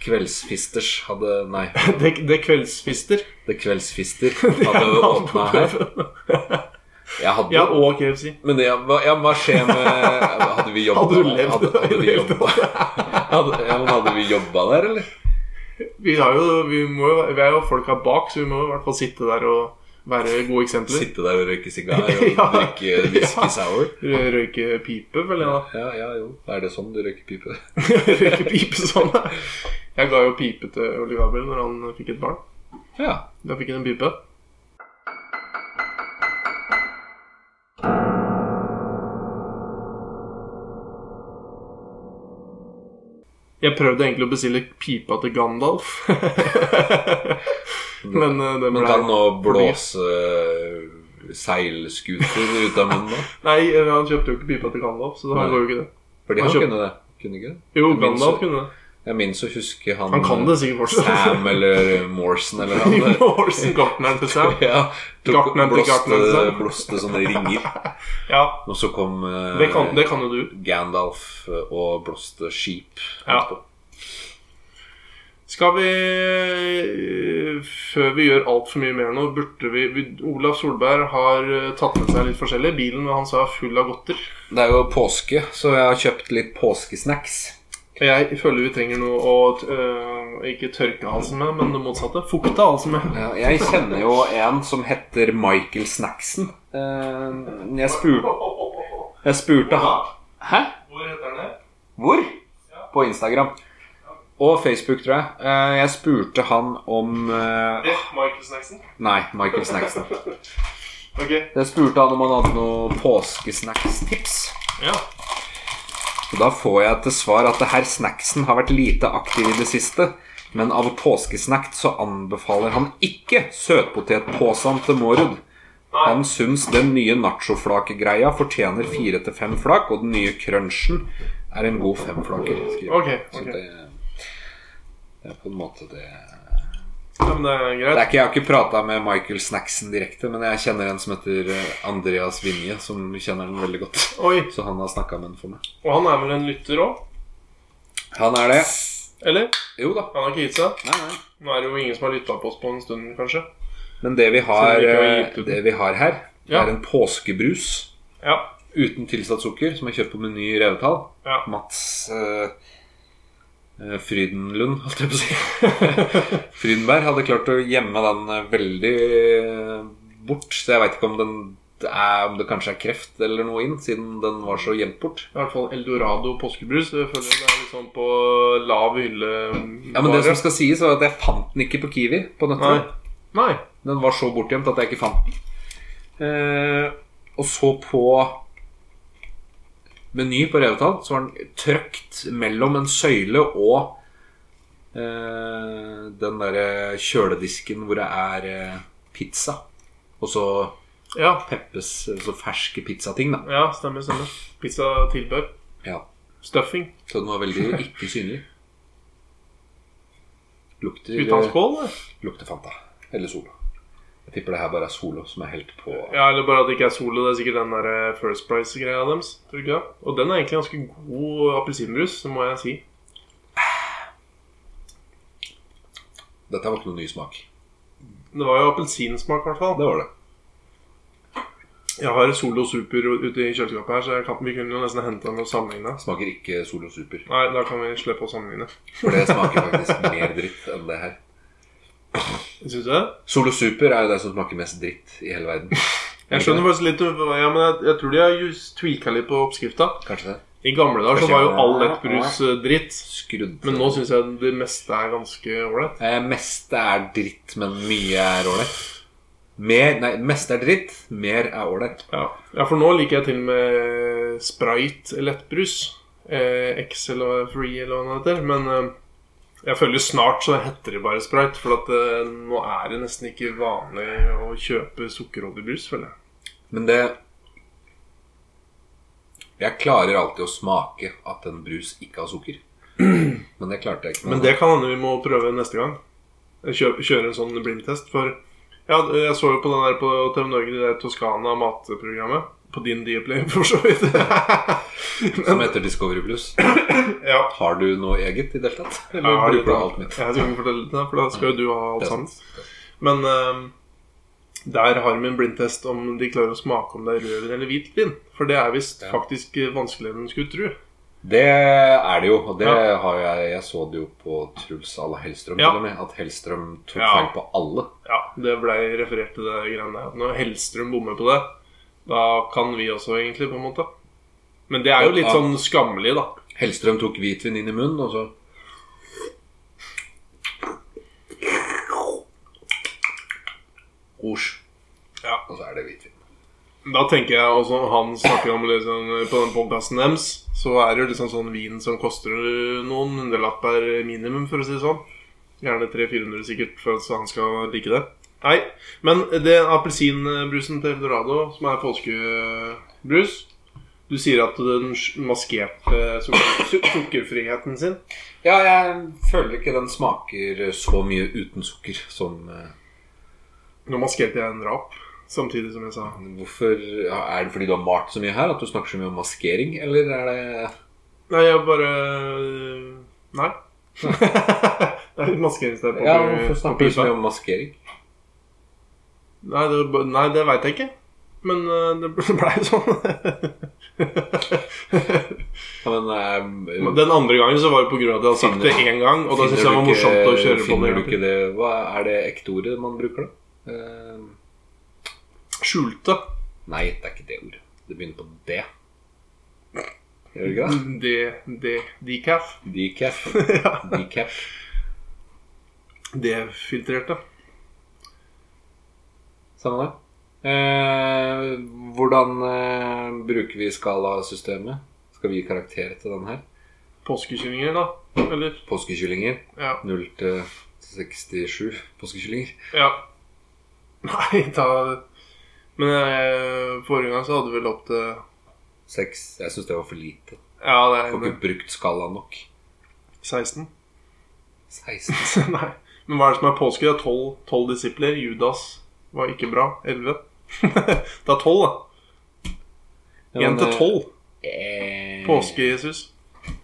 C: Kveldsfisters hadde Nei,
B: Det, det kveldsfister.
C: The Kveldsfister
B: Det er
C: hadde
B: navn på
C: åpna her.
B: puben.
C: Jeg hadde
B: Ja, og KFC.
C: Men ja, hva, ja, hva skjer med Hadde vi jobba
B: Hadde du levd i
C: hadde, hadde,
B: det
C: vi
B: hele
C: jobba- hadde, ja, men hadde vi jobba der, eller?
B: Vi, har jo, vi, må, jo- vi er jo folka bak, så vi må i hvert fall sitte der og være gode eksempler.
C: Sitte der og røyke sigar og
B: Ja.
C: drikke whisky
B: Ja.
C: sour?
B: Røyke pipe, vel? Ja.
C: Ja, ja, jo. Er det sånn du røyker pipe?
B: Røyke pipe sånn. Jeg ga jo pipe til Ole Gabriel når han fikk et barn.
C: Ja.
B: Da fikk han en pipe. Jeg prøvde egentlig å bestille pipa til Gandalf. Men eh, den
C: Men
B: ble
C: kan nå blåse eh, seilskuter ut av munnen, da?
B: Nei, eh, han kjøpte jo ikke pipa til Gandalf, så da
C: Nei.
B: går jo ikke det.
C: Fordi
B: Han
C: han
B: kjøpt-
C: kunne det. Kunne ikke det?
B: Jo,
C: Jeg minnes-
B: Gandalf kunne det.
C: Jeg minnes å huske han
B: Han kan det sikkert fortsatt.
C: Sam eller Morrison eller noe annet.
B: Morrison Gartneren til Sam.
C: Ja, tok,
B: Gartneren til gartneren,
C: blåste,
B: Sam.
C: blåste sånne ringer.
B: Ja,
C: Og så kom eh,
B: det kan, det kan jo du.
C: Gandalf eh, og blåste skip.
B: Ja.
C: etterpå.
B: Skal vi eh, Før vi gjør altfor mye mer nå, burde vi, vi Olav Solberg har eh, tatt med seg litt forskjellig. Bilen hans er full av godter.
C: Det er jo påske, så jeg har kjøpt litt påskesnacks.
B: Jeg føler vi trenger noe å eh, ikke tørke halsen med, men det motsatte. Fukte halsen med.
C: Ja, Jeg kjenner jo en som heter Michael Snacksen. Eh, Jeg spurte,
B: Hvor
C: jeg spurte han Hæ?
B: heter den?
C: Hvor? På Instagram. Og Facebook, tror jeg. Eh, Jeg spurte han om eh,
B: Michael Snacksen.
C: Nei, Michael Snacksen.
B: Ok.
C: Jeg spurte han om han hadde noen påskesnackstips.
B: Ja.
C: Og Da får jeg til svar at det her snacksen har vært lite aktiv i det siste. Men av påskesnack så anbefaler han ikke søtpotetpåsen til Mårud. Han syns den nye nachoflakegreia fortjener fire til fem flak, og den nye crunchen er en god femflaker. skriver han.
B: Ok,
C: Så
B: ok.
C: det, det er på en måte det
B: ja men det er
C: det
B: greit.
C: er ikke, Jeg har ikke prata med Michael Snacksen direkte, men jeg kjenner en som heter eh, Andreas Vinje, som kjenner den veldig godt.
B: Oi.
C: Så han har snakka med den for meg.
B: Og han er vel en lytter òg?
C: Han er det.
B: Eller?
C: Jo da.
B: Han har ikke gitt seg?
C: Nei, nei.
B: Nå er det jo ingen som har lytta på oss på en stund, kanskje.
C: Men det vi
B: Så
C: har,
B: det er ikke å gi ut
C: eh,
B: den.
C: det vi har her,
B: Ja.
C: er en påskebrus
B: Ja.
C: uten tilsatt sukker som er kjøpt på Meny i Revetal.
B: Ja.
C: Mats eh, eh, Frydenlund, holdt jeg på å si. Frydenberg hadde klart å gjemme den eh, veldig eh, bort, så jeg veit ikke om den er, om det kanskje er kreft eller noe inn, siden den var så gjemt bort.
B: I hvert fall Eldorado påskebrus. Jeg føler det er litt sånn på lav hylle.
C: Ja, Men det som skal sies, var at jeg fant den ikke på Kiwi på
B: Nei.
C: nettet.
B: Nei.
C: Den var så bortgjemt at jeg ikke fant den. Eh, og så på Meny på Revetal så var den trøkt mellom en søyle og eh, den derre kjøledisken hvor det er eh, pizza. Og så
B: Ja.
C: peppes så ferske pizzating, da.
B: ja, stemmer, stemmer. Pizza tilbør.
C: Ja.
B: Stuffing.
C: Så den var veldig ikke synlig. Lukter,
B: Skal
C: eh,
B: vi ta en skål, eller?
C: lukter Fanta. Eller Solo. Jeg tipper det her bare er Solo som er helt på
B: Ja, eller bare at det ikke er solo. Det er sikkert den der eh, First Price-greia deres. Tror du ikke det? Og den er egentlig ganske god appelsinbrus, må jeg si.
C: Dette var ikke noen ny smak.
B: Det var jo appelsinsmak, i hvert fall.
C: Det var det.
B: Jeg har Solo Super ute i kjøleskapet her, så jeg kan, vi kunne jo nesten hente den og sammenligne.
C: Smaker ikke Solo Super.
B: Nei, da kan vi slippe å sammenligne.
C: For det smaker faktisk mer dritt enn det her.
B: Syns du det?
C: Solo Super er jo det som smaker mest dritt i hele verden.
B: Jeg skjønner faktisk litt Ja, men jeg, jeg tror de har just tweaka litt på oppskrifta.
C: Kanskje det.
B: I gamle dager så var jo all lettbrus eh, dritt.
C: Skrudd.
B: Men nå syns jeg det meste er ganske ålreit.
C: eh, Meste er dritt, men mye er ålreit. Mer, nei, mest er dritt, mer er ålreit.
B: Ja. ja, for nå liker jeg til med Sprite lettbrus. Eh, X eller Free eller hva det heter. Men eh, jeg føler snart så heter det bare Sprite. For at eh, nå er det nesten ikke vanlig å kjøpe sukkerholdig brus, føler jeg.
C: Men det Jeg klarer alltid å smake at en brus ikke har sukker. Men det klarte jeg ikke.
B: Men det kan hende vi må prøve neste gang. Kjø kjøre en sånn blindtest. For ja, jeg så jo på den der på TV Norge, det der Toskana matprogrammet. På din Dieplay, for så vidt.
C: Som heter Discovery Blues.
B: ja.
C: Har du noe eget i det hele tatt? Eller
B: Ja,
C: bruker du
B: litt.
C: alt mitt?
B: Jeg skal ikke fortelle det, for da skal jo du ha alt
C: Det er
B: sammen.
C: sant.
B: Men ehm, der har vi en blindtest om de klarer å smake om det er rødvin eller hvitvin. For det er visst
C: Ja.
B: faktisk eh, vanskeligere enn du skulle tro.
C: Det er det jo, og det
B: Ja.
C: har jeg Jeg så det jo på Truls à la Hellstrøm,
B: Ja.
C: til og med. At Hellstrøm tok
B: Ja.
C: feil på alle.
B: Ja, det blei referert til det greiene der. Når Hellstrøm bommer på det, da kan vi også, egentlig, på en måte. Men det er jo litt
C: Ja.
B: sånn skammelig, da.
C: Hellstrøm tok hvitvin inn i munnen, og så Rouge.
B: Ja.
C: Og så er det hvitvin.
B: Da tenker jeg også Han snakker om liksom På den podcasten deres Så er det jo liksom sånn vin som koster noen hundrelapper minimum For å si det sånn Gjerne 300-400 sikkert For at han skal like det Nei, men det appelsinbrusen til Eldorado Som er påskebrus Du sier at den maskerte sukker, su- sukkerfriheten sin
C: Ja, jeg føler ikke den smaker så mye uten sukker som eh,
B: Nå maskerte jeg en rap Samtidig som jeg sa
C: Hvorfor ja, Er det fordi du har malt så mye her at du snakker så mye om maskering, eller er det
B: Nei, jeg bare Nei Det er litt maskeringssted på
C: Ja, hvorfor
B: på
C: snakker du så
B: pipa.
C: mye om maskering?
B: Nei, det, var ba- nei, det veit jeg ikke. Men eh, det ble- blei sånn.
C: Ja, men, eh,
B: Men Den andre gangen så var det pga. at jeg hadde sagt det én gang, og da syntes jeg det var
C: Finner du ikke-
B: morsomt å kjøre på
C: finner
B: det.
C: du
B: en gang.
C: ikke det. Hva er det ekte ordet man bruker, da? Eh,
B: Skjulte.
C: nei, det er ikke det ordet. Det begynner på D. Gjør det ikke det?
B: Det, det, decaf.
C: Decaf.
B: Ja.
C: Decaf.
B: Defiltrerte.
C: Samme det. Eh, hvordan eh, bruker vi skalasystemet? Skal vi gi karakter til den her?
B: Påskekyllinger, da. Eller?
C: Påskekyllinger.
B: Ja.
C: 0 til 67 påskekyllinger.
B: ja. Nei, da Men eh, forrige gang så hadde vi vel opp til
C: 6. Jeg syns det var for lite.
B: Ja, det
C: Får
B: er
C: ikke brukt skalaen nok.
B: 16.
C: 16.
B: Nei. Men hva er det som er påske? Det er tolv, tolv disipler. Judas var ikke bra. Elleve. det er tolv, da.
C: Ja,
B: Én
C: men,
B: til
C: eh,
B: tolv.
C: eh,
B: Påske-Jesus.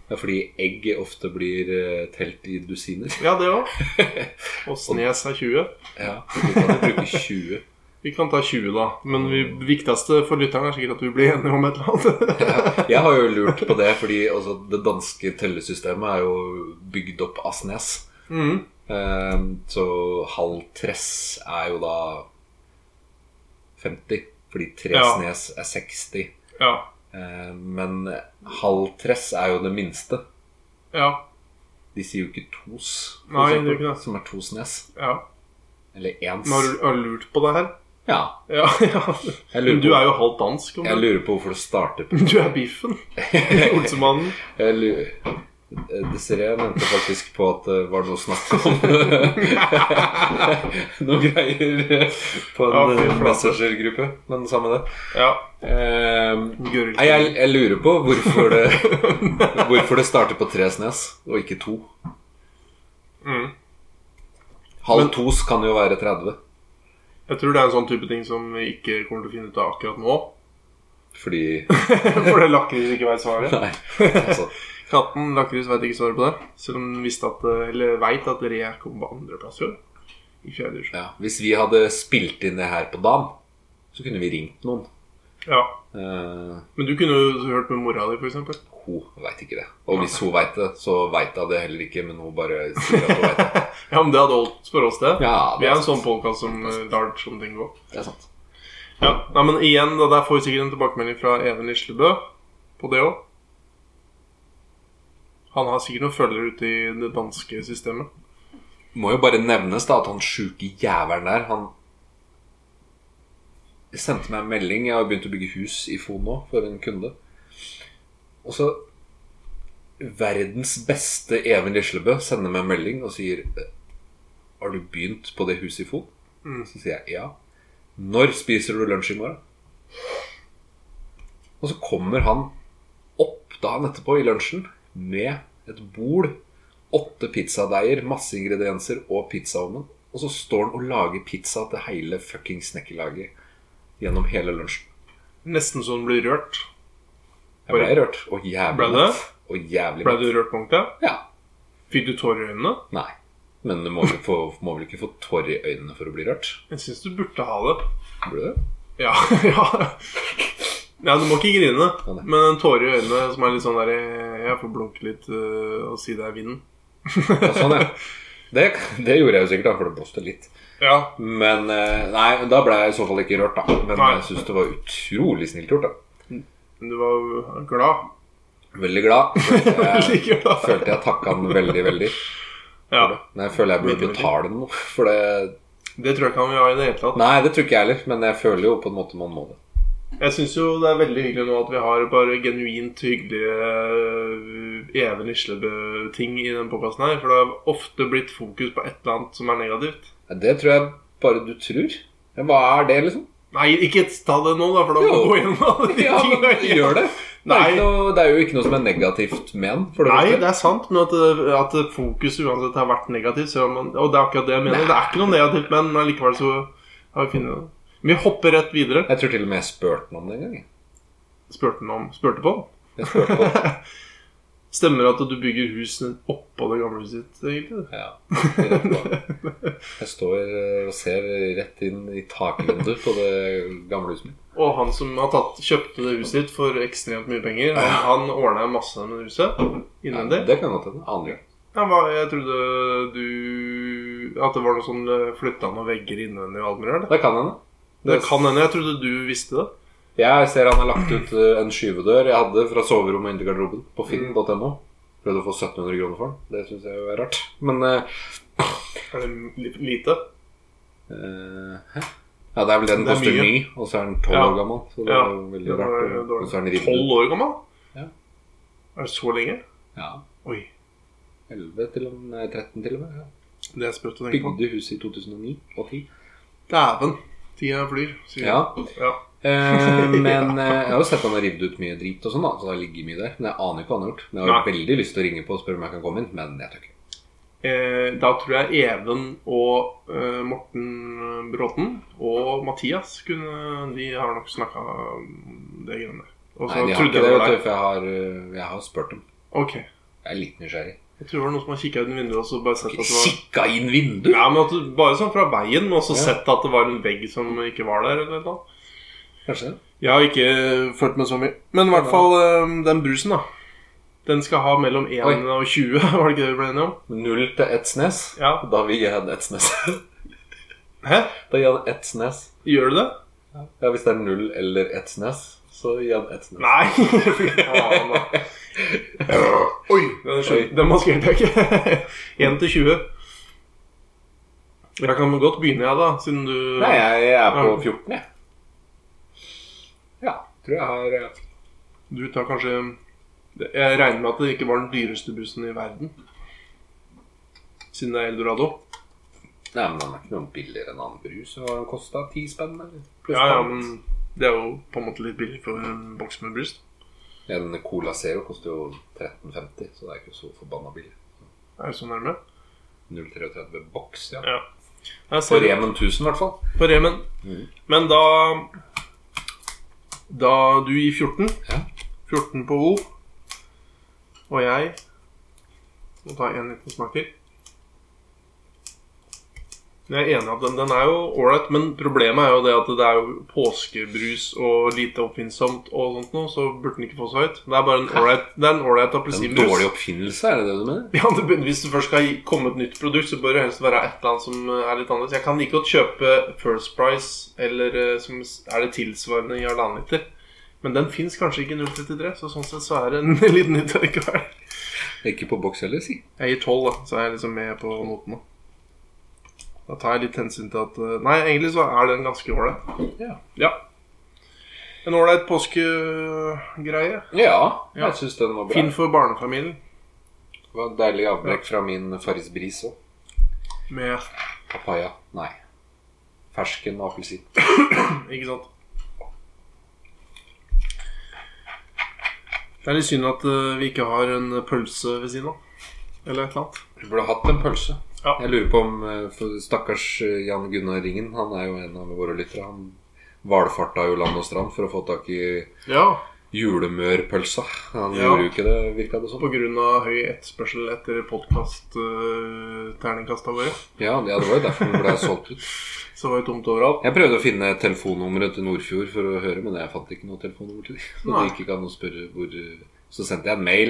C: Ja, fordi egg ofte blir eh, telt i dusiner.
B: Ja, det òg. Og Snes er 20.
C: Ja, så vi kan jo bruke 20.
B: Vi kan ta 20, da. Men det viktigste for lytteren er sikkert at vi blir enige om et eller annet.
C: Jeg har jo lurt på det, fordi altså, det danske tellesystemet er jo bygd opp av snes.
B: mm.
C: Eh, Så halv tress er jo da 50, fordi tre
B: Ja.
C: snes er 60.
B: Ja.
C: Eh, Men halv tress er jo det minste.
B: Ja.
C: De sier jo ikke tos, for
B: Nei, det er ikke det.
C: som er to snes.
B: ja.
C: Eller ens.
B: Men har du har du lurt på det her?
C: Ja.
B: Ja, ja.
C: Jeg lurer
B: Men du
C: på-
B: er jo halvt dansk. Om
C: Jeg
B: du.
C: lurer på hvorfor det starter på
B: du er biffen. Olsemannen.
C: Jeg Eh, lurer Desiree nevnte faktisk på at det var noe snakk om Noe greier på
B: Ja,
C: en
B: fy flate.
C: messengergruppe, men samme det.
B: Ja.
C: Eh,
B: Gøril.
C: Nei, jeg, jeg lurer på hvorfor det, hvorfor det starter på tre snes og ikke to.
B: Mm.
C: Halv
B: Men-
C: tos kan jo være 30,
B: Jeg tror det er en sånn type ting som vi ikke kommer til å finne ut av akkurat nå.
C: fordi
B: For det lakris ikke veit svaret.
C: Nei, altså.
B: Katten lakris veit ikke svaret på det. Selv om den visste at Eller veit at re kom på andreplass i år. I fjerde divisjon.
C: Ja. Hvis vi hadde spilt inn det her på dagen, så kunne vi ringt noen.
B: Ja.
C: Eh,
B: Men du kunne jo hørt med mora di, f.eks.
C: Hun veit ikke det. Og hvis hun veit det, så veit hun det heller ikke. Men hun bare sier at hun vet det.
B: Ja, men det hadde holdt for oss, det.
C: Ja,
B: Vi
C: det
B: er
C: er
B: en sånn
C: sant.
B: podkast som eh, lar sånne ting gå.
C: Det er sant.
B: Ja, Nei, men igjen, da, der får vi sikkert en tilbakemelding fra Even Lislebø på det òg. Han har sikkert noen følgere ute i det danske systemet.
C: Må jo bare nevnes da at han sjuke jævelen der, han Jeg sendte meg en melding. Jeg har begynt å bygge hus i Fon nå for en kunde. Og så verdens beste Even Lislebø sender meg en melding og sier Har du begynt på det huset i Fon?
B: Mm.
C: Så sier jeg ja. Når spiser du lunsj i morgen? Og så kommer han opp dagen etterpå i lunsjen med et bol, åtte pizzadeiger, masse ingredienser og pizzaovnen. Og så står han og lager pizza til hele fuckings snekkerlaget gjennom hele lunsjen.
B: Nesten så du blir rørt.
C: Jeg ble rørt. Og jævlig
B: Ble du?
C: mett. Og jævlig
B: Ble
C: mett.
B: du rørt på ordentlig?
C: Ja.
B: Fikk du tårer i øynene?
C: Nei. Men du må, vel få, må vel ikke få tårer i øynene for å bli rørt?
B: Jeg syns du burde ha det.
C: Burde du?
B: Ja, ja. ja, du må ikke grine.
C: nei.
B: Men en tåre i øynene som er litt sånn der Jeg får blunke litt øh, og si det er vinden.
C: Ja, sånn, ja. Det, det gjorde jeg jo sikkert, da, for det blåste litt.
B: Ja.
C: Men eh, nei, da ble jeg i så fall ikke rørt, da. Men
B: Nei.
C: jeg syns det var utrolig snilt gjort, da.
B: Men du var jo glad.
C: Veldig glad. Jeg
B: Veldig glad.
C: følte jeg takka han veldig, veldig.
B: Ja.
C: Men jeg føler jeg burde
B: Veldig, veldig.
C: betale noe for det.
B: Det tror jeg ikke han vil ha i det hele tatt.
C: Nei, det tror ikke jeg heller, men jeg føler jo på en måte man må det.
B: Jeg syns jo det er veldig hyggelig nå at vi har bare genuint hyggelige øh, Even Lislebø-ting i den podkasten her. For det har ofte blitt fokus på et eller annet som er negativt.
C: Nei, Det tror jeg bare du tror. Ja, Hva er det, liksom?
B: Nei, ikke ta det nå, da, for da må
C: Jo.
B: vi gå gjennom alle de
C: Ja, men
B: tingene. igjen.
C: gjør det. Det er,
B: Nei.
C: ikke noe, det er jo ikke noe som er negativt med den. For det
B: Nei,
C: første.
B: det er sant, men at, det- at det fokuset uansett har vært negativt. Så har man, og det er akkurat det jeg mener. Det er ikke noe negativt, men, men likevel så har vi funnet det. Vi hopper rett videre.
C: Jeg tror til og med jeg spurte den om det en gang. jeg.
B: Spurte han om Spurte på? han?
C: Jeg spurte på den.
B: Stemmer det at du bygger hus oppå det gamle huset ditt, egentlig?
C: Ja. rett på. Jeg står eh, og ser rett inn i takvinduet på det gamle huset mitt.
B: Og han som har tatt, kjøpte det huset ditt for ekstremt mye penger, han, han ordna masse med huset
C: Ja,
B: innvendig.
C: det kan godt hende. Aner ikke.
B: Ja, hva- jeg trodde du At det var noe sånn eh, Flytta noen vegger innvendig og alt mulig? eller?
C: Det kan hende.
B: Det kan hende. Jeg trodde du visste det.
C: Jeg ser han har lagt ut eh, en skyvedør jeg hadde fra soverommet inn til garderoben på finn.no. Prøvde å få 1700 kroner for den. Det syns jeg jo er rart. Men eh,
B: Er det li- lite?
C: eh, hæ? Ja, det er vel det den
B: Det er
C: koster
B: mye.
C: ny, og så er den tolv
B: Ja.
C: år gammel. Så det
B: Ja,
C: er jo veldig
B: det var
C: rart. Og,
B: dårlig.
C: og så er den rivet
B: Tolv
C: ut.
B: år gammel?
C: Ja.
B: Er det så lenge?
C: Ja.
B: Oi.
C: 11 til og med. nei, 13 til og med. Ja.
B: Det er sprøtt å tenke på.
C: Bygde huset i 2009 og 10.
B: Dæven. Tida flyr. sier jeg.
C: Ja.
B: ja.
C: Eh, men eh, jeg har jo sett han har revet ut mye drit og sånn, da. Så det har ligget mye der. Men jeg aner ikke hva han har gjort. Men jeg har
B: Nei.
C: veldig lyst til å ringe på og spørre om jeg kan komme inn, men jeg tør ikke.
B: Eh, da tror jeg Even og eh, Morten Bråten og Mathias kunne De har nok snakka om det greiene der. Og så
C: Nei, de har
B: trodde
C: ikke
B: jeg
C: det,
B: det var
C: vet du,
B: deg.
C: for jeg har, eh, jeg har spurt dem.
B: Ok.
C: Jeg er litt nysgjerrig.
B: Jeg tror det var noen som har kikka ut vinduet og så bare sett at det var
C: Kikka inn vinduet?
B: ja, men at du, Bare sånn fra veien, men også
C: Ja.
B: sett at det var en vegg som ikke var der. eller noe.
C: Kanskje det.
B: Jeg har ikke følt meg så mye. Men i hvert fall øhm, den brusen, da. Den skal ha mellom 1
C: Oi.
B: og 20, var det ikke det vi ble enige om?
C: Null til Etsnes.
B: Ja.
C: Da vil jeg han Etsnes.
B: Hæ?
C: da gir han Etsnes.
B: Gjør du det?
C: Ja, hvis det er null eller Etsnes, så gir han Etsnes.
B: Nei! Fy faen, da. Oi! Den, skjøn- den maskerte jeg ikke. 1 til 20. Jeg kan godt begynne, jeg, da, siden du
C: Nei, jeg jeg er på
B: Ja.
C: 14, jeg. Ja. Tror jeg har eh,
B: Du tar kanskje Jeg regner med at det ikke var den dyreste brusen i verden. Siden det er Eldorado.
C: Nei, men han er ikke noe billigere enn annen brus. Hva har den kosta? Ti spenn, eller? Pluss
B: Ja, ja,
C: pant.
B: men det er jo på en måte litt billig for en boks med brus.
C: Ja, denne Cola Zero koster jo 13,50, så det er ikke så forbanna billig.
B: Er det så nærme?
C: 0,33 boks, ja.
B: Ja. Jeg
C: På
B: ser det.
C: Remen 1000, i hvert fall.
B: På Remen.
C: Mhm.
B: Men da Da du i 14
C: Ja.
B: 14 på O og jeg Må ta en liten smak til. Jeg er enig i at den, den er jo ålreit, men problemet er jo det at det er jo påskebrus og lite oppfinnsomt og sånt noe, så burde den ikke få så høyt. Det er bare en ålreit det er en ålreit
C: En
B: appelsinbrus.
C: dårlig oppfinnelse, er det det du mener?
B: Ja, det, bør- Hvis det først skal gi- komme et nytt produkt, så bør det helst være et eller annet som eh, er litt annerledes. Jeg kan like godt kjøpe First Price, eller eh, som s- er det tilsvarende i halvannen liter. Men den fins kanskje ikke i 033, så sånn sett så er det en liten nytt likevel.
C: Ikke på boks heller, si.
B: Jeg gir 12, da, så er jeg liksom med på notene. Da tar jeg litt hensyn til at eh, Nei, egentlig så er den ganske ålreit.
C: Ja.
B: Ja. En ålreit påskegreie.
C: Ja,
B: Ja.
C: jeg syns den var bra.
B: Fin for barnefamilien.
C: Det var et Deilig avbrekk fra min Farris Bris òg.
B: Med
C: Papaya. Nei. Fersken og appelsin.
B: Ikke sant? Det er litt synd at eh, vi ikke har en pølse ved siden av. Eller et eller annet.
C: Du burde hatt en pølse.
B: Ja.
C: Jeg lurer på om eh, for Stakkars eh, Jan Gunnar Ringen, han er jo en av våre lyttere. Han valfarta jo land og strand for å få tak i
B: Ja,
C: julemørpølsa. Han
B: Ja.
C: gjorde jo ikke det, virka det som.
B: På grunn av høy etterspørsel etter podkast-terningkasta våre.
C: Ja, ja, det var jo derfor den ble solgt ut.
B: Så var det tomt overalt.
C: Jeg prøvde å finne telefonnummeret til Nordfjord for å høre, men jeg fant ikke noe telefonnummer til dem. Så
B: Nei.
C: det gikk ikke an å spørre hvor eh, Så sendte jeg en mail.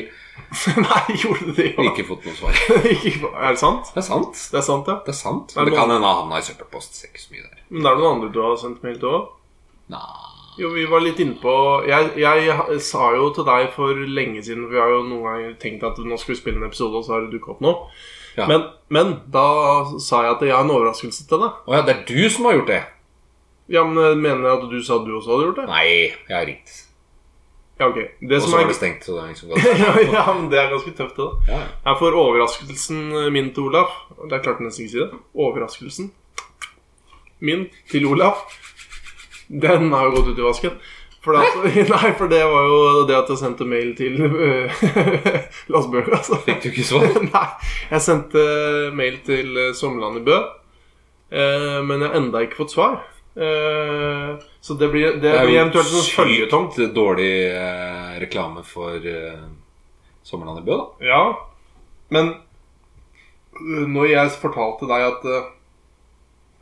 B: Nei, gjorde det det? ja?
C: Ikke fått noe svar.
B: Ikke- er det sant?
C: Det er sant.
B: Det er sant, ja.
C: Det er sant.
B: Det er
C: Men det kan
B: noe-
C: hende han havna i søppelpost. Ser ikke så mye der.
B: Men det er noen andre du har sendt mail til òg?
C: Nei.
B: Jo, vi var litt innpå jeg, jeg sa jo til deg for lenge siden for Vi har jo noen ganger tenkt at nå skal vi spille en episode, og så har det dukka opp noe.
C: Ja.
B: Men, men da sa jeg at jeg har en overraskelse til deg.
C: Å ja, det er du som har gjort det?
B: Ja, men Mener jeg at du sa du også hadde gjort det?
C: Nei, jeg har ringt.
B: Ja, ok. Det
C: Og
B: som
C: så var
B: er
C: det stengt. Så det er liksom godt.
B: ja, ja, men det er ganske tøft, det. da.
C: Ja.
B: Jeg får overraskelsen eh, min til Olaf. Det er klart jeg nesten ikke si det. Overraskelsen min til Olaf. Den har jo gått ut i vasken. For det, at- nei, for det var jo det at jeg sendte mail til øh, Lars Bøhler, altså.
C: Fikk du ikke svar?
B: Nei. Jeg sendte mail til øh, Sommerland i Bø, eh, men jeg har enda ikke fått svar. Eh, så det blir, det blir eventuelt en føljetong.
C: dårlig eh, reklame for eh, Sommerland i Bø, da.
B: Ja, men øh, når jeg fortalte deg at, øh,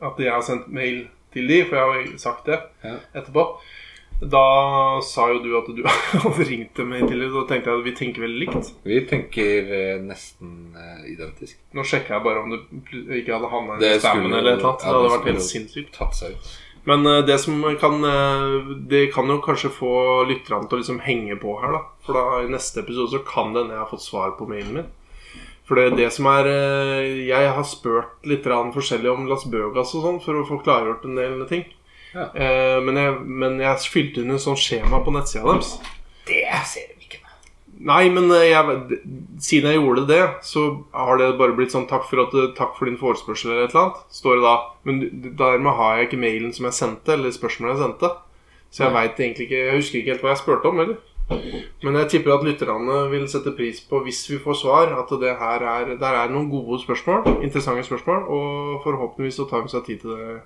B: at jeg har sendt mail til de, for jeg har jo sagt det
C: Ja.
B: etterpå, da sa jo du at du hadde ringt dem i tidligere, da tenkte jeg at vi tenker veldig likt.
C: Vi tenker eh, nesten eh, identisk.
B: Nå sjekka jeg bare om det pl- ikke hadde havna i
C: Det
B: spammen
C: skulle-
B: eller et eller annet. det
C: ja, det
B: hadde vært
C: skulle-
B: helt sinnssykt.
C: Tatt seg ut.
B: Men eh, det som kan eh, Det kan jo kanskje få lytterne til å liksom henge på her, da. For da i neste episode så kan det hende jeg har fått svar på mailen min. For det er det som er eh, Jeg har spurt litt grann forskjellig om Las Bøgas og sånn for å få klargjort en del ting.
C: Ja.
B: Eh, men, jeg, men jeg fylte inn en sånn skjema på nettsida deres.
C: Det ser vi ikke.
B: Nei, men eh, jeg, d- siden jeg gjorde det, så har det bare blitt sånn takk for, at, du- 'Takk for din forespørsel' eller et eller annet. Står det da. Men d- dermed har jeg ikke mailen som jeg sendte, eller spørsmålet jeg sendte. Så jeg veit egentlig ikke Jeg husker ikke helt hva jeg spurte om, eller. Men jeg tipper at lytterne vil sette pris på, hvis vi får svar, at det her er, der er noen gode spørsmål. Interessante spørsmål. Og forhåpentligvis så tar de seg tid til det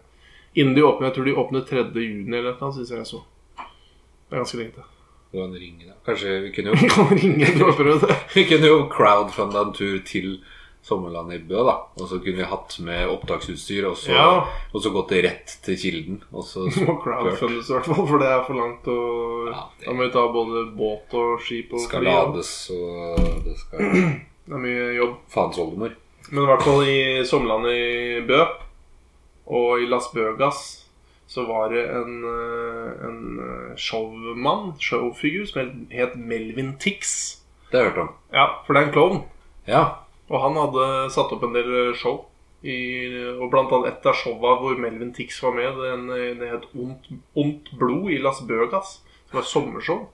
B: innen de åpner. Jeg tror de åpner 3. juni eller et eller annet, syns jeg jeg så. Det er ganske lenge til.
C: Det var en ring, da. Kanskje vi kunne jo,
B: Kan ringe og prøve det.
C: vi kunne jo crowdfunda en tur til Sommerland i Bø, da. Og så kunne vi hatt med opptaksutstyr, og så,
B: Ja.
C: og så gått rett til Kilden. Og så
B: må crowdfundes i hvert fall, for det er for langt. Og
C: Ja, det-
B: Da må vi ta både båt og skip og
C: skal
B: fly, og
C: lades, og det skal
B: Det er mye jobb.
C: Faens oldemor.
B: Men i hvert fall i Sommerlandet i Bø og i Las Bøgas så var det en, eh, en eh, showmann, showfigur, som het- het Melvin Tix.
C: Det har jeg hørt om.
B: Ja, for det er en klovn.
C: Ja.
B: Og han hadde satt opp en del eh, show. I, og blant annet et av showa hvor Melvin Tix var med, den, eh, det het Ondt, Ondt blod i Las Bøgas. Det var et sommershow.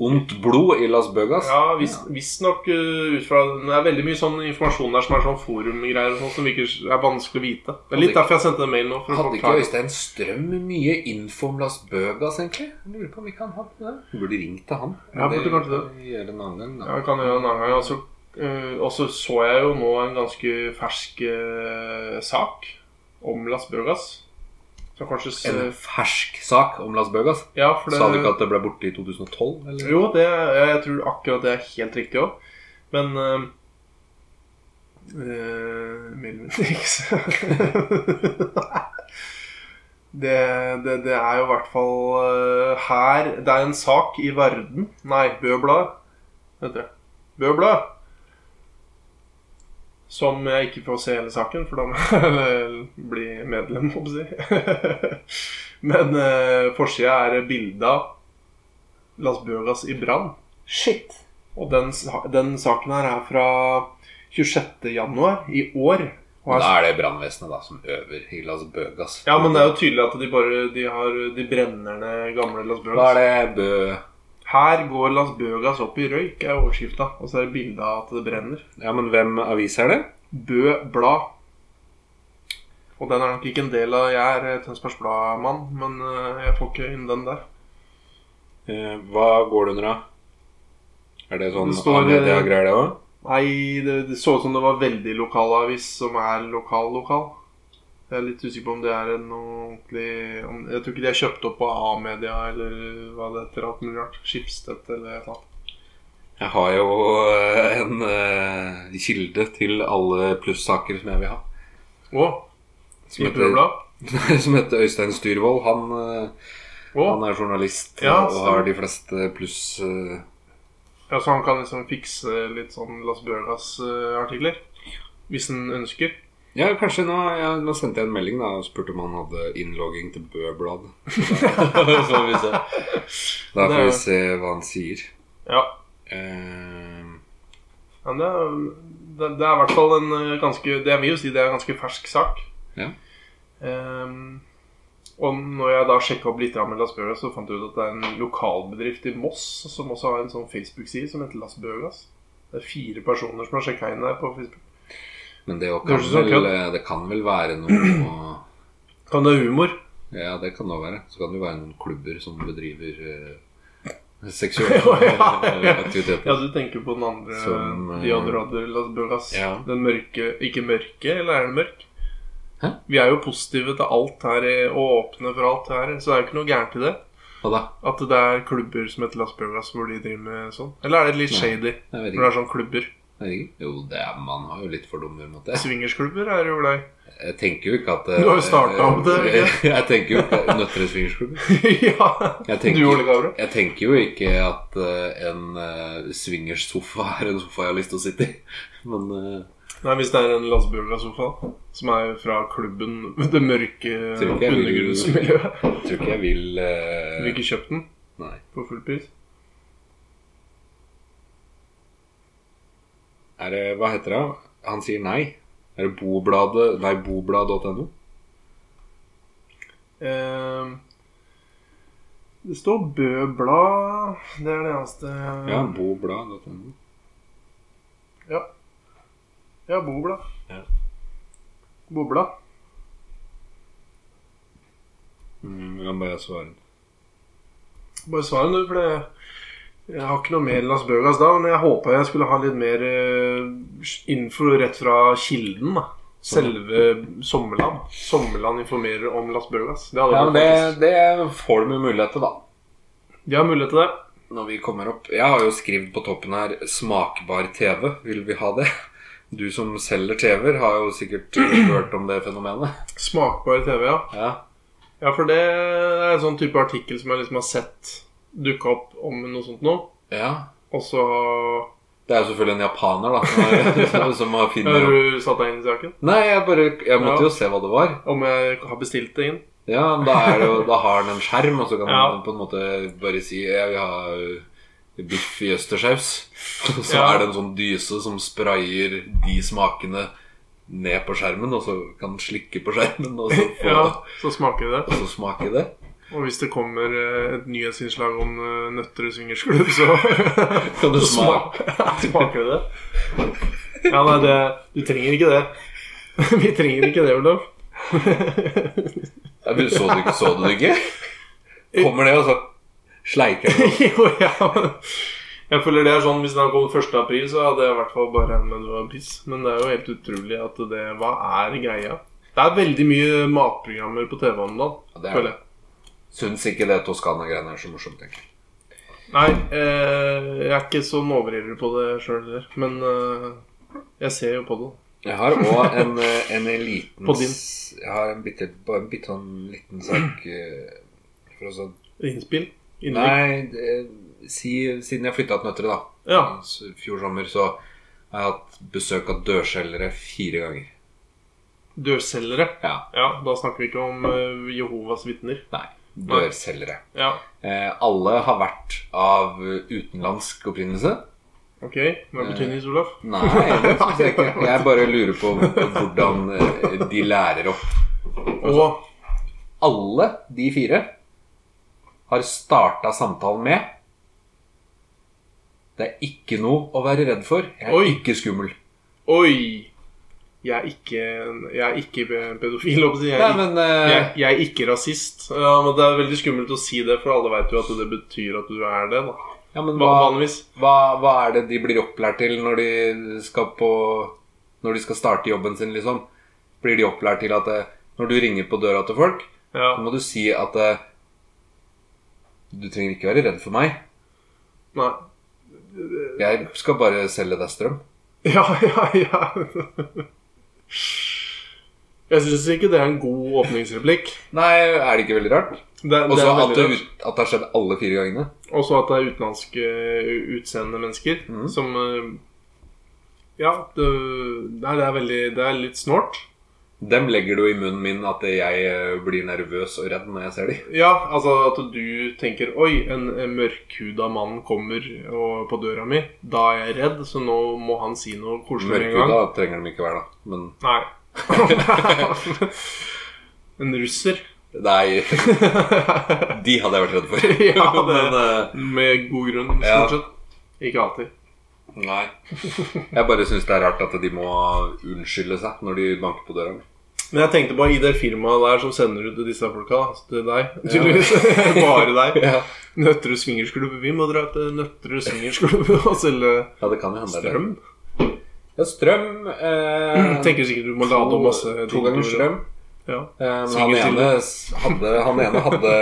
C: Ondt blod i Las Bøgas.
B: Ja, vis- visstnok uh, ut fra Det er veldig mye sånn informasjon der som er sånn forumgreier og sånn som virker er vanskelig å vite. Det er sånn litt
C: Hadde ikke-
B: derfor jeg sendte den mailen nå. For å
C: Hadde ikke
B: forklare.
C: Øystein Strøm mye info om Las Bøgas, egentlig? Jeg Lurer på om ikke han hadde det. Vi burde ringt til han.
B: Ja, burde kanskje det.
C: kan vi gjøre en annen gang, da.
B: Ja, jeg kan gjøre det en annen gang. Og så eh, og så så jeg jo nå en ganske fersk eh, sak om Las Bøgas. Så kanskje se,
C: En eh, fersk sak om Las Bøgas.
B: ja, for det,
C: Sa du ikke at det ble borte i 2012? Eller?
B: Jo, det, jeg tror akkurat det er helt riktig òg. Men eh, uh, Melvin Dix det, det, det er jo i hvert fall eh, her Det er en sak i Verden Nei, Bø Blad heter det. Bø Blad. Som jeg ikke får se hele saken, for da må jeg bli medlem, holdt jeg på å si. Men uh, forsida er bilde av Las Bøgas i brann.
C: Shit.
B: Og den, sa- den saken her er fra 26. januar i år. Og er-
C: Da er det brannvesenet da som øver i Las Bøgas.
B: Ja, men det er jo tydelig at de bare De, har, de brenner ned gamle Las
C: Da
B: Bøgas.
C: er det Bø
B: Her går Las Bøgas opp i røyk, er overskrifta. Og så er det bilde av at det brenner.
C: Ja, men hvem avis er det?
B: Bø Blad. Og den er nok ikke en del av Jeg er eh, Tønsbergs Blad-mann, men eh, jeg får ikke inn den der.
C: Eh, Hva går det under, da? Er det sånn
B: Det står, eh,
C: media-greier, det òg?
B: Nei, det, det så ut som det var veldig lokalavis som er lokal-lokal. Jeg er litt usikker på om det er noe ordentlig om, Jeg tror ikke de er kjøpt opp av A-media eller hva det heter. Alt mulig rart. Skipstedt eller et eller annet.
C: Jeg har jo eh, en eh, kilde til alle plussaker som jeg vil ha.
B: Å,
C: Som
B: i Bø Blad?
C: som heter Øystein Styrvold. Han, eh,
B: Å,
C: han er journalist
B: Ja,
C: og har de fleste pluss... eh,
B: ja, så han kan liksom fikse litt sånn Las Bøgas-artikler? Hvis han ønsker.
C: Ja, kanskje nå, ja, nå sendte jeg en melding da og spurte om han hadde innlogging til Bø-blad. Så får vi se. Da får vi se hva han sier.
B: Ja.
C: Eh,
B: Men det er, det, det er i hvert fall en eh, ganske Det jeg vil jo si det er en ganske fersk sak.
C: Ja.
B: Ehm, og når jeg da sjekka opp litt grann med Las Bøgas, så fant jeg ut at det er en lokalbedrift i Moss som også har en sånn Facebook-side som heter Las Bøgas. Det er fire personer som har sjekka inn der på Facebook.
C: men det, jo
B: Det
C: kan
B: høres ut som
C: vel, eh, det kan vel være noe
B: Kan Sånn, det være humor?
C: Ja, det kan det også være. Så kan det jo være noen klubber som bedriver eh,
B: Å,
C: seksuelle
B: ja, ja.
C: eh, aktiviteter.
B: Ja, du tenker på den andre
C: Som, eh,
B: De andre hadde Las Bøgas.
C: Ja.
B: Den mørke Ikke mørke, eller er den mørk?
C: Hæ?
B: Vi er jo positive til alt her eh, og åpne for alt her, så det er jo ikke noe gærent i det.
C: Hva da?
B: At det er klubber som heter Las Bøgas hvor de driver med sånn? Eller er det litt
C: Nei.
B: shady
C: Jeg vet
B: når det
C: ikke.
B: er sånn klubber?
C: Jeg vet ikke. Jo, det er, man har jo litt fordommer mot det.
B: Swingersklubber er jo glad
C: Jeg tenker jo ikke at eh,
B: Du har jo startet opp det,
C: Jeg,
B: ikke?
C: tenker jo ikke Nøtterøy swingersklubb.
B: i. ja.
C: Jeg
B: Du Ole
C: tenker,
B: Gavre?
C: jeg tenker jo ikke at eh, en eh, swingersofa er en sofa jeg har lyst til å sitte i. Men eh,
B: Nei, hvis det er en Las Bøgas-sofa som er fra klubben Det mørke
C: Tror ikke jeg vil-
B: undergrunnsmiljøet.
C: jeg tror ikke jeg vil eh,
B: Du vil ikke kjøpt den
C: Nei.
B: på full pris?
C: Er det, hva heter det? Han sier nei. Er det Bobladet Nei, boblad.no?
B: Eh, det står Bø Blad. Det er det eneste
C: Ja, boblad.no.
B: Ja, ja Boblad.
C: Ja.
B: Bobla.
C: Mm, jeg kan bare svare.
B: Bare svar nå, for det, jeg har ikke noe mer Las Bøgas da. Men jeg håpa jeg skulle ha litt mer uh, info rett fra kilden. da Selve Sommerland. Sommerland informerer om Las Bøgas. Det hadde
C: Ja, men
B: vært
C: det,
B: faktisk-
C: det får de jo mulighet til, da.
B: De har mulighet til det.
C: Når vi kommer opp Jeg har jo skrevet på toppen her 'smakbar TV'. Vil vi ha det? Du som selger TV-er, har jo sikkert hørt om det fenomenet.
B: Smakbar TV, ja.
C: Ja,
B: Ja, for det er en sånn type artikkel som jeg liksom har sett dukke opp om noe sånt nå.
C: ja.
B: Og så
C: Det er jo selvfølgelig en japaner, da. Som, er, som, som har
B: har
C: finner opp
B: du satt deg inn i saken.
C: Nei, jeg bare Jeg
B: Ja.
C: måtte jo se hva det var.
B: Om jeg har bestilt det inn.
C: Ja, men da, er det jo, da har han en skjerm, og så kan
B: Ja.
C: han på en måte bare si 'Jeg vil ha ø, biff i østersaus'. Og så
B: Ja.
C: er det en sånn dyse som sprayer de smakene ned på skjermen, og så kan han slikke på skjermen, og så, få,
B: Ja, Så smaker det.
C: og så smake det.
B: Og hvis det kommer eh, et nyhetsinnslag om eh, Nøtterøy swingersklubb, så
C: Kan du
B: så
C: smake?
B: sma- smaker det. Ja, nei, det Du trenger ikke det. Vi trenger ikke det, Olav.
C: Ja, du, så, du, ikke- så du det ikke? Kommer det, og så sleiker det.
B: jo, ja. men Jeg føler det er sånn Hvis det hadde kommet 1. april, så hadde jeg i hvert fall bare regnet med det var en piss. Men det er jo helt utrolig at det Hva er greia? Det er veldig mye matprogrammer på TV om dagen,
C: Ja, det er
B: føler jeg.
C: Syns ikke det Toskana-greiene er så morsomt, egentlig.
B: Nei, eh, jeg er ikke sånn overivrig på det sjøl heller. Men eh, jeg ser jo på det.
C: Jeg har òg en, eh, en liten
B: På din.
C: s- Jeg har en bitte, bare en bitte sånn liten sak eh, for å så
B: Innspill? Innlegg?
C: Nei, det- si, siden jeg flytta til Nøtterøy, da,
B: Ja.
C: s- fjor sommer, så har jeg hatt besøk av dørselgere fire ganger.
B: Dørselgere.
C: Ja.
B: Ja, da snakker vi ikke om eh, Jehovas vitner.
C: Nei. Dørselgere.
B: Ja.
C: Eh, alle har vært av utenlandsk opprinnelse.
B: Ok, hva er betydningen, Olaf?
C: Nei, det synes jeg ikke. Jeg bare lurer på hvordan eh, de lærer opp.
B: Og
C: Alle de fire har starta samtalen med Det er ikke noe å være redd for. Jeg er
B: Oi.
C: ikke skummel.
B: Oi! Jeg er ikke, jeg er ikke pe- pedofil, holdt jeg på å si. Jeg er ikke-
C: Nei, men eh,
B: jeg, jeg er ikke rasist. Ja, men Det er veldig skummelt å si det, for alle vet jo at det betyr at du er det. da
C: ja, men hva,
B: Vanligvis.
C: hva, hva er det de blir opplært til når de skal på Når de skal starte jobben sin, liksom? Blir de opplært til at eh, når du ringer på døra til folk,
B: Ja.
C: så må du si at eh, Du trenger ikke være redd for meg.
B: Nei.
C: Jeg skal bare selge deg strøm.
B: Ja, ja, ja. Jeg syns ikke det er en god åpningsreplikk.
C: Nei, er det ikke veldig rart?
B: Det, det
C: Og så
B: er
C: at,
B: veldig
C: det
B: rart.
C: ut- at det har skjedd alle fire gangene.
B: Også at det er utenlandske eh, utseende mennesker
C: Mhm.
B: som eh, Ja, det, nei, det er veldig Det er litt snålt.
C: Dem legger du i munnen min at jeg eh, blir nervøs og redd når jeg ser dem.
B: Ja, altså at du tenker Oi, en, en mørkhuda mann kommer og, på døra mi. Da er jeg redd, så nå må han si noe koselig med en gang.
C: Mørkhuda trenger de ikke være, da. Men
B: Nei. en russer.
C: nei, de hadde jeg vært redd for.
B: ja, det,
C: Men eh,
B: med god grunn,
C: Ja.
B: stort sett. Ikke alltid.
C: nei. Jeg bare syns det er rart at de må unnskylde seg når de banker på døra mi.
B: Men jeg tenkte bare i det firmaet der som sender ut til disse folka, da, så til deg
C: Ja.
B: tydeligvis. Bare deg.
C: Ja.
B: Nøtterud swingersklubb. Vi må dra til Nøtterud swingersklubb og selge
C: ja, det kan jo hende. det er det.
B: strøm.
C: Ja, strøm eh,
B: Tenker sikkert du må lade opp masse
C: to, to ganger
B: dildoer.
C: strøm.
B: Ja.
C: Eh, men han
B: Svingerstille.
C: ene, s- hadde, han ene hadde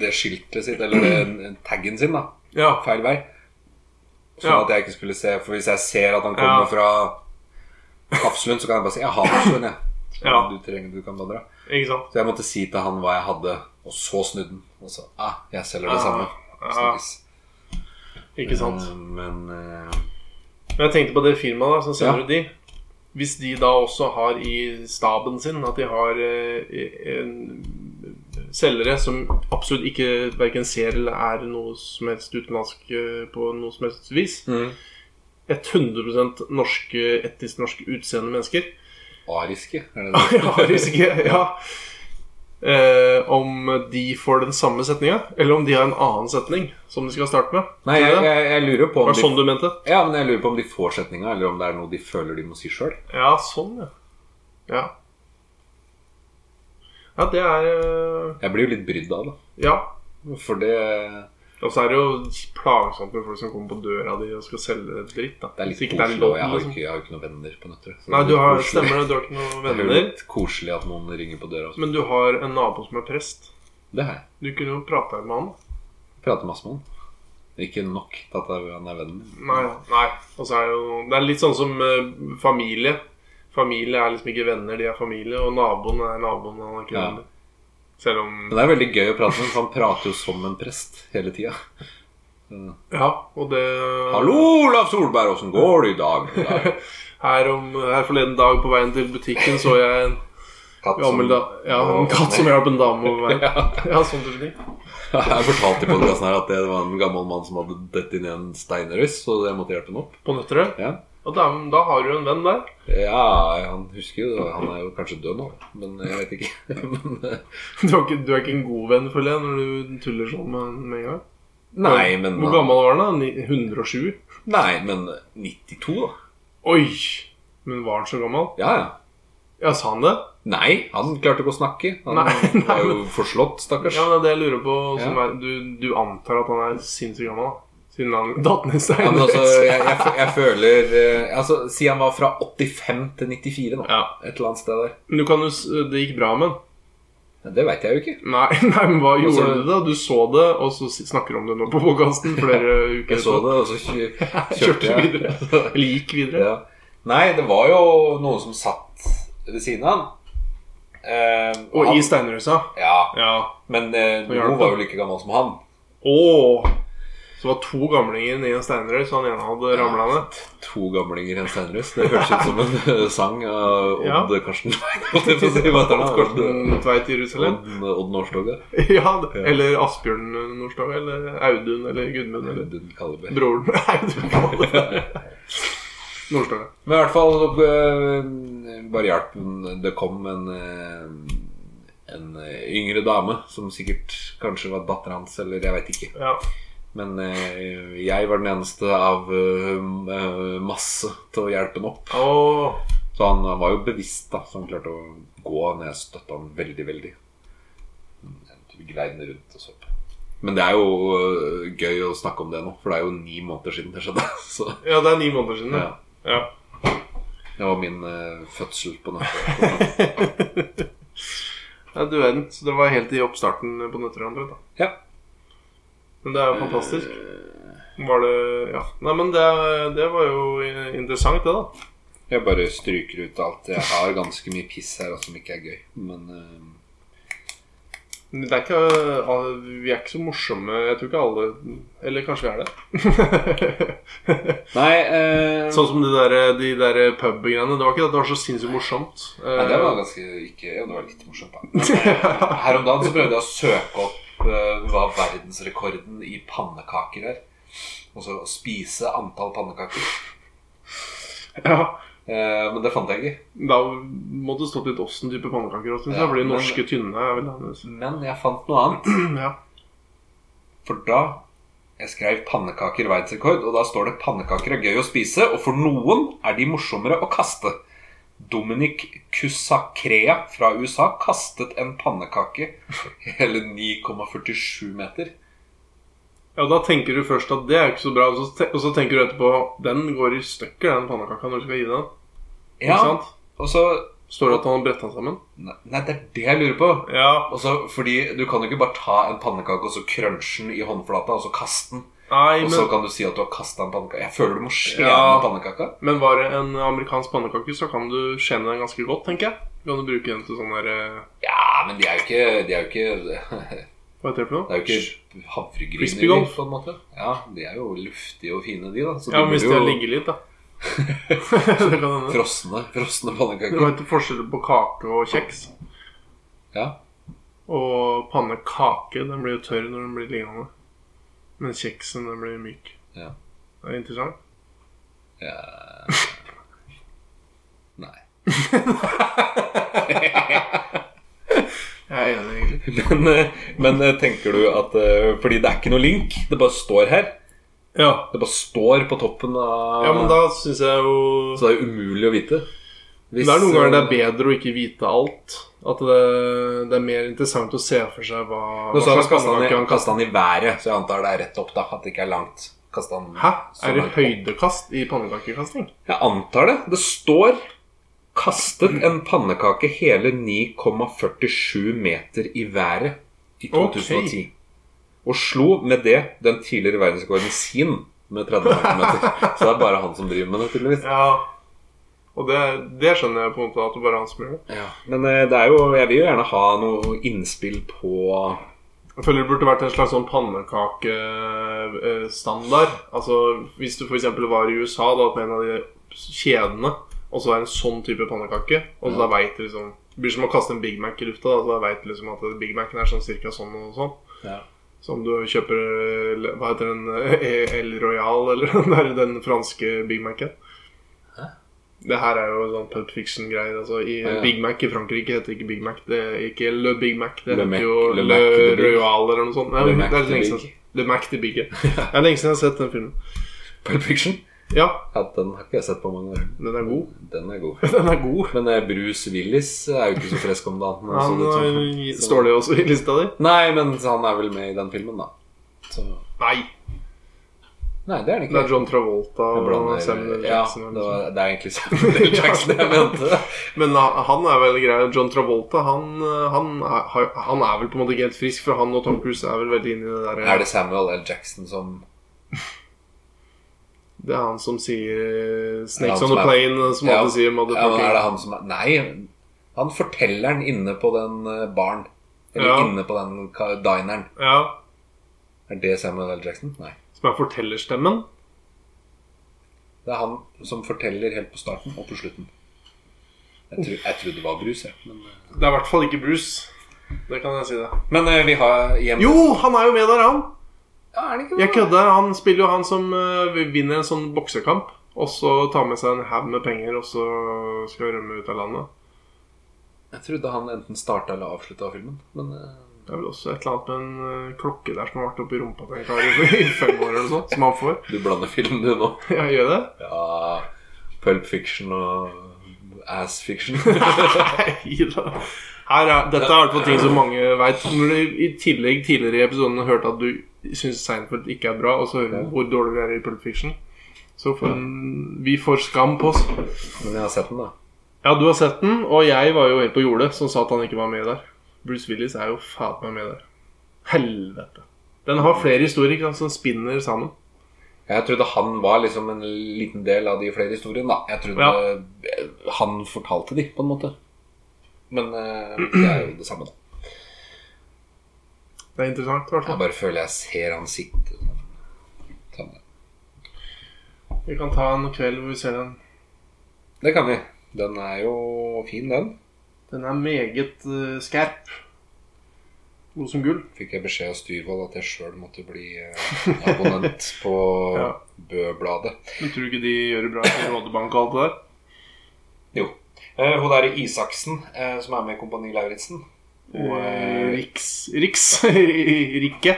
C: det skiltet sitt, eller den taggen sin, da,
B: ja.
C: feil vei. Sånn
B: Ja.
C: at jeg ikke skulle se. For hvis jeg ser at han
B: Ja.
C: kommer fra Hafslund, så kan jeg bare si 'jeg har Hafslund', jeg. Så
B: Ja.
C: Du trenger, du kan bare dra.
B: Ikke sant?
C: Så jeg måtte si til han hva jeg hadde, og så snudde han. Og så 'ah, jeg selger det
B: Ah,
C: samme'.
B: ah,
C: Snakkes.
B: ikke sant.
C: Eh, Men eh,
B: Men jeg tenkte på det firmaet da, som sender
C: Ja.
B: ut de. Hvis de da også har i staben sin at de har eh, en selgere som absolutt ikke verken ser eller er noe som helst utenlandsk eh, på noe som helst vis
C: Mm.
B: Et 100 norske, etnisk norsk utseende mennesker
C: ariske, er det det?
B: Ja, hvis ikke Ja. Eh, om de får den samme setninga, eller om de har en annen setning som de skal starte med.
C: Nei, jeg, jeg, jeg lurer på
B: Var
C: om
B: det sånn
C: de,
B: du mente?
C: ja, men jeg lurer på om de får setninga, eller om det er noe de føler de må si sjøl.
B: Ja, sånn, ja. Ja, ja det er eh,
C: Jeg blir jo litt brydd av det.
B: Ja.
C: For det,
B: Og så er det jo plagsomt med folk som kommer på døra di og skal selge dritt. da
C: det er litt
B: Hvis ikke
C: koselig.
B: lov,
C: og jeg har jo
B: liksom.
C: ikke, jeg har jo ikke noen venner på Nøtterøy. så
B: Nei, du
C: det er litt
B: har,
C: koselig.
B: stemmer det, du har ikke noen
C: Det er jo
B: venner.
C: litt koselig at noen ringer på døra. og så-
B: Men du har en nabo som er prest.
C: Det har jeg.
B: Du kunne jo prata med han.
C: Prater masse med han. Ikke nok til at han er vennen min.
B: Nei. nei. Og så er det jo Det er litt sånn som eh, familie. Familie er liksom ikke venner, de er familie. Og naboen er naboen, han er ikke
C: Ja.
B: venner. Selv om
C: Men det er veldig gøy å prate med ham, for han prater jo som en prest hele tida.
B: Ja, og det
C: 'Hallo, Olav Solberg, åssen går det i dag?' I dag?
B: Her, om, her forleden dag på veien til butikken så jeg en
C: Katt som-
B: gammel da, ja, en katt som hjalp en dame over veien. Ja, sånn type ting.
C: Jeg fortalte i podkasten her at det var en gammel mann som hadde dett inn i en steinrøys, så jeg måtte hjelpe ham opp.
B: På Nøtterøy.
C: Ja.
B: Og da, da har du en venn der.
C: ja, han husker jo det. Han er jo kanskje død nå, men jeg vet ikke. Men, eh,
B: Du er ikke, du er ikke en god venn, føler jeg, når du tuller sånn med han med en gang.
C: Nei, men
B: Hvor gammel var han da? Ni- 107?
C: Nei, men 92, da.
B: Oi! Men var han så gammel?
C: Ja, ja.
B: Ja, sa han det?
C: Nei, han klarte ikke å snakke. Han
B: Nei, nei,
C: var jo forslått, stakkars.
B: Ja, men det er det jeg lurer på. Som
C: Ja.
B: er, du, du antar at han er sinnssykt gammel, da? Siden han datt ned steinen.
C: Ja, men altså, jeg, jeg, f- jeg føler eh, Altså, Si han var fra 85 til 94 nå.
B: Ja.
C: Et eller annet sted der.
B: Men du kan jo s- Det gikk bra med han.
C: Ja, det veit jeg jo ikke.
B: Nei, nei, men hva gjorde
C: Altså-
B: du da? Du så det, og så s- snakker du om det nå på podkasten flere uker
C: Jeg så
B: etterpå.
C: det, og så kjø- kjørte
B: Kjørte
C: jeg.
B: videre. Eller gikk videre.
C: Ja. Nei, det var jo noen som satt ved siden av han. Eh,
B: Og
C: han-
B: i steinrøysa.
C: Ja,
B: Ja.
C: men eh,
B: hjalp
C: hun var jo like gammel som han.
B: Å! Så det var to gamlinger i en steinrøys, og han ene hadde ramla ned.
C: To gamlinger i en steinrøys. Det hørtes ut som en eh, sang av Odd
B: Ja.
C: Karsten Tveit. holdt jeg på å si. Hva heter han? Karsten-
B: Korten tveit Jerusalem.
C: Odd, Odd Nårstoga.
B: Ja, det- eller Asbjørn Norstad, eller Audun, eller Gudmund, eller
C: Audun Kalleberg.
B: broren Audun. Norstad, ja.
C: Men i hvert fall så, øh, bare hjelp. Det kom en, øh, en øh, yngre dame som sikkert kanskje var datteren hans, eller jeg veit ikke.
B: ja.
C: Men øh, jeg var den eneste av øh, øh, masse til å hjelpe han opp.
B: Åh,
C: Så han, han var jo bevisst, da, så han klarte å gå. Men jeg støtta han veldig, veldig. Mm, Jeg Grein rundt og så på. Men det er jo øh, gøy å snakke om det nå, for det er jo ni måneder siden det skjedde. Så
B: ja, det er ni måneder siden.
C: ja.
B: Ja. Ja.
C: Det var min øh, fødsel på nettet.
B: ja, du verden. Så det var helt i oppstarten på Nøtterøy. da.
C: Ja.
B: Men det er jo fantastisk. Var det Ja. Nei, men det, det var jo i- interessant, det, da.
C: Jeg bare stryker ut alt. Jeg har ganske mye piss her også, som ikke er gøy. Men eh,
B: Men Det er ikke, alle- vi er ikke så morsomme. Jeg tror ikke alle Eller kanskje vi er det.
C: Nei, eh,
B: sånn som de der, de der pub-greiene. Det var ikke det at det var så sinnssykt morsomt.
C: nei, det var ganske ikke Ja, det var litt morsomt, da. Men, eh, her om dagen så prøvde jeg å søke opp eh, hva verdensrekorden i pannekaker er. Altså å spise antall pannekaker.
B: Ja.
C: Eh, men det fant jeg ikke.
B: Da må det stått litt åssen type pannekaker også, synes
C: Ja,
B: jeg. Fordi
C: men-
B: norske tynne er vel annerledes.
C: Men jeg fant noe annet.
B: Ja.
C: For da jeg skrev 'pannekaker verdensrekord', og da står det 'pannekaker er gøy å spise', og for noen er de morsommere å kaste. Dominic Kusakrea fra USA kastet en pannekake hele 9,47 meter.
B: ja, da tenker du først at det er jo ikke så bra, og så, te- og så tenker du etterpå den går i stykker, den pannekaka, når du skal gi den. Ikke
C: Ja,
B: sant?
C: og så
B: Står det at han har bretta den sammen?
C: Nei, nei, det er det jeg lurer på.
B: Ja.
C: Og så, fordi du kan jo ikke bare ta en pannekake og så crunche den i håndflata og så kaste den.
B: Nei,
C: Og så
B: men,
C: kan du si at du har kasta en pannekake. Jeg føler du må skjene
B: Ja.
C: pannekaka.
B: men var det en amerikansk pannekake, så kan du skjene den ganske godt, tenker jeg. Du kan du bruke den til sånn der eh,
C: Ja, men de er jo ikke, de er jo ikke
B: Hva heter det for
C: Det
B: noe?
C: er jo ikke havregryn
B: Crispy golf.
C: på en måte. Ja, De er jo luftige og fine, de, da. Så
B: Ja, men
C: de
B: hvis
C: blir
B: det
C: jo
B: ligger litt, da. det kan hende.
C: frosne, frosne
B: Det
C: pannekaker.
B: var ikke forskjell på kake og kjeks.
C: Ja.
B: Og pannekake, den blir jo tørr når den blir liggende. Men kjeksen, den blir myk.
C: Ja.
B: Det er interessant.
C: ja. Nei.
B: Jeg er enig, egentlig.
C: Men, eh, men eh, tenker du at eh, Fordi det er ikke noe link, det bare står her.
B: Ja,
C: Det bare står på toppen av
B: ja men da syns jeg jo
C: Så det er jo umulig å vite. Hvis,
B: Det er noen ganger det er
C: eh,
B: bedre å ikke vite alt. At det, det er mer interessant å se for seg hva,
C: Nå
B: hva
C: så har
B: slags
C: han kastet han i-
B: pannekake han
C: kastet han i været, så jeg antar det er rett opp, da. At det ikke er langt. Kastet han
B: Hæ?
C: så
B: Er det
C: langt opp.
B: høydekast i pannekakekasting?
C: Jeg antar det. Det står 'kastet en pannekake hele 9,47 meter i været' i 2010. Og slo med det den tidligere verdensrekorden sin med 30 centimeter. Så det er bare han som driver med det, tydeligvis.
B: Ja. Og det, det skjønner jeg på en måte at det bare er han som gjør det.
C: Men eh, det er jo, jeg vil jo gjerne ha noe innspill på
B: Jeg føler det burde vært en slags sånn pannekakestandard. Altså hvis du f.eks. var i USA da, på en av de kjedene, og så er det en sånn type pannekake Og så
C: Ja.
B: da vet du liksom Det blir som å kaste en Big Mac i lufta. Da, så da vet du liksom at Big Mac-en er sånn cirka sånn og sånn.
C: Ja.
B: Så om du kjøper eh, Hva heter den? eh, El Royal, eller den der- den franske Big Mac-en. Det her er jo sånn Pulp Fiction-greier. Altså, i
C: Ja, ja.
B: Big Mac i Frankrike heter ikke Big Mac. Det er ikke Le Big Mac, det
C: Le
B: heter
C: Mac-
B: jo
C: Le
B: Le,
C: Mac the Big.
B: Royal eller noe sånt. Nei,
C: Le
B: det
C: Mac
B: er
C: the
B: lenge
C: Big.
B: siden. Le Mac the Big. ja. Det er lenge siden jeg har sett den filmen.
C: Pulp Fiction.
B: Ja,
C: Ja, den har ikke jeg sett på mange år.
B: den er god.
C: Den er god.
B: Den er god.
C: Men eh, Bruce Willis er jo ikke så frisk om dagen. men
B: Han,
C: sånn ut som-
B: øh, står det også i lista di?
C: Nei, men han er vel med i den filmen, da. Så
B: Nei.
C: Nei, det er han ikke.
B: Det er John Travolta
C: Jeg
B: og
C: blander-
B: Samuel L.
C: ja,
B: Jackson.
C: det,
B: eller noe sånt.
C: var, det er egentlig Samuel L. Jackson jeg mente.
B: Men han han er vel grei. John Travolta han, øh, han, er, har- han er vel på en måte ikke helt frisk, for han og Tom Cruise er vel veldig inne i det der eh,
C: Er det Samuel L. Jackson som
B: Det er han som sier eh,
C: Det er
B: 'Snakes on
C: han som
B: the
C: er-
B: plane', eh, som
C: Ja,
B: alltid sier
C: ja, men
B: 'motherfucking'.
C: er det han som er Nei, han forteller den inne på den eh, baren. Eller
B: Ja.
C: inne på den ka- dineren.
B: Ja.
C: Er det Samuel L. Jackson? Nei.
B: Som er fortellerstemmen.
C: Det er han som forteller helt på starten og på slutten. Jeg, tro, jeg trodde det var Bruce, jeg. Men, eh.
B: Det er i hvert fall ikke Bruce. Det kan jeg si det.
C: men eh, vi har hjem...
B: Jo, han er jo med der, han!
C: Ja, er det ikke det?
B: Jeg kødder. Han spiller jo han som eh, vinner en sånn boksekamp. Og så tar med seg en haug med penger, og så skal rømme ut av landet.
C: Jeg trodde han enten starta eller avslutta filmen. Men eh,
B: Det er vel også et eller annet med en eh, klokke der som har vært oppi rumpa til en kar i- i fem år eller noe sånt. Som han får.
C: du blander film, du, nå.
B: Ja, gjør det?
C: Ja Pulp fiction og ass fiction.
B: Nei da. Her er, dette er i hvert fall ting som mange veit. Når du i tillegg tidligere i episoden hørte at du syns Seinfeld ikke er bra, og så hører du hvor dårlig vi er i Pulp Fiction, så får vi får skam på oss.
C: men jeg har sett den, da.
B: Ja, du har sett den, og jeg var jo helt på jordet som sa at han ikke var med der. Bruce Willis er jo faen meg med der. Helvete. Den har flere historier ikke sant, som spinner sammen.
C: Jeg trodde han var liksom en liten del av de flere historiene. da Jeg trodde eh, han fortalte de, på en måte. Men eh, det er jo det samme, da.
B: Det er interessant, i hvert
C: Jeg
B: fall.
C: bare føler jeg ser han sitte sånn.
B: Vi kan ta en kveld hvor vi ser den.
C: Det kan vi. Den er jo fin, den.
B: Den er meget eh, skerp. Noe som gull.
C: Fikk jeg beskjed av Styrvold at jeg sjøl måtte bli eh, abonnent på
B: Ja.
C: Bø-bladet.
B: Men tror du ikke de gjør det bra i Rådebank og alt det der?
C: Jo. Eh, hun derre Isaksen, eh, som er med i Kompani Lauritzen. Og,
B: Eh,
C: eh,
B: Riks Riks Rikke.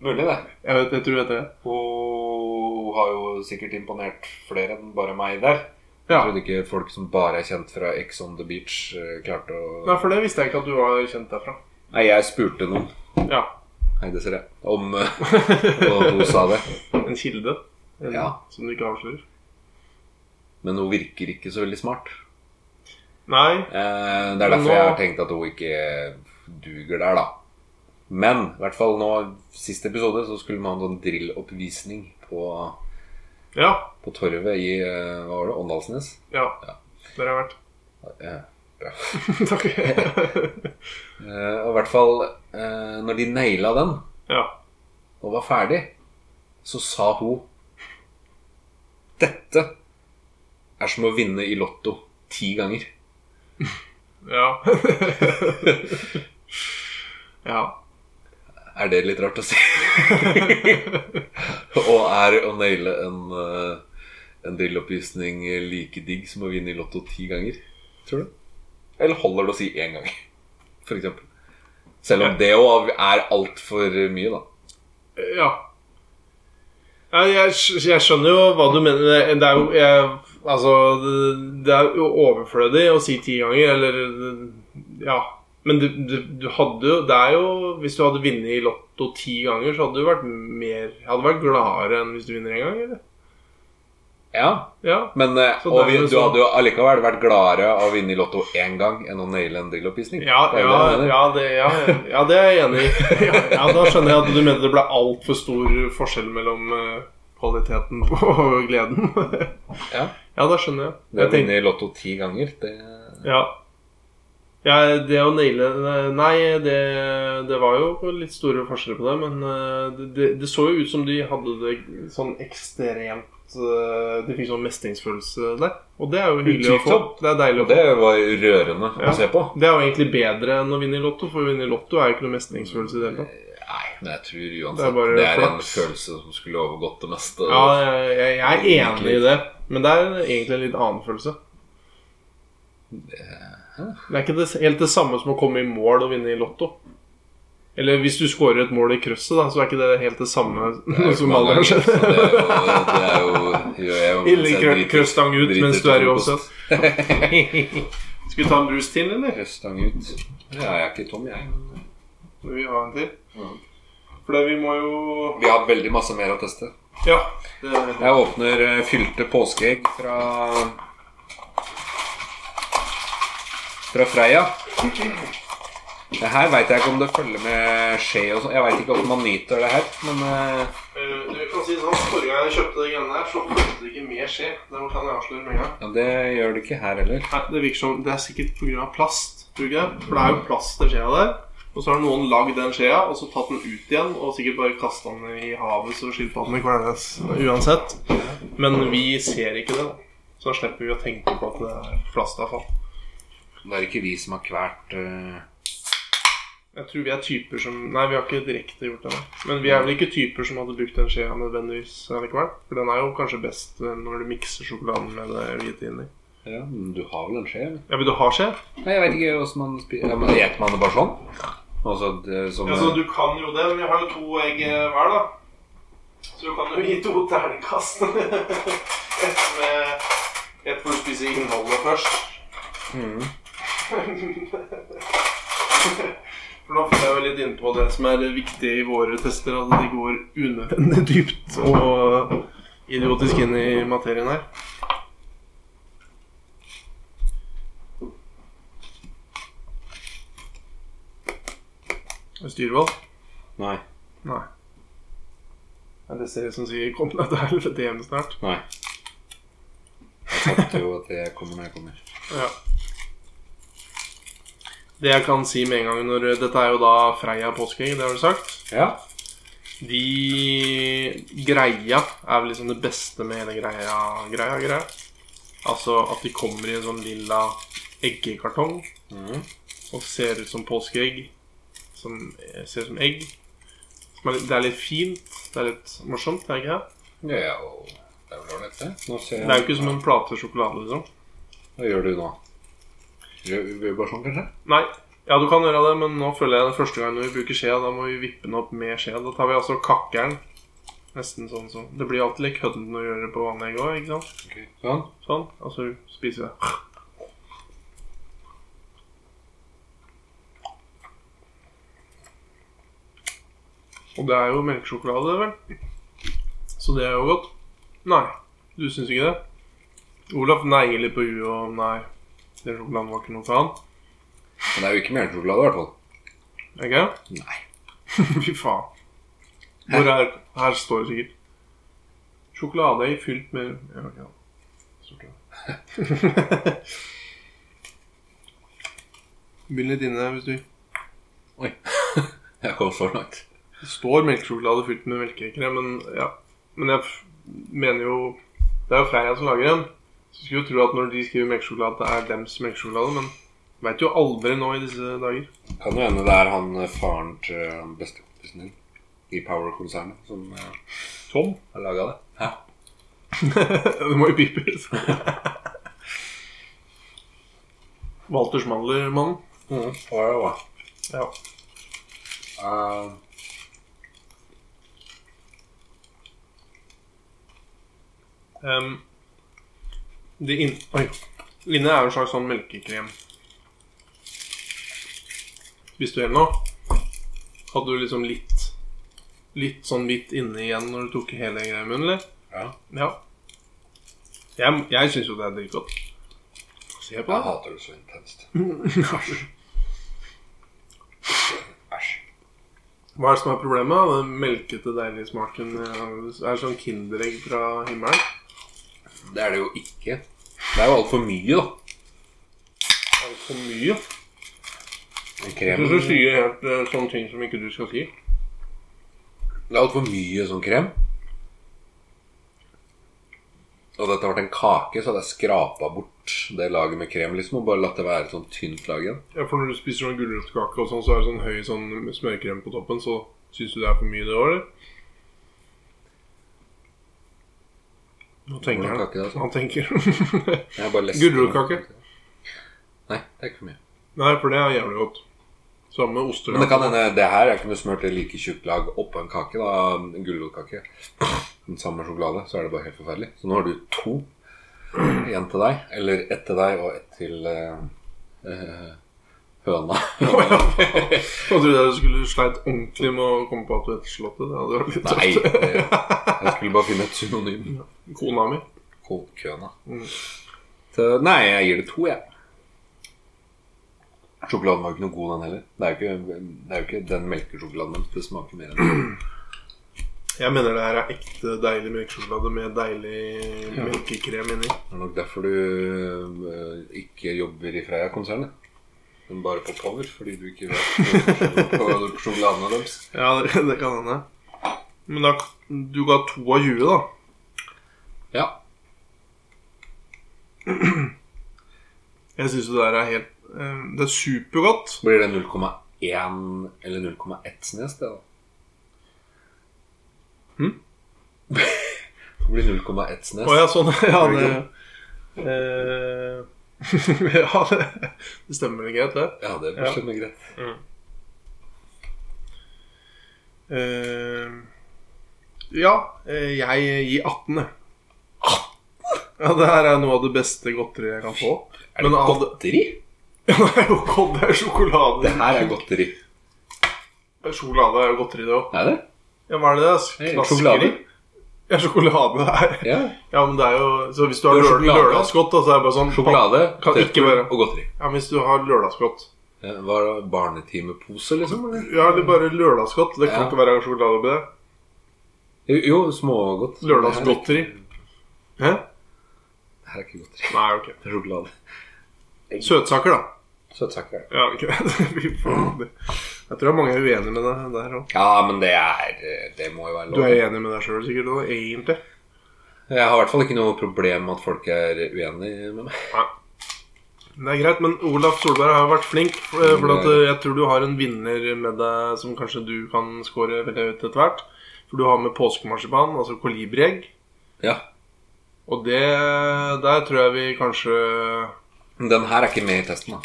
C: mulig, det.
B: Jeg, vet, jeg tror det heter det.
C: Hun har jo sikkert imponert flere enn bare meg der.
B: Ja.
C: Jeg trodde ikke folk som bare er kjent fra Ex on the Beach, eh, klarte å
B: Nei, for det visste jeg ikke at du var kjent derfra.
C: Nei, jeg spurte noen.
B: Ja.
C: Hei, det ser jeg. Om eh, Og hun sa det.
B: En kilde en,
C: Ja.
B: som du ikke avslører.
C: Men hun virker ikke så veldig smart.
B: Nei.
C: Eh, det er
B: Men
C: derfor jeg
B: nå-
C: har tenkt at hun ikke duger der, da. Men i hvert fall nå, siste episode, så skulle man ha en sånn drilloppvisning på,
B: Ja.
C: på torvet i eh, Hva var det? Åndalsnes?
B: Ja.
C: Ja.
B: Der har jeg vært.
C: Eh, bra.
B: Takk.
C: Eh, og i hvert fall eh, når de naila den
B: ja.
C: og var ferdig, så sa hun Dette er som å vinne i Lotto ti ganger.
B: Ja. ja.
C: Er det litt rart å si? og er å naile en, eh, en drilloppvisning like digg som å vinne i Lotto ti ganger? Tror du? Eller holder det å si én gang, for eksempel? Selv om det òg er altfor mye, da.
B: Ja. ja jeg, skj- jeg skjønner jo hva du mener. Det er jo jeg, Altså, det- det er jo overflødig å si ti ganger, eller Ja. Men du, du, du hadde jo Det er jo Hvis du hadde vunnet i Lotto ti ganger, så hadde du vært mer Hadde du vært gladere enn hvis du vinner én gang, eller?
C: Ja,
B: Ja.
C: Men eh,
B: Så
C: og vi,
B: dermed
C: du
B: så-
C: hadde jo allikevel vært gladere av å vinne i Lotto én gang enn å naile en drilloppvisning.
B: Ja,
C: Det er jo det jeg
B: ja,
C: mener.
B: ja, det, ja, ja, det er jeg enig i. Ja, ja, Da skjønner jeg at du mente det ble altfor stor forskjell mellom eh, kvaliteten på og gleden.
C: Ja.
B: Ja, da skjønner jeg.
C: Det å
B: jeg tenkte,
C: vinne i Lotto ti ganger, det
B: ja. ja, det å naile Nei, det, det var jo litt store forskjeller på det, men eh, det, det, det så jo ut som de hadde det sånn ekstremt eh, De fikk sånn mestringsfølelse der. Og det er jo hyggelig å få.
C: Utvilsomt.
B: Det er deilig å få.
C: Det var rørende
B: Ja.
C: å se på.
B: Det er jo egentlig bedre enn å vinne i Lotto, for å vinne i Lotto er jo ikke noe mestringsfølelse i det hele tatt.
C: Nei, men jeg tror
B: Det er
C: uansett det
B: bare
C: er, en
B: flaks.
C: følelse som skulle overgått det meste.
B: Ja, jeg, jeg, jeg er enig i det, men det er egentlig en litt annen følelse. Det er ikke det, helt det samme som å komme i mål og vinne i Lotto. Eller hvis du scorer et mål i krysset, da, så er ikke det helt det samme
C: Det er jo
B: som
C: ikke mange
B: aldri har
C: ganger,
B: skjedd.
C: så det er jo, det er jo, gjør jeg jo mens
B: Ille
C: jeg
B: krø-
C: driter-
B: krøstang ut
C: driter
B: mens du
C: til
B: er i
C: frokost.
B: offset. Skal vi ta en brus til, eller?
C: Krøstang ut. Ja, jeg er ikke tom, jeg.
B: Vi har en til.
C: Ja.
B: For det, vi må jo
C: Vi har veldig masse mer å teste.
B: Ja. Det,
C: Jeg åpner eh, fylte påskeegg fra Fra Freia. Det her veit jeg ikke om det følger med skje og sånn. Jeg veit ikke om man nyter det her, men eh,
B: Eh, Du kan si det sånn, Forrige gang jeg kjøpte de greiene der, så fulgte det ikke med skje. Det kan jeg avsløre med en gang.
C: ja, det gjør det ikke her heller.
B: Nei, Det virker som det er sikkert pga. plast. Tror du ikke det? For det er jo plast i skjea der. Og så har noen lagd den skjea og så tatt den ut igjen og sikkert bare kasta den i havet så skilpaddene kveldes uansett. Men vi ser ikke det, da. Så da slipper vi å tenke på at det er plastavfall.
C: Det er ikke vi som har kvært eh,
B: Jeg tror vi er typer som Nei, vi har ikke direkte gjort det. da. Men vi er vel ikke typer som hadde brukt den skjea nødvendigvis likevel. For den er jo kanskje best eh, når du mikser sjokoladen med det hvite inni.
C: Ja, men du har vel en skje? eller?
B: Ja, vil du ha skje?
C: Nei, jeg vet ikke hvordan man spiser ja, men Gjeter man det bare sånn? Altså, det, som,
B: du kan jo det, men vi har jo to egg eh, hver, da. Så du kan jo gi to ternekast. Ett med Ett hvor du spiser innholdet først.
C: Mhm.
B: For nå får jeg jo litt innpå det som er viktig i våre tester, at de går unødvendig dypt og idiotisk inn i materien her. Styrvold?
C: Nei.
B: Nei. Nei, Det ser ut som sier 'kom deg til helvete hjem snart'.
C: Nei. Jeg tapte jo at jeg kommer når jeg kommer.
B: Ja. Det jeg kan si med en gang når Dette er jo da Freia påskeegg, det har du sagt.
C: Ja.
B: De greia er vel liksom det beste med hele greia, greia, greia. Altså at de kommer i en sånn lilla eggekartong
C: Mhm.
B: og ser ut som påskeegg. Som eh, ser ut som egg. Som er litt- Det er litt fint. Det er litt morsomt, er det ikke det?
C: Ja, ja, og det er vel ålreit, det. Nå ser jeg.
B: Det er jo ikke som en plate sjokolade, liksom.
C: Hva gjør du nå? Gjør gjør vi bare sånn, kanskje?
B: Nei. Ja, du kan gjøre det, men nå føler jeg det første gang når vi bruker skje, da må vi vippe den opp med skje. Da tar vi altså kakkeren. Nesten sånn som Det blir alltid litt køddent å gjøre det på vanlig egg òg, ikke sant?
C: Sånn.
B: Sånn. Og så spiser vi det. Og det er jo melkesjokolade, vel? Så det er jo godt. Nei, du syns ikke det? Olaf neier litt på huet og nei, den sjokoladen var ikke noe for han.
C: Men det er jo ikke melkesjokolade, i hvert fall.
B: Ikke?
C: Nei.
B: Fy faen. Hvor er Her står det sikkert Sjokoladeøy fylt med ja, ja. Sorte. Begynn litt inne hvis du
C: Oi. Jeg kom så langt.
B: Det står melkesjokolade fylt med melkekrem, men ja. Men jeg f- mener jo Det er jo Freia som lager den. Så skulle jo tro at når de skriver melkesjokolade, at det er dems melkesjokolade, men veit jo aldri nå i disse dager.
C: Kan jo hende det er han eh, faren til eh, han bestekompisen din i Power-konsernet som eh,
B: Tom?
C: har laga det. Hæ?
B: det må jo pipes. Walter Schmaller-mannen.
C: Mm. Hva er det, hva?
B: Ja.
C: Eh,
B: Um, det inn... Oi. Linne er jo en slags sånn melkekrem. Spiste du hele nå? Hadde du liksom litt Litt sånn hvitt inne igjen når du tok hele greia i munnen, eller?
C: ja.
B: Ja. Jeg, jeg syns jo det er dritgodt. Se på
C: Jeg
B: det.
C: hater det så intenst. Æsj.
B: Hva er det som er problemet? da? Den melkete, deilige smaken eh, er sånn Kinderegg fra himmelen.
C: Det er det jo ikke. Det er jo altfor mye, da.
B: Altfor mye.
C: Den
B: Jeg
C: Kremen.
B: syns du sier helt eh, sånne ting som ikke du skal si.
C: Det er altfor mye sånn krem. Og dette har vært en kake, så hadde jeg skrapa bort det laget med krem. liksom, Og bare latt det være et sånn tynt lag igjen.
B: Ja, for når du spiser sånn gulrotkake og sånn, så er det sånn høy sånn smørkrem på toppen, så syns du det er for mye det òg, eller? Nå tenker
C: Hvordan
B: han.
C: kake det er, altså?
B: Han tenker.
C: Jeg bare leste-
B: Gulrotkake?
C: Nei, det er ikke for mye.
B: Nei, for det er jævlig godt. Samme med
C: Men det
B: ostekake.
C: kan hende det her jeg kunne smurt et like tjukt lag oppå en kake. da, En gulrotkake. Den samme sjokolade, så er det bare helt forferdelig. Så nå har du to. Én til deg, eller ett til deg og ett til eh, eh, høna.
B: Jeg trodde jeg du skulle sleit ordentlig med å komme på at du heter Slottet. Det hadde vært litt
C: Nei,
B: tøft.
C: det, jeg skulle bare finne et synonym.
B: Kona mi.
C: Kolkøna.
B: Mm.
C: Så- Nei, jeg gir det to, jeg. Sjokoladen var jo ikke noe god, den heller. Det er jo ikke, det er jo ikke den melkesjokoladen. men Det smaker mer enn
B: Jeg mener det her er ekte deilig melkesjokolade med deilig melkekrem inni.
C: eh, Det er nok derfor du øh, ikke jobber i Freia-konsernet. Men bare på power, fordi du ikke vet forskjellen på sjokoladene deres.
B: Ja, det, det kan hende. Men da, du ga to av 20, da.
C: Ja.
B: Jeg syns jo det der er helt eh, Det er supergodt.
C: Blir det 0,1 eller 0,1 snes, det, da? Hm? det blir 0,1 snes.
B: Å ja, sånn. Ja, det eh, Ja, det, det stemmer vel greit, det.
C: Ja, det
B: Ja.
C: blir slemme greit.
B: Eh, ja, eh, jeg gir 18, jeg. Ja, det her er noe av det beste godteriet jeg kan få.
C: Er det
B: Men hadde-
C: godteri?
B: Ja, det er jo godt, det er sjokolade.
C: Det her er godteri.
B: Sjokolade er jo godteri, det òg.
C: Er det?
B: Ja, hva er det? det
C: Hey,
B: er?
C: sjokolade?
B: Ja, sjokolade er
C: Ja.
B: Ja, men det er jo Så hvis du har
C: Det er
B: lø-
C: sjokolade.
B: lørdagsgodt, da, så er det bare sånn
C: Sjokolade,
B: Kan ikke
C: tørker
B: være-
C: og godteri.
B: Ja, men hvis du har lørdagsgodt
C: Ja, Var det barnetimepose, liksom? Eller?
B: Ja, eller bare lørdagsgodt. Det kan
C: Ja.
B: ikke være sjokolade oppi det.
C: Jo, jo smågodt.
B: Lørdagsgodteri. Hæ?
C: Det her er ikke godteri.
B: Nei, ok.
C: Det er sjokolade.
B: Søtsaker, da.
C: Søtsaker.
B: Ja, ok. Fy faen. Jeg tror det er mange er uenige med deg der òg.
C: Ja, men det er Det må jo være
B: Du
C: lov.
B: er enig med deg sjøl sikkert nå, egentlig.
C: Jeg har i hvert fall ikke noe problem med at folk er uenig med meg.
B: Det er greit, men Olaf Solberg har vært flink. For for at eh, jeg tror du har en vinner med deg som kanskje du kan score veldig høyt etter hvert. For du har med påskemarsipan, altså kolibriegg.
C: Ja.
B: Og det Der tror jeg vi kanskje
C: Men den her er ikke med i testen, da.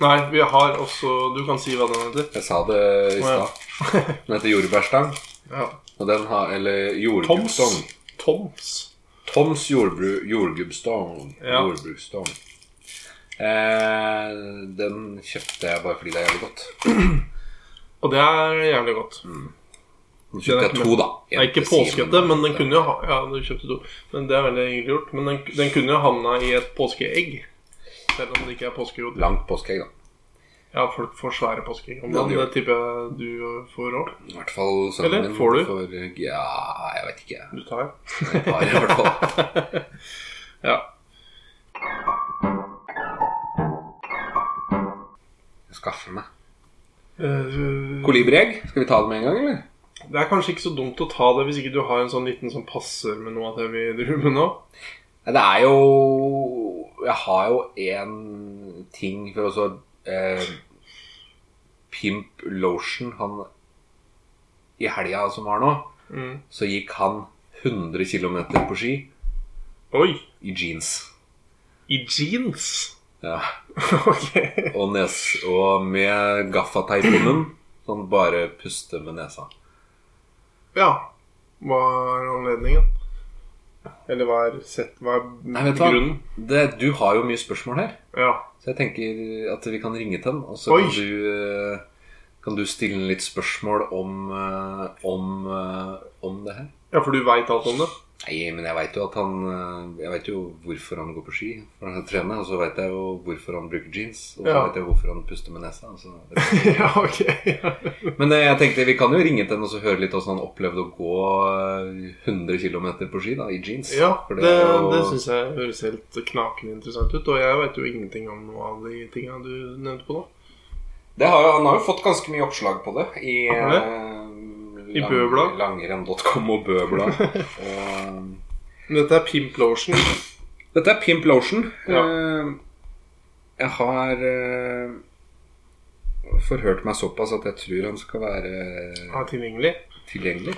B: Nei, vi har også Du kan si hva den heter.
C: Jeg sa det i
B: Å, ja.
C: stad. Den heter jordbærstang.
B: Ja.
C: Og den har Eller
B: Toms.
C: jordgubbstang.
B: Toms.
C: Toms jordbru, jordgubbstang.
B: Ja.
C: Jordbruksstang. Eh, den kjøpte jeg bare fordi det er jævlig godt.
B: Og det er jævlig godt.
C: Nå kjøpte jeg
B: Den er
C: to, da.
B: Mm. Det er ikke påskete, men den kunne jo ha Ja, du kjøpte to. Men det er veldig hyggelig gjort. Men den, den kunne jo havna i et påskeegg. Selv om det ikke er påskegodt.
C: Langt påskeegg, da.
B: Ja, folk får svære påskeegg. om
C: Ja,
B: dagen.
C: de gjør
B: det tipper jeg du får òg.
C: I hvert fall sønnen
B: Eller,
C: min
B: får du?
C: får- Ja, jeg vet ikke.
B: Du tar.
C: Et par, i hvert fall.
B: Ja.
C: Jeg skaffer meg.
B: Eh,
C: Kolibriegg, skal vi ta det med en gang, eller?
B: det er kanskje ikke så dumt å ta det hvis ikke du har en sånn liten som passer med noe av det vi driver med nå.
C: Nei, Det er jo Jeg har jo én ting for også eh, Pimp Lotion Han I helga som var nå,
B: Mm.
C: så gikk han 100 km på ski
B: Oi!
C: i jeans.
B: I jeans?
C: Ja.
B: ok.
C: Og, nes, og med gaffateip på munnen. Så han bare puster med nesa.
B: Ja. Hva er anledningen? Eller hva er, sett, hva er
C: Nei, vet du hva?
B: grunnen?
C: Det, du har jo mye spørsmål her,
B: Ja.
C: så jeg tenker at vi kan ringe til ham. Og så
B: Oi.
C: kan du, eh, kan du stille litt spørsmål om, eh, om, eh, om det her.
B: ja, for du veit alt om det?
C: Nei, men jeg veit jo at han eh, Jeg vet jo hvorfor han går på ski for han trener, og så veit jeg jo hvorfor han bruker jeans, og så
B: Ja.
C: vet jeg hvorfor han puster med nesa. og så-
B: ja, ok.
C: Men eh, jeg tenkte vi kan jo ringe til han og så høre litt hvordan han opplevde å gå eh, 100 km på ski da, i jeans.
B: ja,
C: For
B: det,
C: det er jo-
B: det syns jeg høres helt knakende interessant ut. Og jeg veit jo ingenting om noe av de tinga du nevnte på nå.
C: Det har jo, han har jo fått ganske mye oppslag på det i,
B: Har det?
C: eh,
B: I Bøblad?
C: Langrenn.com og Bøblad. Og-
B: Men dette er Pimp Lotion.
C: Dette er Pimp Lotion.
B: Ja.
C: Eh, Jeg har eh, forhørt meg såpass at jeg tror han skal være
B: Er tilgjengelig.
C: tilgjengelig.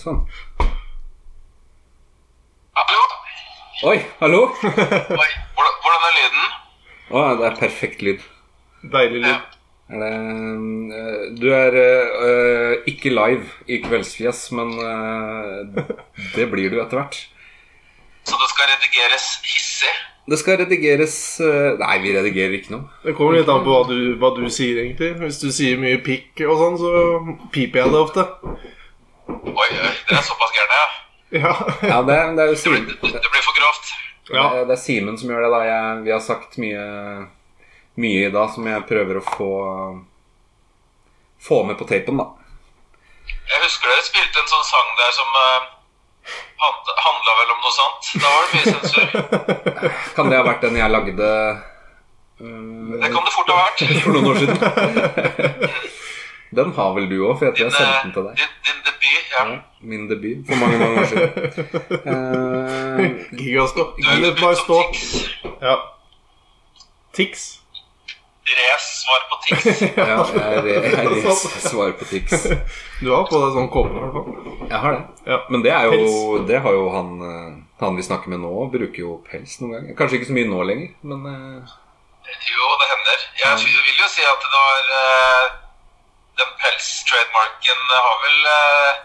C: Sånn.
D: Hallo?
C: Oi, hallo!
D: Oi, hvordan, hvordan er lyden?
C: Å, det er perfekt lyd.
B: Deilig lyd.
C: Er det, eh, du er eh, eh, ikke live i Kveldsfjes, men eh, det blir du etter hvert.
D: Så det skal redigeres hissig?
C: Det skal redigeres eh, Nei, vi redigerer ikke noe.
B: Det kommer litt an på hva du, hva du sier, egentlig. Hvis du sier mye pikk og sånn, så piper jeg det ofte.
D: Oi, oi, dere er såpass gærne, ja.
B: Ja.
C: Ja, det, er- det er jo
D: Det
C: Simen,
D: blir, det, det blir for grovt.
B: ja.
C: det er- det er Simen som gjør det. da jeg, Vi har sagt mye, mye i dag som jeg prøver å få Få med på tapen, da.
D: Jeg husker dere spilte en sånn sang der som eh, Hand- Handla vel om noe sånt. Da var det mye sensur.
C: Kan det ha vært den jeg lagde øh,
D: Det kan det fort ha vært.
C: for noen år siden? den har vel du òg, for jeg tror jeg sendte den til deg.
D: din, din debut, ja.
C: Ja, Min debut for mange, mange år siden. Eh,
B: Gigastopp.
D: Du er
B: Let
D: utbudt
B: my
D: som
B: stop.
D: Tix.
B: Ja. Tix.
D: Race svar på Tix.
C: ja, jeg, jeg, jeg leser svar på tics.
B: Du har på deg sånn kåpe, i hvert fall.
C: Jeg har det.
B: Ja.
C: Men det er jo Det har jo han eh, Han vi snakker med nå, bruker jo pels noen ganger. Kanskje ikke så mye nå lenger, men eh,
D: Jo, det hender. Jeg sy- vil jo si at det var eh, Den pels-trademarken har vel eh,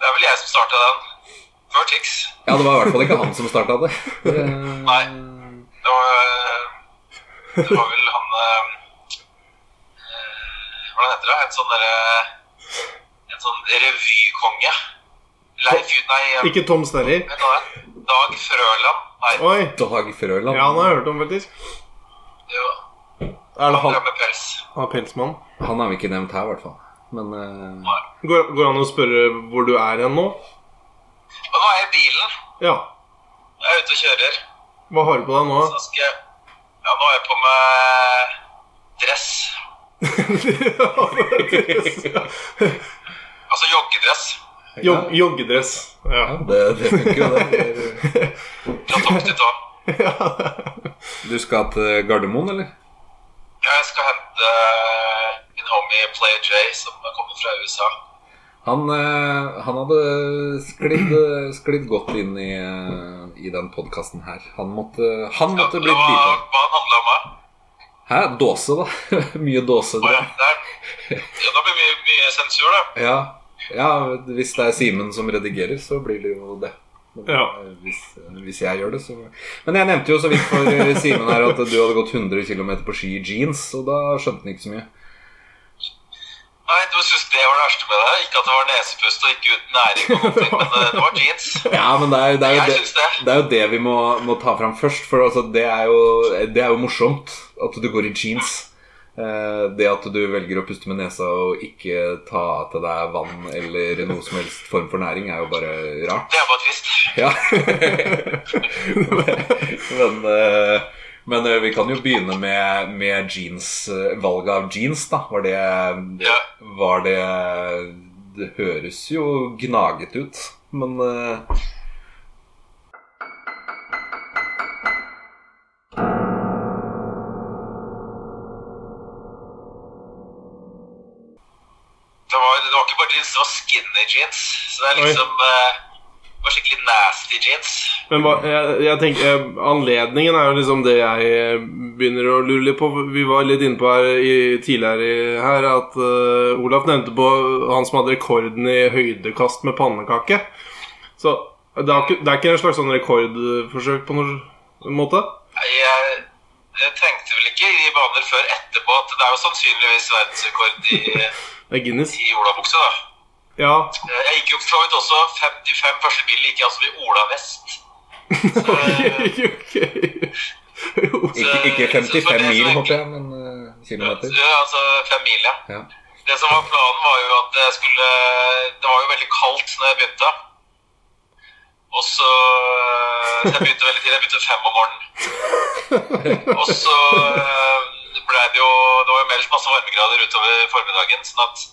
D: Det er vel jeg som starta den. Før Tix.
C: Ja, det var i hvert fall ikke han som starta det. Eh,
D: Nei. Det var, eh, det var vel han eh, eh, Hvordan heter det? En sånn derre En sånn revykonge. Leif Jud... Nei, eh,
B: Ikke Tom Snerri.
D: hva heter han? Dag Frøland. Nei,
B: Oi.
C: Dag Frøland.
B: Ja, han har jeg hørt om, faktisk.
D: det var
B: Er det
D: han
B: han?
D: drev med pels.
B: Han er pelsmann.
C: Han er vi ikke nevnt her, i hvert fall. Men eh,
B: Går, går det an å spørre hvor du er hen nå?
D: Og nå er jeg i bilen.
B: Ja.
D: Jeg er ute og kjører.
B: Hva har du på deg nå?
D: Så skal jeg Ja, nå har jeg på meg dress. Altså joggedress.
B: Jog, joggedress. Ja.
C: ja, det, det funker jo, det.
D: Fra topp til tå.
C: Du skal til Gardermoen, eller?
D: Ja, jeg skal hente eh, min homie Play J, som kommer fra USA.
C: Han, eh, han hadde sklidd, sklidd godt inn i, eh, i den podkasten her. Han måtte, han
D: Ja,
C: måtte
D: det
C: bli
D: var
C: drita.
D: hva han handla om. da?
C: Hæ? Dåse, da? Mye dåse.
D: Å
C: tror
D: ja,
C: jeg.
D: det er, ja, da blir det mye, mye sensur, da.
C: Ja. ja, hvis det er Simen som redigerer, så blir det jo det. Men,
B: Ja.
C: eh, Hvis, hvis jeg gjør det, så Men jeg nevnte jo så vidt for eh, Simen her at du hadde gått 100 km på ski i jeans, og da skjønte han ikke så mye.
D: Nei, du syns det var det verste med det? Ikke at det var nesepust og ikke uten næring, og noen ting, men eh, det var jeans.
C: Ja, men det er, jo- det er jo
D: Jeg
C: det,
D: syns det.
C: det, er jo det vi må, må ta fram først. For altså, det, er jo, det er jo morsomt at du går i jeans. Eh, Det at du velger å puste med nesa og ikke ta til deg vann eller noe som helst form for næring, er jo bare rart.
D: Det er bare trist.
C: Ja. men, eh, men eh, vi kan jo begynne med, med jeans, eh, valget av jeans, da. Var det,
D: Ja.
C: var det Det høres jo gnaget ut, men eh,
D: Det var, det var ikke bare jeans, det var skinny jeans. Så det er liksom eh, det var skikkelig nasty jeans.
B: Men hva, jeg, jeg tenker, eh, anledningen er jo liksom det jeg eh, begynner å lure litt på. Vi var litt inne på her i, tidligere i- her at eh, Olaf nevnte på han som hadde rekorden i høydekast med pannekake. Så det er ikke, det er ikke en slags sånn rekordforsøk på noen måte?
D: Jeg, jeg tenkte vel ikke i de baner før etterpå at det er jo sannsynligvis verdensrekord i, eh,
B: Det er Guinness.
D: i olabukse, da.
B: Ja.
D: Eh, Jeg gikk jo for så vidt også 55 første bilen gikk jeg altså i olavest.
B: Ok,
D: eh,
B: ok. Jo.
C: Ikke, ikke
D: Så- så
C: 55
D: det
C: mil,
D: som er-
C: håper jeg, men eh, kilometer.
D: Ja, altså fem mil, ja.
C: Ja.
D: Det som var planen var jo at jeg skulle Det var jo veldig kaldt når jeg begynte. Og så så Jeg begynte veldig tidlig. Jeg begynte fem om morgenen. Og så eh, ble det jo Det var jo meldt masse varmegrader utover formiddagen, sånn at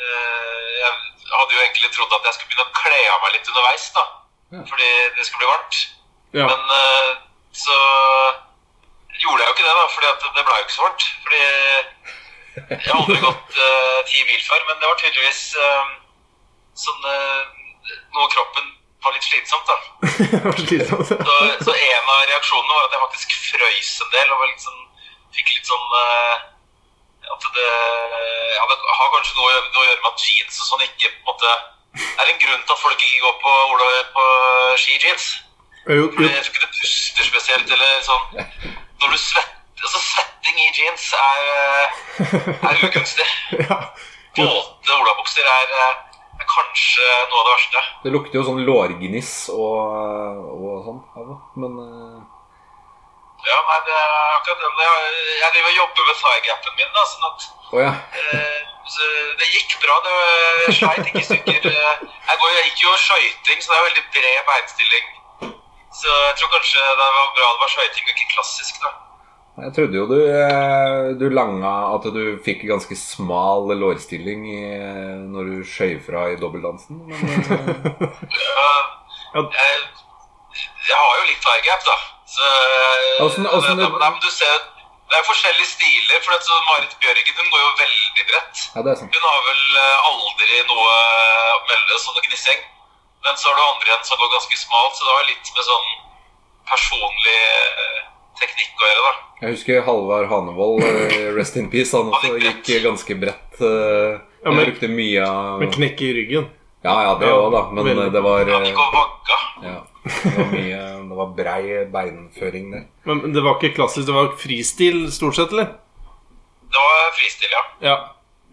D: eh, Jeg hadde jo egentlig trodd at jeg skulle begynne å kle av meg litt underveis, da.
C: Ja.
D: Fordi det skulle bli varmt.
B: Ja.
D: Men eh, så gjorde jeg jo ikke det, da, fordi at det ble jo ikke så varmt. Fordi jeg har aldri gått eh, ti mil før, men det var tydeligvis eh, sånn eh, Noe kroppen var litt slitsomt, da.
B: Det var slitsomt.
D: Så, så en av reaksjonene var at jeg faktisk frøys en del og var litt sånn, fikk litt sånn eh, At det Ja, det har kanskje noe, å gjøre- noe å gjøre med at jeans og sånn ikke på en måte Det er en grunn til at folk ikke går på, Ola- på skijeans.
B: Jo,
D: For
B: jo.
D: Jeg tror ikke det puster spesielt, eller sånn Når du svetter Altså, svetting i jeans er, eh, er ugunstig.
B: Ja.
D: Våte olabukser er, eh, er kanskje noe av det verste.
C: Det lukter jo sånn lårgniss og, og sånn av det, men eh,
D: Ja, eh, nei, det er akkurat den. Jeg, jeg driver og jobber med thigh-gapen min, da, sånn at
C: Å ja.
D: eh, så det gikk bra. Det øh, sleit ikke i stykker. øh. Jeg, går, jeg gikk jo skøyting, så det er veldig bred beinstilling. Så jeg tror kanskje det var bra det var skøyting og ikke klassisk, da.
C: Jeg trodde jo du, eh, du langa at du fikk ganske smal lårstilling i, eh, når du skøy fra i dobbeltdansen. Men eh,
B: Ja.
D: Øh, Jeg, jeg har jo litt high-gap, da. Så øh,
C: Åssen- åssen
D: det,
C: du-
D: nei, men du ser, det er forskjellige stiler. For at så Marit Bjørgen hun går jo veldig bredt.
C: ja, det er sant.
D: Hun har vel eh, aldri noe å melde sånn gnissing. Men så har du andre igjen som går ganske smalt, så det har litt med sånn personlig eh, teknikk å gjøre, da.
C: Jeg husker Halvard Hanevold, eh, rest in peace, han også gikk eh, ganske bredt. eh,
B: Ja,
C: Han
B: men-
C: brukte mye av
B: Med knekke i ryggen.
C: Ja, ja, det òg, da. Men eh, det var,
D: Han
C: eh,
D: gikk og vagga.
C: ja, det var mye Det var brei beinføring der.
B: Men men det var ikke klassisk, det var fristil stort sett, eller?
D: Det var fristil, ja.
B: Ja.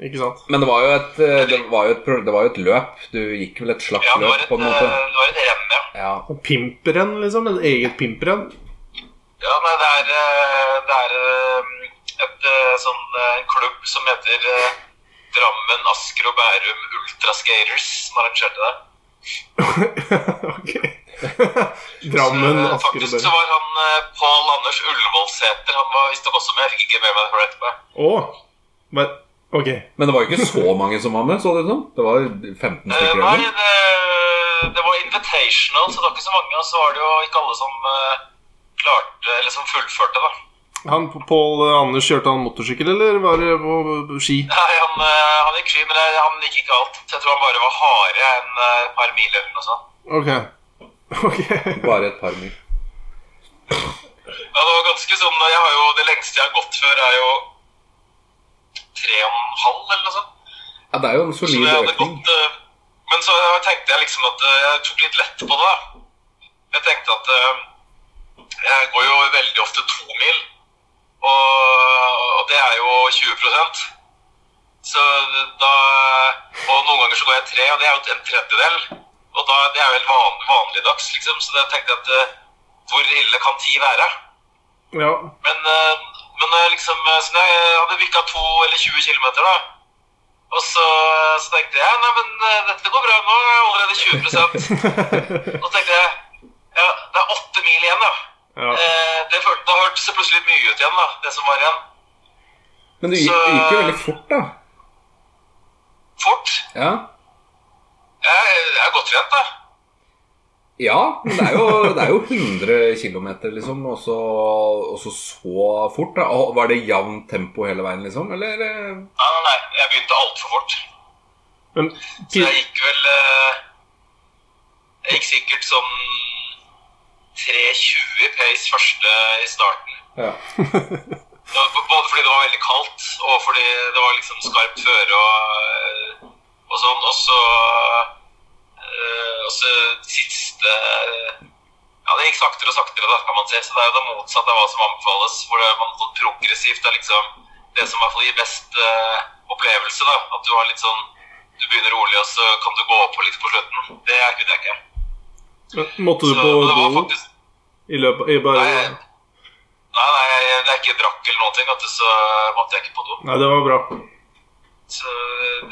B: Ikke sant?
C: Men det var jo et, eh, det var jo et, pro- det var jo et løp. Du gikk vel et slags
D: ja det, var
C: løp,
D: et,
C: på en måte?
D: eh, det var et renn, ja.
C: Ja.
B: Og Pimperen, liksom. Et eget pimperen.
D: Ja, nei, det er, eh, det er eh, et eh, sånn eh, en klubb som heter eh, Drammen, Asker og Bærum Ultra Skaters som arrangerte det.
B: ok. Drammen,
D: Eh,
B: Asker og
D: Faktisk så
B: Bø.
D: var han eh, Pål Anders Ullevålsæter. Han var visstnok også med. Jeg fikk ikke med meg det for etterpå.
B: Å! Men ok.
C: Men det var jo ikke så mange som var med, så det ut som. Det var 15
D: Eh,
C: stykker.
D: nei,
C: eller?
D: det, det var invitational, så det var ikke så mange. Og så var det jo ikke alle som eh, klarte, eller som fullførte, da.
B: Han Pål Anders, kjørte han motorsykkel, eller var det på ski?
D: Nei, han, eh, han gikk sky, men eh, han gikk ikke alt. Jeg tror han bare var hardere enn eh, et par mil eller noe sånt.
B: Ok. Ok.
C: Bare et par mil.
D: Ja, det var ganske sånn Jeg har jo Det lengste jeg har gått før, er jo tre og en halv, eller noe sånt.
C: Ja, det er jo en
D: Så
C: solid
D: jeg hadde
C: økning.
D: gått eh, Men så tenkte jeg liksom at eh, jeg tok litt lett på det. da. Jeg tenkte at eh, jeg går jo veldig ofte to mil, og, og det er jo 20 Så da Og noen ganger så går jeg tre, og det er jo en tredjedel. Og da, det er jo helt van, vanligdags, liksom. Så da tenkte jeg at eh, hvor ille kan ti være?
B: Ja.
D: Men, eh, men eh, liksom eh, Så jeg hadde vikka to eller 20 km, da. Og så, eh, så tenkte jeg nei, men eh, dette går bra, nå er jeg allerede 20 Og så tenkte jeg ja, det er åtte mil igjen, da.
B: ja.
D: Eh, det følte- da hørtes det plutselig mye ut igjen, da, det som var igjen.
C: Men du gikk,
D: Så-
C: gikk jo veldig fort, da.
D: Fort.
C: Ja.
D: Jeg, jeg er godt trent, da.
C: Ja, men det er jo, det er jo 100 km, liksom, og så, og så så fort. da og Var det jevnt tempo hele veien, liksom? Eller eh,
D: Nei, nei, nei, jeg begynte altfor fort.
B: Men
D: Så jeg
B: pil-
D: gikk vel eh, Jeg gikk sikkert sånn 3.20 pace første i starten.
C: ja.
D: Ja, b- Både fordi det var veldig kaldt, og fordi det var liksom skarpt føre og, og sånn. Og så eh, Og så siste Ja, det gikk saktere og saktere, da, kan man si. Så det er jo det motsatte av hva som anbefales. Hvor det er man sånn progressivt det er liksom det som i hvert fall gir best eh, opplevelse, da. At du har litt sånn Du begynner rolig, og så kan du gå opp på litt på slutten. Det kunne jeg ikke.
B: men måtte
D: Så,
B: du på
D: men det var
B: do
D: faktisk
B: i løpet i bare,
D: Nei, nei, nei jeg, jeg ikke drakk eller noen ting, vet du, så måtte jeg ikke på do.
B: Nei, det var bra.
D: Så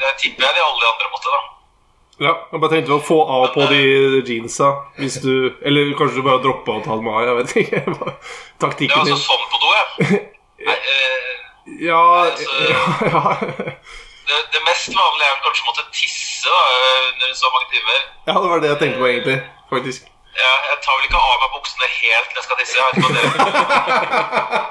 D: det tipper jeg de alle de andre måtte, da.
B: Ja, jeg bare tenkte å få av på de jeansa hvis du Eller kanskje du bare droppa å ta dem av, jeg vet ikke. hva
D: Det var
B: Taktikken
D: altså
B: din.
D: sånn på do, jeg. Nei, eh,
B: Ja,
D: altså-
B: ja, ja.
D: det, det mest vanlige er vel kanskje å måtte tisse da, eh, under så mange timer.
B: Ja, det var det jeg tenkte på egentlig. Faktisk.
D: Jeg, jeg tar vel ikke av meg buksene helt når jeg skal tisse. Jeg vet ikke hva dere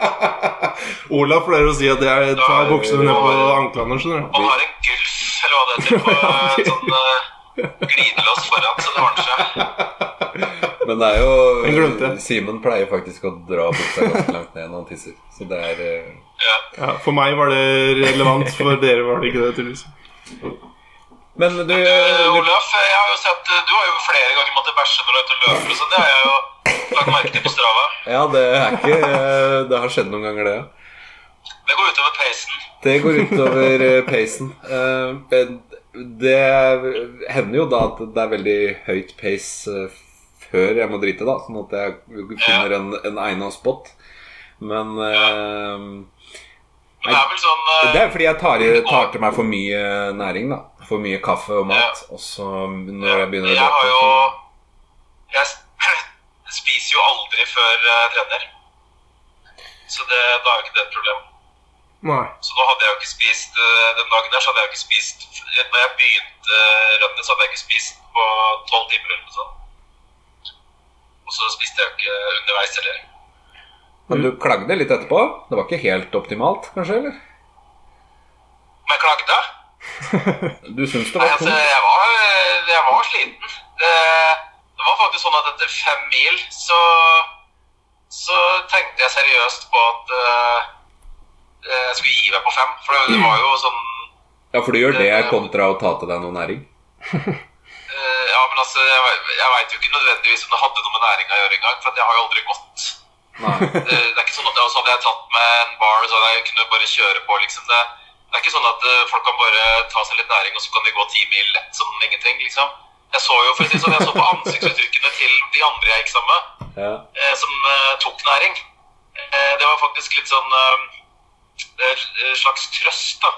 B: Olaf pleier å si at jeg tar buksene ned på anklene. skjønner du
D: Man har en gulf, eller hva det heter, på en sånn eh, glidelås foran, så det ordner seg.
C: Men det er
B: Den
C: jo
B: glemte.
C: Simen pleier faktisk å dra buksa ganske langt ned når han tisser. Så det er eh,
D: Ja.
B: Ja, for meg var det relevant, for dere var det ikke det. tydeligvis
C: Men du,
D: Eh,
C: du
D: Olaf, jeg har jo sett eh, Du har jo flere ganger måttet bæsje når du er ute og løper og sånn. Det har jeg jo lagt merke til på Strava.
C: Ja, det er ikke eh, Det har skjedd noen ganger, det. ja.
D: Det går utover peisen.
C: Det går utover eh, pacen. Eh, men Det hender jo da at det er veldig høyt pace eh, før jeg må drite, da. Sånn at jeg finner en, en egnet spot. Men eh,
D: Men det er vel sånn eh,
C: Det er fordi jeg tar, i- tar til meg for mye næring, da. For mye kaffe og mat. Og så når jeg begynner å
D: Jeg har
C: løpe,
D: jo
C: så-
D: Jeg s- spiser jo aldri før jeg trener. Så det, da er jo ikke det et problem.
B: Nei.
D: Så nå hadde jeg jo ikke spist eh, den dagen der, så hadde jeg jo ikke spist Når jeg begynte eh, runnet, så hadde jeg ikke spist på tolv timer eller noe sånt. Og så spiste jeg jo ikke underveis heller.
C: Men du klagde litt etterpå? Det var ikke helt optimalt, kanskje? eller?
D: Men jeg klagde.
C: Du syns det
D: Nei,
C: var
D: altså,
C: tungt?
D: jeg var, eh, jeg var sliten. Det, det var faktisk sånn at etter fem mil så, så tenkte jeg seriøst på at eh, jeg skulle gi meg på fem. For det var jo sånn
C: Ja, for du gjør det kontra å ta til deg noe næring?
D: eh, Ja, men altså, jeg, ve- jeg veit jo ikke nødvendigvis om det hadde noe med næringa å gjøre engang, for det har jo aldri gått.
C: Nei.
D: Det, det er ikke sånn at altså, Hadde jeg tatt med en bar, så hadde jeg kunne bare kjøre på, liksom. Det, det er ikke sånn at eh, folk kan bare ta seg litt næring, og så kan de gå ti mil lett som ingenting, liksom. Jeg så jo for å si det sånn, jeg så på ansiktsuttrykkene til de andre jeg gikk sammen med.
C: Ja.
D: eh, som eh, tok næring. Eh, det var faktisk litt sånn eh, det er en slags trøst da.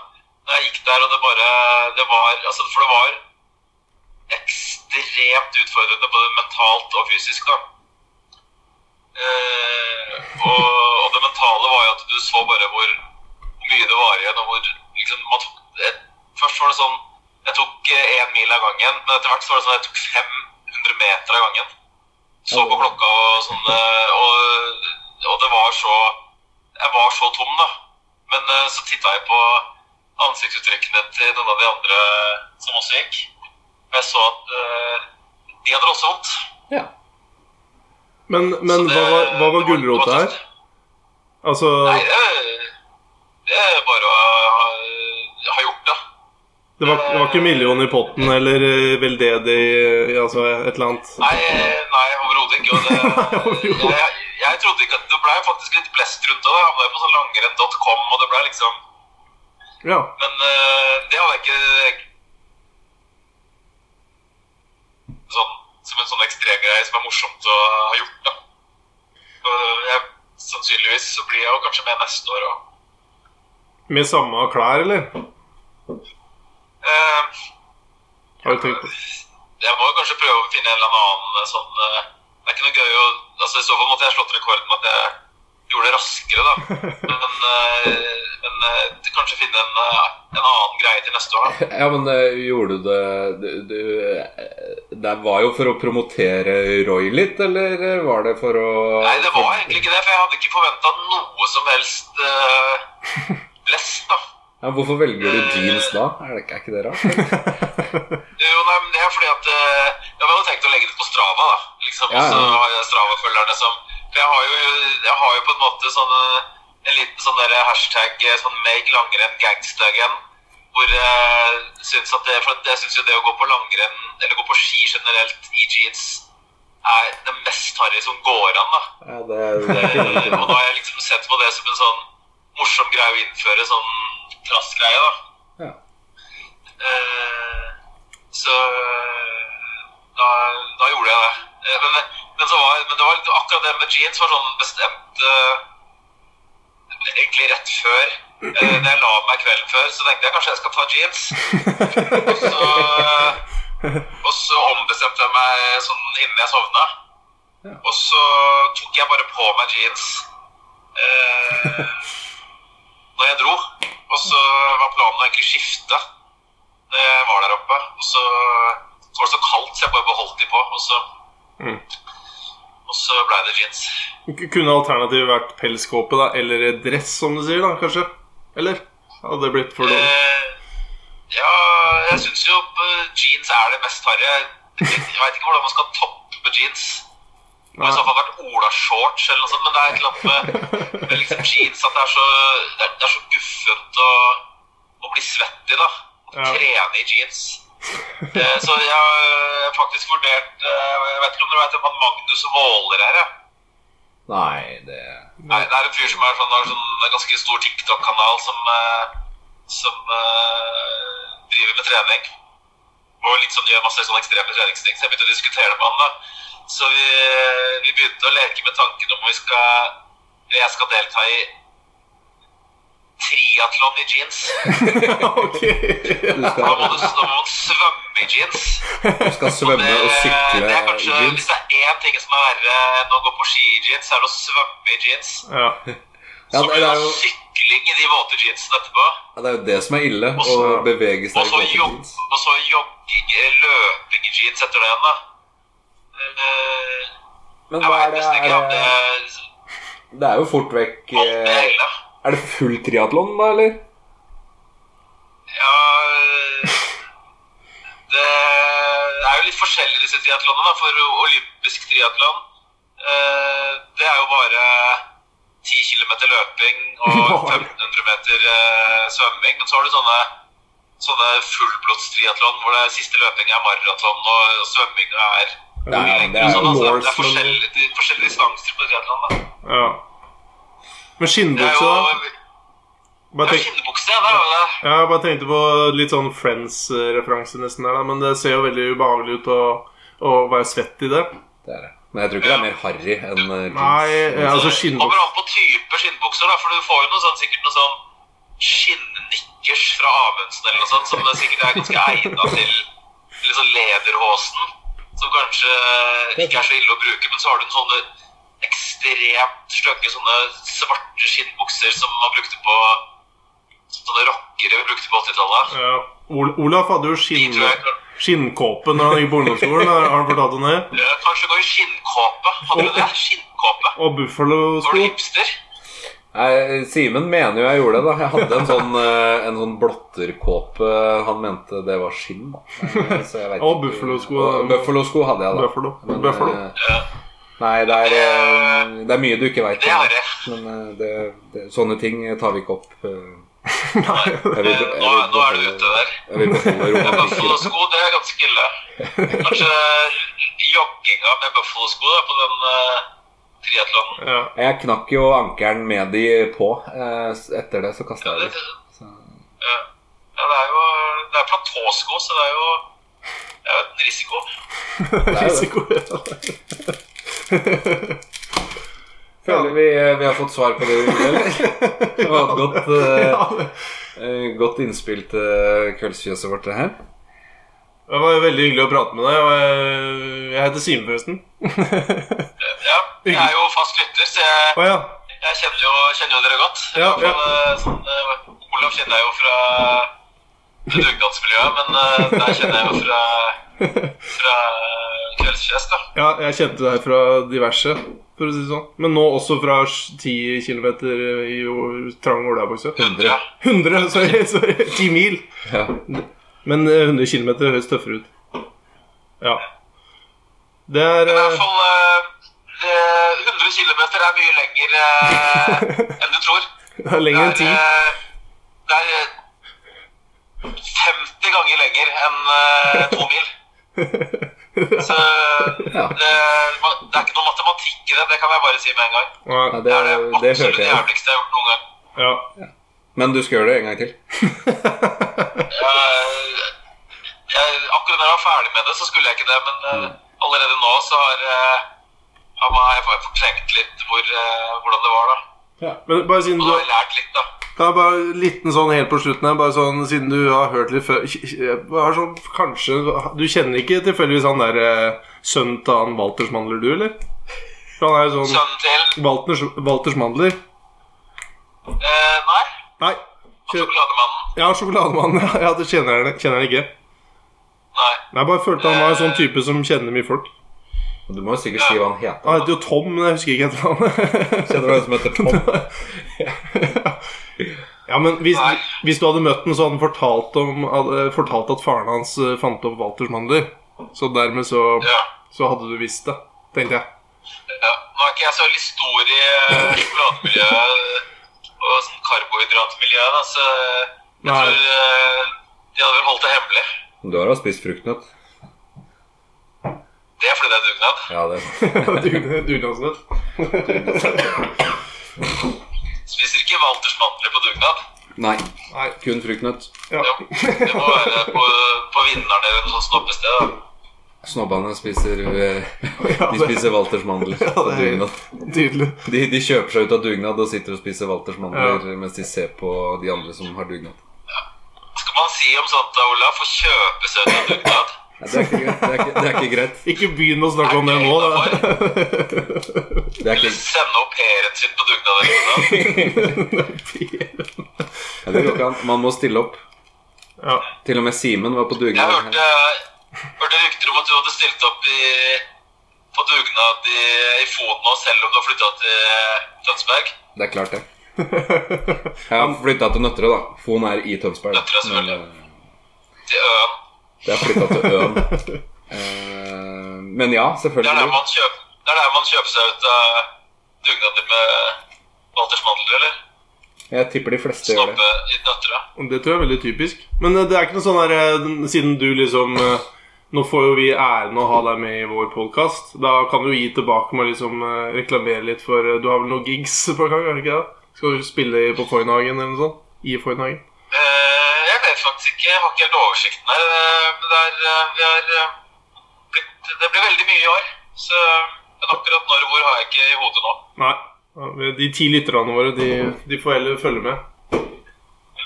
D: Når jeg gikk der og det bare det var, altså, For det var ekstremt utfordrende både mentalt og fysisk. da. Eh, og, og det mentale var jo at du så bare hvor, hvor mye det var igjen. og hvor liksom, man tok, eh, Først var det sånn Jeg tok én mil av gangen, men etter hvert så var det sånn jeg tok 500 meter av gangen så på klokka og sånn, eh, og, og det var så Jeg var så tom, da. Men eh, så titta jeg på ansiktsuttrykkene til noen av de andre som også gikk. Og jeg så at eh, de hadde det også vondt.
C: ja.
B: Men,
D: Så
B: men
D: det-
B: hva var, hva var
D: det
B: gulrota
D: det var
B: her?
D: tøft.
B: Altså
D: Nei, det, det er bare å ha, ha gjort det.
B: Det var, det var ikke million i potten eller eh, veldedig eh, altså et eller annet?
D: Nei, nei overhodet ikke. Og det,
B: overhodet.
D: jeg, jeg trodde ikke at Det blei faktisk litt blest rundt av det. Jeg havna jo på sånn langrenn.com, og det blei liksom
B: Ja.
D: Men eh, det hadde jeg ikke sånn, som en sånn ekstremgreie som er morsomt å ha gjort. da. Og jeg, sannsynligvis så blir jeg jo kanskje med neste år òg.
B: Med samme klær, eller? Har du tenkt på
D: Eh, jeg må jo kanskje prøve å finne en eller annen eh, sånn eh, Det er ikke noe gøy å altså I så fall måtte jeg slått rekorden med at jeg gjorde det raskere, da. Men, eh, men eh, kanskje finne en, eh, en annen greie til neste år, da.
C: Ja, men eh, gjorde du det du, du, eh, Det var jo for å promotere Roy litt, eller eh, var det for å
D: Nei, det var egentlig ikke det, for jeg hadde ikke forventa noe som helst uh, blest, da.
C: ja, Hvorfor velger du jeans da? Er det ikke, er ikke det rart?
D: Jo, nei, men det er fordi at eh, Jeg hadde tenkt å legge det på Strava, da. Liksom,
C: Ja, ja.
D: Så har jeg Strava-følgerne som For jeg har jo, jeg har jo på en måte sånn eh, en liten sånn der hashtag eh, sånn make langrenn gangsta again. Hvor jeg syns at det For at jeg syns jo det å gå på langrenn, eller gå på ski generelt, i jeans, er det mest harry som går an, da.
C: Ja, det, det er
D: Eh, og
C: ikke noe.
D: da har jeg liksom sett på det som en sånn morsom greie å innføre, sånn trassgreie, da.
C: Ja.
D: Eh, så eh, da, da gjorde jeg det. Eh, Men, men, så var, men det var litt- akkurat det med jeans var sånn bestemt eh, Egentlig rett før. Eh, da jeg la meg kvelden før, så tenkte jeg kanskje jeg skal ta jeans. Og så, eh, og så ombestemte jeg meg sånn innen jeg sovna. Og så tok jeg bare på meg jeans eh, når jeg dro. Og så var planen å egentlig skifte når jeg var der oppe. Og så, så var det så kaldt, så jeg bare beholdt de på. Og så,
B: Mm.
D: og så ble det jeans.
B: K- Kunne alternativet vært pelskåpe, da? Eller et dress, som du sier, da, kanskje? Eller? Hadde det blitt for dårlig?
D: Eh, ja, jeg syns jo eh, jeans er det mest harry. Jeg veit ikke hvordan man skal toppe jeans. Det må i så fall vært olashorts eller noe sånt, men det er et eller annet med, med liksom jeans at det er så, det er, det er så guffent å, å bli svettig, da. Å
B: Ja.
D: trene i jeans. Eh, så jeg har faktisk vurdert eh, Jeg vet ikke om dere vet hvem han Magnus Våler er? Ja.
C: Nei, det
D: Nei, det er en fyr som er sånn, har sånn en ganske stor TikTok-kanal som, eh, som eh, driver med trening. Og liksom gjør masse sånn ekstreme treningsting, så jeg begynte å diskutere det med han. da. Så vi, vi begynte å leke med tanken om vi skal, jeg skal delta i triatlon i jeans.
B: ok.
C: Du
D: Da
C: skal,
D: må du, da må man svømme i jeans. Eh,
C: du skal svømme og sykle
D: det er
C: i
D: kanskje,
C: jeans.
D: Hvis det er én ting som er verre enn å gå på ski i jeans, så er det å svømme i jeans.
B: Ja.
C: Ja,
D: så
C: det
D: blir
C: er
D: det
C: jo
D: sykling i de våte jeansene etterpå.
C: Ja, Det er jo det som er ille,
D: Og
C: å
B: så-
C: bevege seg
D: Og
C: i
D: så
C: våte
D: jog-
C: jeans.
D: og så jogging eller løping i jeans etter det igjen, da. Eh,
C: Men
D: Jeg
C: hva er
D: vet
C: det, eh,
D: nesten ikke eh, om
C: er
D: det
C: det Det er jo fort vekk
D: Alt det
C: eh,
D: hele.
C: Er det full triatlon, da, eller?
D: Ja eh, Det er jo litt forskjellig disse triatlonene, da. For olympisk triatlon eh, Det er jo bare 10 km løping og
B: Bare.
D: 1500 meter eh, svømming. Men så har du sånne, sånne fullblodstriatlon hvor det siste løping er maraton og svømming er
C: Ja, ja, men det er
D: sånn,
C: jo
D: altså, det er
C: Norseman.
D: forskjellige, de- forskjellige distanser på triatlon. da.
B: ja.
D: Det
B: Men
D: er
B: skinnbukse,
D: jo
B: da? Bare
D: det er
B: tenk,
D: jo skinnebukse, ja, det er jo det.
B: ja, jeg bare tenkte på litt sånn Friends-referanse nesten der, da. Men det ser jo veldig ubehagelig ut å, å være svett i det.
C: Det er det. Men jeg tror ikke det er mer harry enn eh, jeans.
B: Nei, ja, altså
D: Kommer
B: skinnbukse
D: an på type skinnbukser, da, for du får jo noe sånn, sikkert noe sånn skinnnikkers fra Amundsen eller noe sånt, som det sikkert er ganske egna til eller sånn lederhosen, som kanskje ikke er så ille å bruke, men så har du en sånne ekstremt stygge sånne svarte skinnbukser som man brukte på sånne rockere vi brukte på 80-tallet.
B: ja. Ol Olaf hadde jo
D: De
B: skinn,
D: tror jeg kan-
B: skinnkåpe når han gikk på ungdomsskolen. Har har han fortalt om det?
D: Ja, Kanskje gå i skinnkåpe. Hadde du det? Skinnkåpe.
B: Og
D: Var du
B: Buffalo-sko.
D: hipster?
C: Nei, Simen mener jo jeg gjorde det, da. Jeg hadde en sånn, eh, en sånn blotterkåpe. Han mente det var skinn, da. Nei, eh, så jeg vet
B: Og
C: ikke.
B: buffalosko.
C: Og Buffalosko hadde jeg, da.
B: Buffalo.
C: Men, eh,
B: Buffalo.
C: Nei, det er, eh, det er mye du ikke veit.
D: Det har jeg.
C: Men eh, det, det, sånne ting tar vi ikke opp. eh.
B: Nei.
C: Jeg vil- jeg
D: Eh, Nå,
C: vil
D: nå er du
C: beholde-
D: ute der.
C: Jeg vil beholde romantikken.
D: Buffalo-sko, det er ganske ille. Kanskje jogginga med Buffalo-sko da, på den uh, triatlonen.
B: Ja.
C: Jeg knakk jo ankelen med de på. eh, s- Etter det så kasta
D: Ja,
C: jeg
D: det,
C: det.
D: ja. ja, det er jo det er platåsko, så det er jo det er jo en risiko.
C: er jo
B: Risiko.
C: Føler vi, eh, vi har fått svar på det vi ville, eller? Det var et godt, eh, eh, godt innspill til kveldsfjøset vårt, det her.
B: Det var jo veldig hyggelig å prate med deg. Og jeg- jeg heter Simen, forresten.
D: Ja, jeg er jo fast lytter, så jeg,
B: Å ja.
D: jeg kjenner, jo, kjenner jo dere godt.
B: Ja, ja.
D: Men, eh, sånn, eh, Olav kjenner jeg jo fra det dugnadsmiljøet, men eh, der kjenner jeg jo fra, fra kveldsfjes, da.
B: ja. Jeg kjente deg fra diverse, for å si det sånn. Men nå også fra 10 km i o- trang olabukse.
C: 100.
B: 100, sorry, sorry. 10 mil.
C: Ja.
B: Men eh, 100 km høres tøffere ut. Ja. Det
D: Men
B: er
D: i
B: eh,
D: hvert fall eh, eh, 100 km er mye lenger eh, enn du tror.
B: det er lenger enn 10.
D: eh, det er eh, 50 ganger lenger enn eh, to mil. Så
C: Ja.
D: det, man- det er ikke noe matematikk i det, det kan jeg bare si med en gang.
B: Nei,
C: Nei, det,
D: Det er det
C: det
D: absolutt
C: hørte
D: det
C: jeg.
D: jævligste jeg har gjort noen gang.
B: Ja.
C: Men du skal gjøre det en gang til.
D: Eh, jeg, akkurat da jeg var ferdig med det, så skulle jeg ikke det, men eh, allerede nå så har, eh, har man- har jeg fortrengt litt hvor, eh, hvordan det var, da.
B: Men bare siden
D: Og da har
B: du
D: jeg lært litt, da.
B: Det er bare en liten sånn helt på slutten her, bare sånn siden du har hørt litt før bare sånn, Kanskje Du kjenner ikke tilfeldigvis han der eh, sønnen til han Walters Mandler, du, eller? For han er jo sånn
D: Sønnen til
B: Walters, Walters Mandler.
D: eh, Nei,
B: Nei.
D: og
B: kjø-
D: sjokolademannen.
B: Ja, Sjokolademannen. Ja, ja, du kjenner han kjenner han ikke.
D: Nei.
B: Nei, Jeg bare følte han var en sånn type som kjenner mye folk.
C: Og Du må jo sikkert si hva han heter.
B: Han heter jo Tom, men jeg husker ikke etternavnet.
C: Kjenner du en som heter Tom?
B: Ja, men hvis,
D: Nei.
B: hvis du hadde møtt den, så hadde han fortalt, om, hadde fortalt at faren hans eh, fant opp Walters Mandler. Så dermed så,
D: Ja.
B: så hadde du visst det, tenkte jeg.
D: ja. Nå er ikke jeg så veldig stor i eh, sjokolademiljøet og sånn karbohydratmiljøet, da, så jeg
B: Nei.
D: tror eh, de hadde vel holdt det hemmelig.
C: Du har da spist fruktnøtt?
D: Det er fordi det er dugnad.
C: Ja, det
B: Dugne- Dugnadsnøtt.
D: Spiser ikke Walters mandler på dugnad.
C: Nei.
B: Nei.
C: Kun fruktnøtt.
B: Ja.
D: Jo, det må være på, på vinnerne eller noe sånt snobbested. da.
C: Snobbene spiser eh,
B: Ja,
C: De
B: det-
C: spiser Walters mandler
B: Ja,
C: på
B: det er-
C: dugnad.
B: Tydelig.
C: De, de kjøper seg ut av dugnad og sitter og spiser Walters mandler mens de ser på de andre som har dugnad.
D: Skal man si om sånt da, Olav? Få kjøpe seg ut av dugnad?
C: Nei, det, er ikke, greit. det, er ikke, det er ikke greit.
B: Ikke begynn å snakke om det nå, da.
C: Det er
D: Eller
C: ikke,
D: sende au pairen sin på dugnad? eller noe sånt?
C: ja, det går ikke an. Man må stille opp.
B: Ja.
C: Til og med Simen var på
D: Jeg
C: dugnad.
D: hørte, hørte rykter om at du hadde stilt opp i, på dugnad i, i Foten nå, selv om du har flytta til Tønsberg.
C: Det er klart, det. Jeg har flytta til Nøtterøy, da. Fon er i Tønsberg. da.
D: Nøtterøy, selvfølgelig.
C: Men, eh,
D: Til Øen.
C: Det er flytta til Øen. Eh, Men ja,
D: Det er der
C: selvfølgelig.
D: man kjøper, det er der man kjøper seg ut av dugnader med Walters mandler, eller?
C: Jeg tipper de fleste gjør det.
D: Snoppe i Nøtterøy.
B: Det tror jeg er veldig typisk. Men eh, det er ikke noe sånn der eh, den- Siden du liksom eh, Nå får jo vi æren å ha deg med i vår podkast. Da kan du gi tilbake med å liksom eh, reklamere litt for eh, Du har vel noen gigs på gang? er det ikke det? Skal du spille i- på Foynhagen eller noe sånt? I Foynhagen?
D: Eh, Jeg vet faktisk ikke, jeg har ikke helt oversikten her. eh, Men det er, eh, vi er eh, blitt, Det blir veldig mye i år. Så men akkurat når og hvor har jeg ikke i hodet nå.
B: Nei. Ja, De ti lytterne våre, de, de får heller følge med.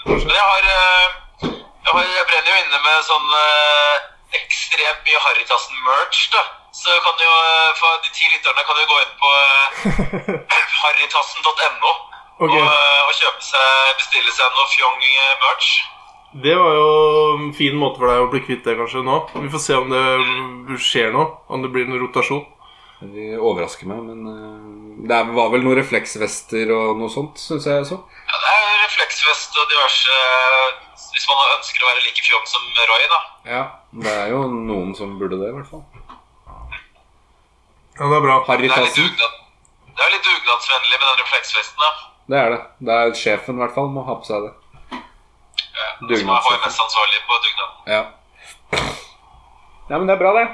D: Men jeg har, eh, jeg har Jeg brenner jo inne med sånn eh, ekstremt mye Harrytassen-merch, da. Så kan jo eh, for de ti lytterne kan jo gå inn på eh, harrytassen.no
B: Ok.
D: og, eh, og kjøpe seg, bestille seg noe fjong eh, merch.
B: Det var jo en fin måte for deg å bli kvitt det kanskje nå. Vi får se om det skjer noe. Om det blir en rotasjon.
C: De overrasker meg, men eh, det er- var vel noen refleksvester og noe sånt, syns jeg så.
D: Ja, det er jo refleksvest og diverse eh, Hvis man ønsker å være like fjong som Roy, da.
C: Ja, det er jo noen som burde det, i hvert fall.
B: Ja, det er bra.
C: Harry
D: Det er litt,
C: Tassen.
D: dugnad, det er litt dugnadsvennlig med den refleksvesten, da.
C: Det er det. Det er sjefen, i hvert fall, må ha på seg det.
D: Som er
C: Dugnadsvest.
D: HMS-ansvarlig på dugnaden.
C: Ja. Nei, men det er bra, det.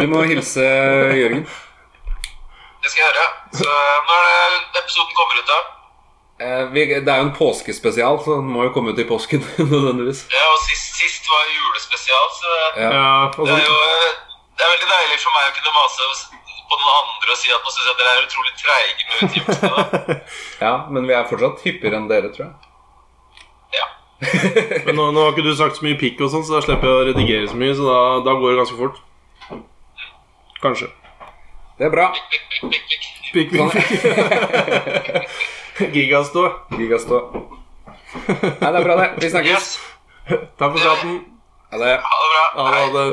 C: Du må hilse Jørgen.
D: Det skal jeg gjøre. Så eh, når eh, episoden kommer ut, da
C: Eh, vi, det er jo en påskespesial, så den må jo komme ut i påsken nødvendigvis.
D: Ja, og sist, sist var julespesial, så
C: Ja.
B: Ja,
D: det er jo
B: altså,
D: eh, det er veldig deilig for meg å kunne mase på noen andre og si at nå syns jeg dere er utrolig treige med utgivelsene. da.
C: Ja, men vi er fortsatt hyppigere enn dere, tror jeg.
D: Ja.
B: men nå, nå har ikke du sagt så mye pikk, og sånn, så da slipper jeg å redigere så mye. Så da, da går det ganske fort. Kanskje.
C: Det er bra.
B: Pikk, pikk,
C: Sånn.
B: pikk. Gigastå.
C: Gigastå. Nei, det er bra, det. Vi snakkes.
D: Yes,
B: Takk for praten.
C: Ha det.
D: ha det bra.
B: Ja,
D: Hei.
B: det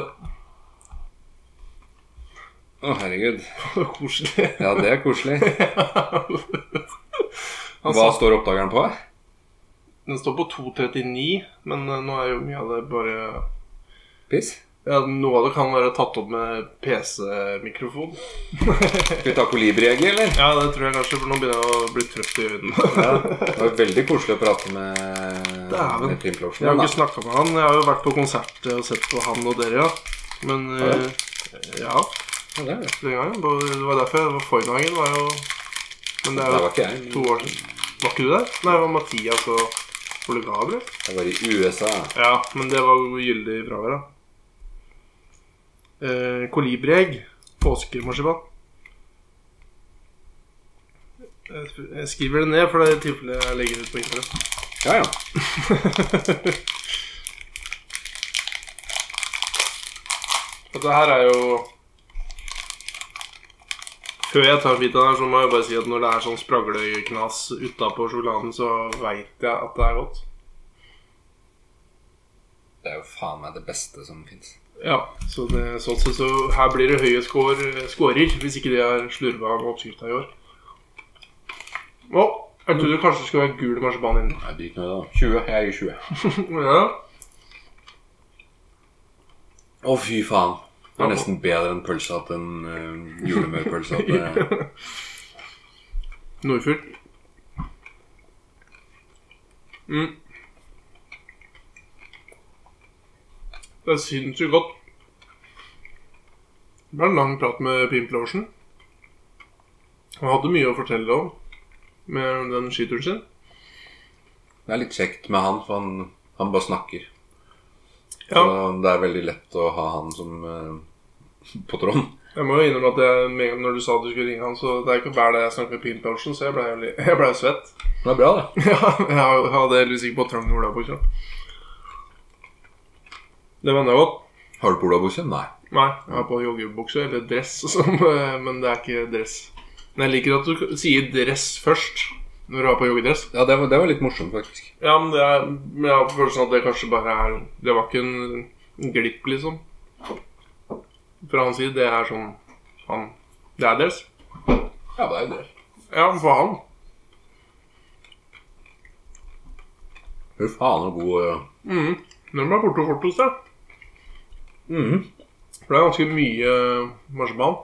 C: Å, herregud.
B: var koselig.
C: Ja, det er koselig.
B: Han
C: Hva
B: sa
C: står oppdageren på?
B: den står på 2.39, men eh, nå er jo mye av det bare
C: Piss?
B: ja, Noe av det kan være tatt opp med PC-mikrofon.
C: Skal vi ta kolibriegget, eller?
B: Ja, det tror jeg kanskje, for nå begynner jeg å bli trøtt i øynene.
C: Ja. Det var veldig koselig å prate med,
B: Dæven.
C: med Pimp
B: Jeg har
C: Lotion.
B: ikke snakka med han. Jeg har jo vært på konsert og sett på han og dere, ja. Men eh, ja,
C: Ja, det er det.
B: den gangen. på- Det var derfor jeg var Foynhagen. var jo Men det
C: Der
B: er
C: var
B: jo
C: ikke jeg.
B: to år siden. Var ikke du der? Nei, det var Mathias og Ole Gabriel.
C: Jeg var i USA.
B: Ja, men det var jo gyldig fravær, da. Eh, kolibriegg. Påskemarsipan. Jeg sp- Jeg skriver det ned, for det er i tilfelle jeg legger det ut på internett.
C: Ja, ja.
B: Dette her er jo Før jeg tar en bit av den, her, så må jeg bare si at når det er sånn spragleknas utapå sjokoladen, så veit jeg at det er godt.
C: Det er jo faen meg det beste som fins.
B: Ja, så det, sånn sett så her blir det høye skår, skårer, hvis ikke de har slurva med oppskrifta i år. Å, jeg trodde det kanskje skulle være gul marsipan inni.
C: Nei, drit nå i det, da. 20. Jeg gir 20.
B: Ja.
C: Å, fy faen. Det er nesten bedre enn pølsa til en uh, julemørpølse. at det-
B: Nordfjord. Mm. Det er sinnssykt godt. Det var en lang prat med Pimp Larsen. Han hadde mye å fortelle om med den skituren sin.
C: Det er litt kjekt med han, for han, han bare snakker.
B: Ja.
C: Og det er veldig lett å ha han som eh, på tråden.
B: Jeg må jo innrømme at jeg, med en gang når du sa at du skulle ringe han, så det er ikke hver dag jeg snakker med Pim Pelsen, så jeg ble, jo li- jeg ble jo svett.
C: Men Det er bra, det.
B: Ja, jeg har- jeg hadde heldigvis ikke på trang olabukse. Det vender jeg godt.
C: Har du polabukse? Nei.
B: Nei, jeg har på joggebukse eller dress, som, eh, men det er ikke dress. Men jeg liker at du sier dress først når du har på joggedress.
C: Ja, det var, det var litt morsomt, faktisk.
B: Ja, men det er, men jeg har følelsen at det kanskje bare er Det var ikke en glipp, liksom. Fra hans side. Det er sånn han Det er deres.
C: Ja, det er jo det.
B: Ja, men for han.
C: Fy faen, så god eh,
B: Mhm. Den ble borte fort hos deg.
C: mhm.
B: For det er ganske mye eh, marsipan.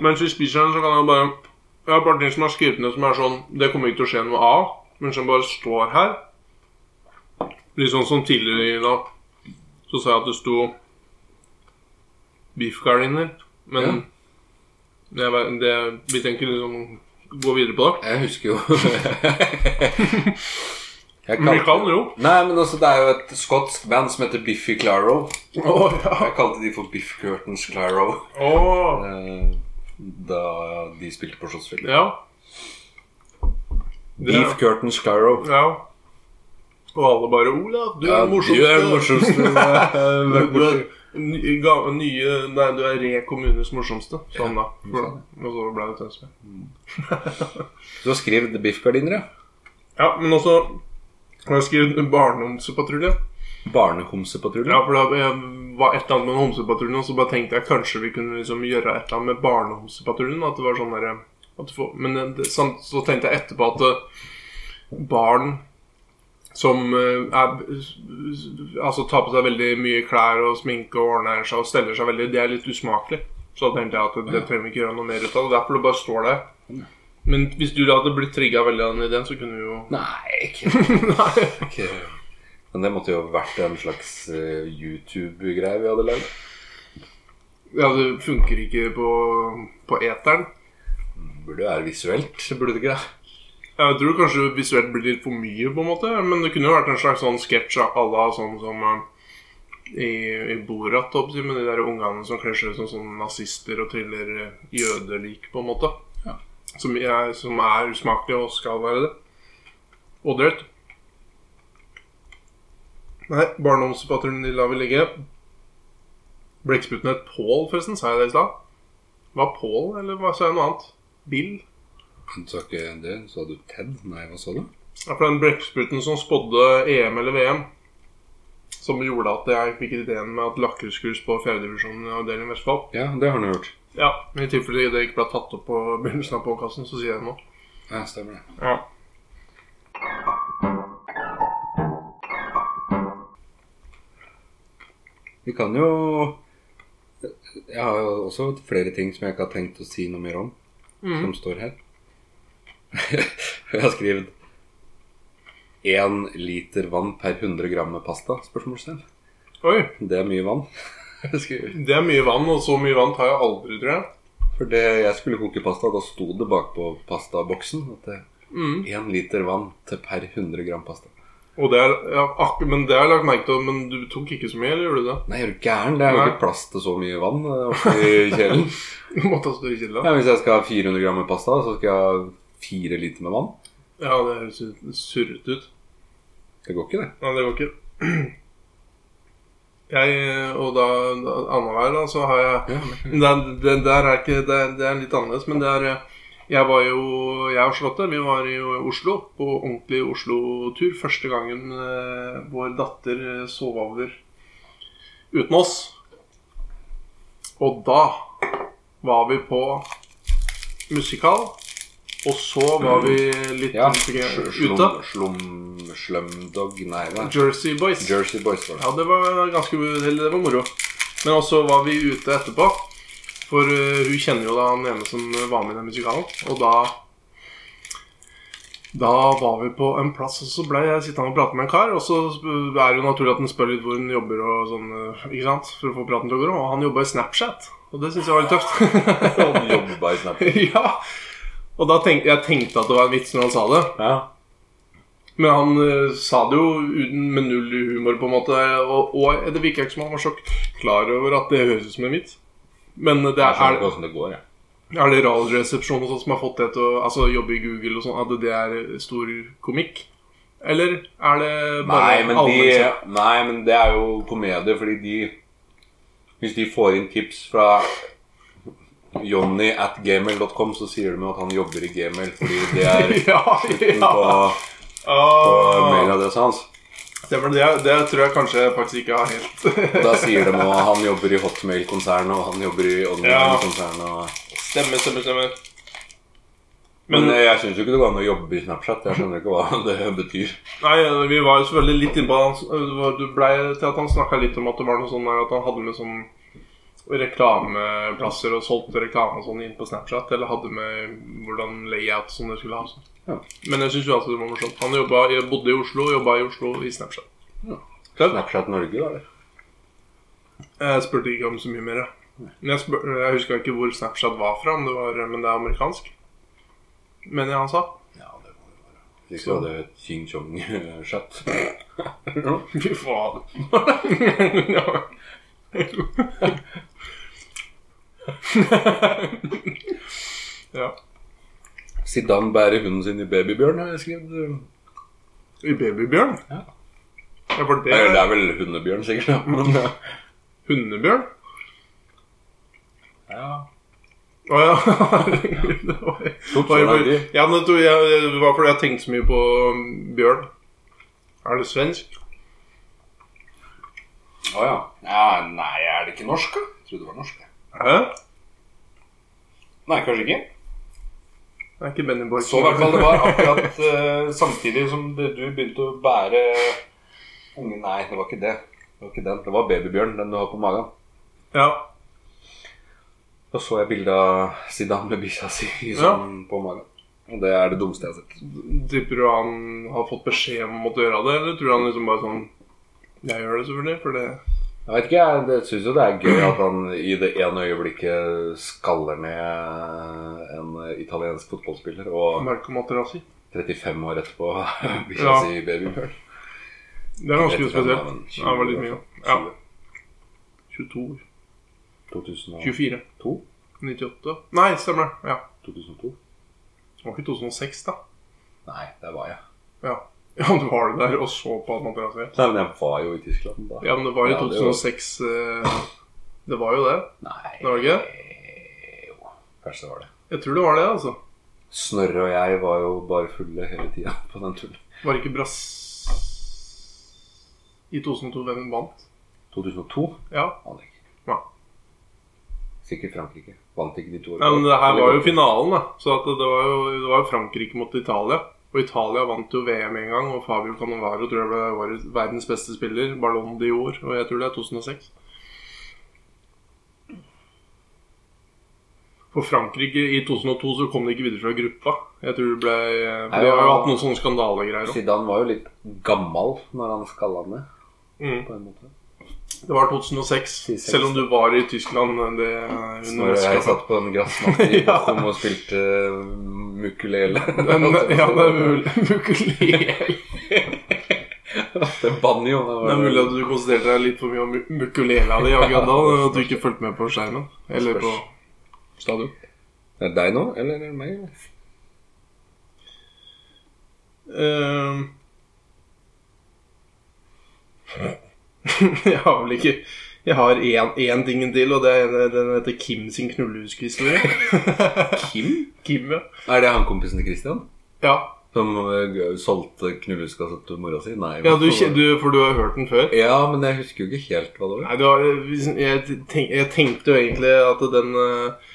B: Mens vi spiser den, så kan jeg bare Jeg har bare ting som er skrevet ned som er sånn Det kommer ikke til å skje noe av, men som bare står her. Litt sånn som tidligere i dag. Så sa jeg at det sto biffgardiner. Men jeg vet- det, vi tenker liksom gå videre på det.
C: Jeg husker jo Jeg
B: Men vi kan jo.
C: Nei, men altså, det er jo et skotsk band som heter Biffy Claro.
B: Å, ja.
C: Jeg kalte de for Biff Curtains Claro
B: Å,
C: eh, da de spilte på Slottsfjell.
B: ja. Det-
C: Beef Curtains Claro.
B: Ja. Og alle bare 'Olav, du er
C: Ja,
B: den morsomste'.
C: du er den morsomste.
B: Du er- du
C: morsomste.
B: er ny- ga- nye Nei, du er Re kommunes morsomste, sa han da.
C: hun
B: For,
C: sa
B: og så ble det Tønsberg.
C: Du har skrevet biffgardiner, ja.
B: Ja, men også har jeg skrevet Barndomspatrulje.
C: Barnehomsepatruljen.
B: Ja, for da jeg var et eller annet med en homsepatruljen, og så bare tenkte jeg kanskje vi kunne liksom gjøre et eller annet med barnehomsepatruljen. At det var sånn derre at du får- Men eh, det, sam- så tenkte jeg etterpå at eh, barn som eh, er Altså tar på seg veldig mye klær og sminke og ordner seg og steller seg veldig, det er litt usmakelig. Så da tenkte jeg at det trenger vi ikke gjøre noe mer ut av. Derfor det bare står der. Men hvis du da hadde blitt trigga veldig av den ideen, så kunne vi jo
C: Nei, ikke
B: Nei.
C: Ok. Men det måtte jo vært en slags eh, YouTube-greie vi hadde lagd.
B: Ja, det funker ikke på, på eteren.
C: Burde jo være visuelt. Burde det ikke det?
B: Jeg tror kanskje visuelt blir litt for mye, på en måte. Men det kunne jo vært en slags sånn sketsj à la sånn som eh, i, i Borat, holdt jeg på å si, med de der ungene som kler seg ut som sånne nazister og triller eh, jødelik, på en måte.
C: Ja.
B: Som, er, som er usmakelige og skal være det. Og drøyt. Nei, barndomspatruljen de lar vi ligge. Blekksprutten het Pål, forresten. Sa jeg det i stad? Var Pål, eller hva sa jeg noe annet? Bill?
C: Men sa ikke det? Sa du Ted? Nei, hva sa du?
B: Ja, for den blekkspruten som spådde EM eller VM, som gjorde at jeg fikk ideen med at lakkhus skulle spå fjerdedivisjonen i avdeling Vestfold
C: Ja, det har han jo gjort.
B: Ja, men I tilfelle det ikke ble tatt opp på begynnelsen av podkasten, så sier jeg det nå.
C: Ja, stemmer det.
B: Ja.
C: Vi kan jo Jeg har jo også flere ting som jeg ikke har tenkt å si noe mer om,
B: Mm.
C: som står her. jeg har skrevet én liter vann per 100 gram med pasta? Spørsmålstegn.
B: Oi,
C: Det er mye vann. Skriver.
B: det er mye vann, og så mye vann tar jeg aldri, tror jeg.
C: For det, jeg skulle koke pasta, da sto det bakpå pastaboksen at det
B: Mm.
C: én liter vann til per 100 gram pasta.
B: Og det er, ja, ak men det har jeg lagt merke til, men du tok ikke så mye, eller gjorde du det?
C: Nei, er du gæren? Det er jo
B: Nei.
C: ikke plass til så mye vann eh, oppi kjelen.
B: Du måtte ha større kilder.
C: Ja, hvis jeg skal ha 400 gram med pasta, så skal jeg ha fire liter med vann.
B: Ja, det høres ut- surrete ut.
C: Det går ikke, det.
B: Nei, det går ikke. Jeg, og da annenhver, da, så har jeg det, det, der er ikke, det, det er litt annerledes, men det er eh, Jeg var jo, jeg og Charlotte, vi var i Oslo på ordentlig Oslo-tur. Første gangen eh, vår datter eh, sov over uten oss. Og da var vi på musikal, og så var vi litt
C: Ja,
B: ute.
C: slum, slum, slumdog Nei, hva?
B: Jersey Boys.
C: Jersey Boys. Var det.
B: Ja, det var ganske eller det var moro. Men også var vi ute etterpå. For eh, hun kjenner jo da han ene som var med i den musikalen. Og da Da var vi på en plass, og så ble jeg sittende og prate med en kar. Og så sp- er det jo naturlig at han spør litt hvor han jobber, og sånn, eh, ikke sant? for å få praten til å gå. Og han jobba i Snapchat, og det syns jeg var litt tøft.
C: Han jobber bare i Snapchat.
B: ja. Og da tenkte jeg tenkte at det var en vits når han sa det.
C: Ja.
B: Men han eh, sa det jo uten, med null humor, på en måte. Og, og det virka ikke som han var så klar over at det høres ut som en vits. Men det
C: Jeg skjønner
B: er,
C: ikke åssen det går, jeg.
B: er det radioresepsjonen og sånt som har fått det til å altså, jobbe i Google og sånn, at det er stor komikk? Eller er det bare
C: Nei men, de,
B: allmennkjent?
C: nei, men det er jo komedie, fordi de Hvis de får inn tips fra Johnny at gmail.com, så sier de jo at han jobber i gmail, fordi det er
B: Ja,
C: slutten på,
B: ja.
C: på
B: Ah,
C: mailadressa hans.
B: stemmer det. Det tror jeg kanskje jeg faktisk ikke har helt
C: Da sier de at han jobber i Hotmail-konsernet, og han jobber i
B: Ja.
C: Online-konsernet. og-
B: Stemmer, stemmer, stemmer.
C: Men eh,
B: Men-
C: jeg syns jo ikke det går an å jobbe i Snapchat. Jeg skjønner ikke hva det betyr.
B: Nei, eh, vi var jo selvfølgelig litt innpå at han, eh, det var- Du blei til at han snakka litt om at det var noe sånn der at han hadde med sånn reklameplasser og solgte reklame og sånn inn på Snapchat. Eller hadde med hvordan layout som det skulle ha. sånn.
C: Ja.
B: Men jeg syns jo alltid det var morsomt. Han jobba, bodde i Oslo, jobba i Oslo i Snapchat.
C: Ja.
B: Tøft.
C: Snapchat Norge, da? eller?
B: Jeg spurte ikke om så mye mer. jeg. Men jeg, spør, jeg huska ikke hvor Snapchat var fra, om det var, eh, men det er amerikansk. Men jeg han sa.
C: Ja, det må det være. Hvis ikke så hadde jeg et Ching Chong-chat.
B: Fy faen. ja.
C: Zidane bærer hunden sin i babybjørn, har jeg skrevet.
B: I babybjørn?
C: Ja.
B: Ja, var det
C: Eller det
B: det?
C: er vel hundebjørn, sikkert. da, Men
B: Hundebjørn?
C: ja.
B: Å ja. Herregud, det var-
C: Tok
B: var-
C: sånn av de.
B: Ja, men jeg tror jeg, det var fordi jeg tenkte så mye på um, bjørn. Er det svensk?
C: Å ja. ja. Nei, er det ikke norsk, da? Jeg trodde det var norsk. jeg.
B: Hæ?
C: Nei, kanskje ikke.
B: Det er ikke Benny Borg.
C: Så i hvert fall det var akkurat eh, samtidig som det, du begynte å bære unge Nei, det var ikke det. Det var ikke den. Det var babybjørn, den du har på magen.
B: Ja.
C: Da så jeg bilde av Zidane med bikkja si sånn på magen. Og det er det dummeste jeg har sett.
B: Tipper du han har fått beskjed om å måtte gjøre det, eller tror du han liksom bare sånn Jeg gjør det selvfølgelig, for det
C: Jeg vet ikke, jeg det syns jo det er gøy at han i det ene øyeblikket skaller ned en italiensk fotballspiller, og
B: Marco Materazzi.
C: 35 år etterpå bikkja
B: Ja.
C: si babybjørn.
B: Det er ganske
C: 35 av
B: spesielt.
C: en
B: Ja, det var litt mye. Ja.
C: 20,
B: 22
C: 2002?
B: 24. 98. Nei, stemmer det. Ja.
C: 2002?
B: Det var ikke 2006, da.
C: Nei, der var jeg.
B: Ja. ja, du var det der og så på at man prøver å se.
C: Nei, men jeg var jo i Tyskland da.
B: Ja, men det var jo
C: Ja, det var-
B: 2006 eh, Det var jo det.
C: Nei
B: Det var ikke?
C: Jo, kanskje det var det.
B: Jeg tror det var det, altså.
C: Snorre og jeg var jo bare fulle hele tida på den turen.
B: Var det ikke Brass... I 2002 hvem vant?
C: 2002?
B: Ja.
C: Aner ikke.
B: Nei.
C: Sikkert Frankrike. Vant ikke de to
B: ja. Men det her var jo finalen, da. Så at det var jo, det var jo Frankrike mot Italia. Og Italia vant jo VM en gang, og Fabio Cannavaro tror jeg ble årets- verdens beste spiller. Ballon de Jor, og jeg tror det er 2006. For Frankrike i 2002 så kom de ikke videre fra gruppa. Jeg tror det ble For de har jo hatt noen sånne skandalegreier òg.
C: Zidane var jo litt gammal når han skalla ned,
B: Mm.
C: på en måte.
B: Det var 2006.
C: 2006.
B: Selv om du var i Tyskland eh, det er
C: Når jeg
B: underskapet.
C: satt på den gressmatten i
B: Ja.
C: Bochum og spilte eh, mukulele.
B: Men, ja, det er mulig. Ukulele.
C: Det er banjo.
B: Det er mulig at du konsentrerte deg litt for mye om mu- mukulela di akkurat da. og At du ikke fulgte med på skjermen. Eller på stadion.
C: Er det deg nå, eller er det meg? eller?
B: Ehm. Jeg har vel ikke Jeg har én, én tingen til, og det er den heter Kim sin knullehuskehistorie.
C: Kim?
B: Kim, ja.
C: Er det han kompisen til Christian?
B: Ja,
C: Som eh, solgte knulluskassa til mora si? Nei.
B: ja
C: men-
B: du, kje- du, for du har hørt den før?
C: Ja, men jeg husker jo ikke helt hva det var.
B: Nei, det var, jeg, tenk, jeg tenkte jo egentlig at den eh,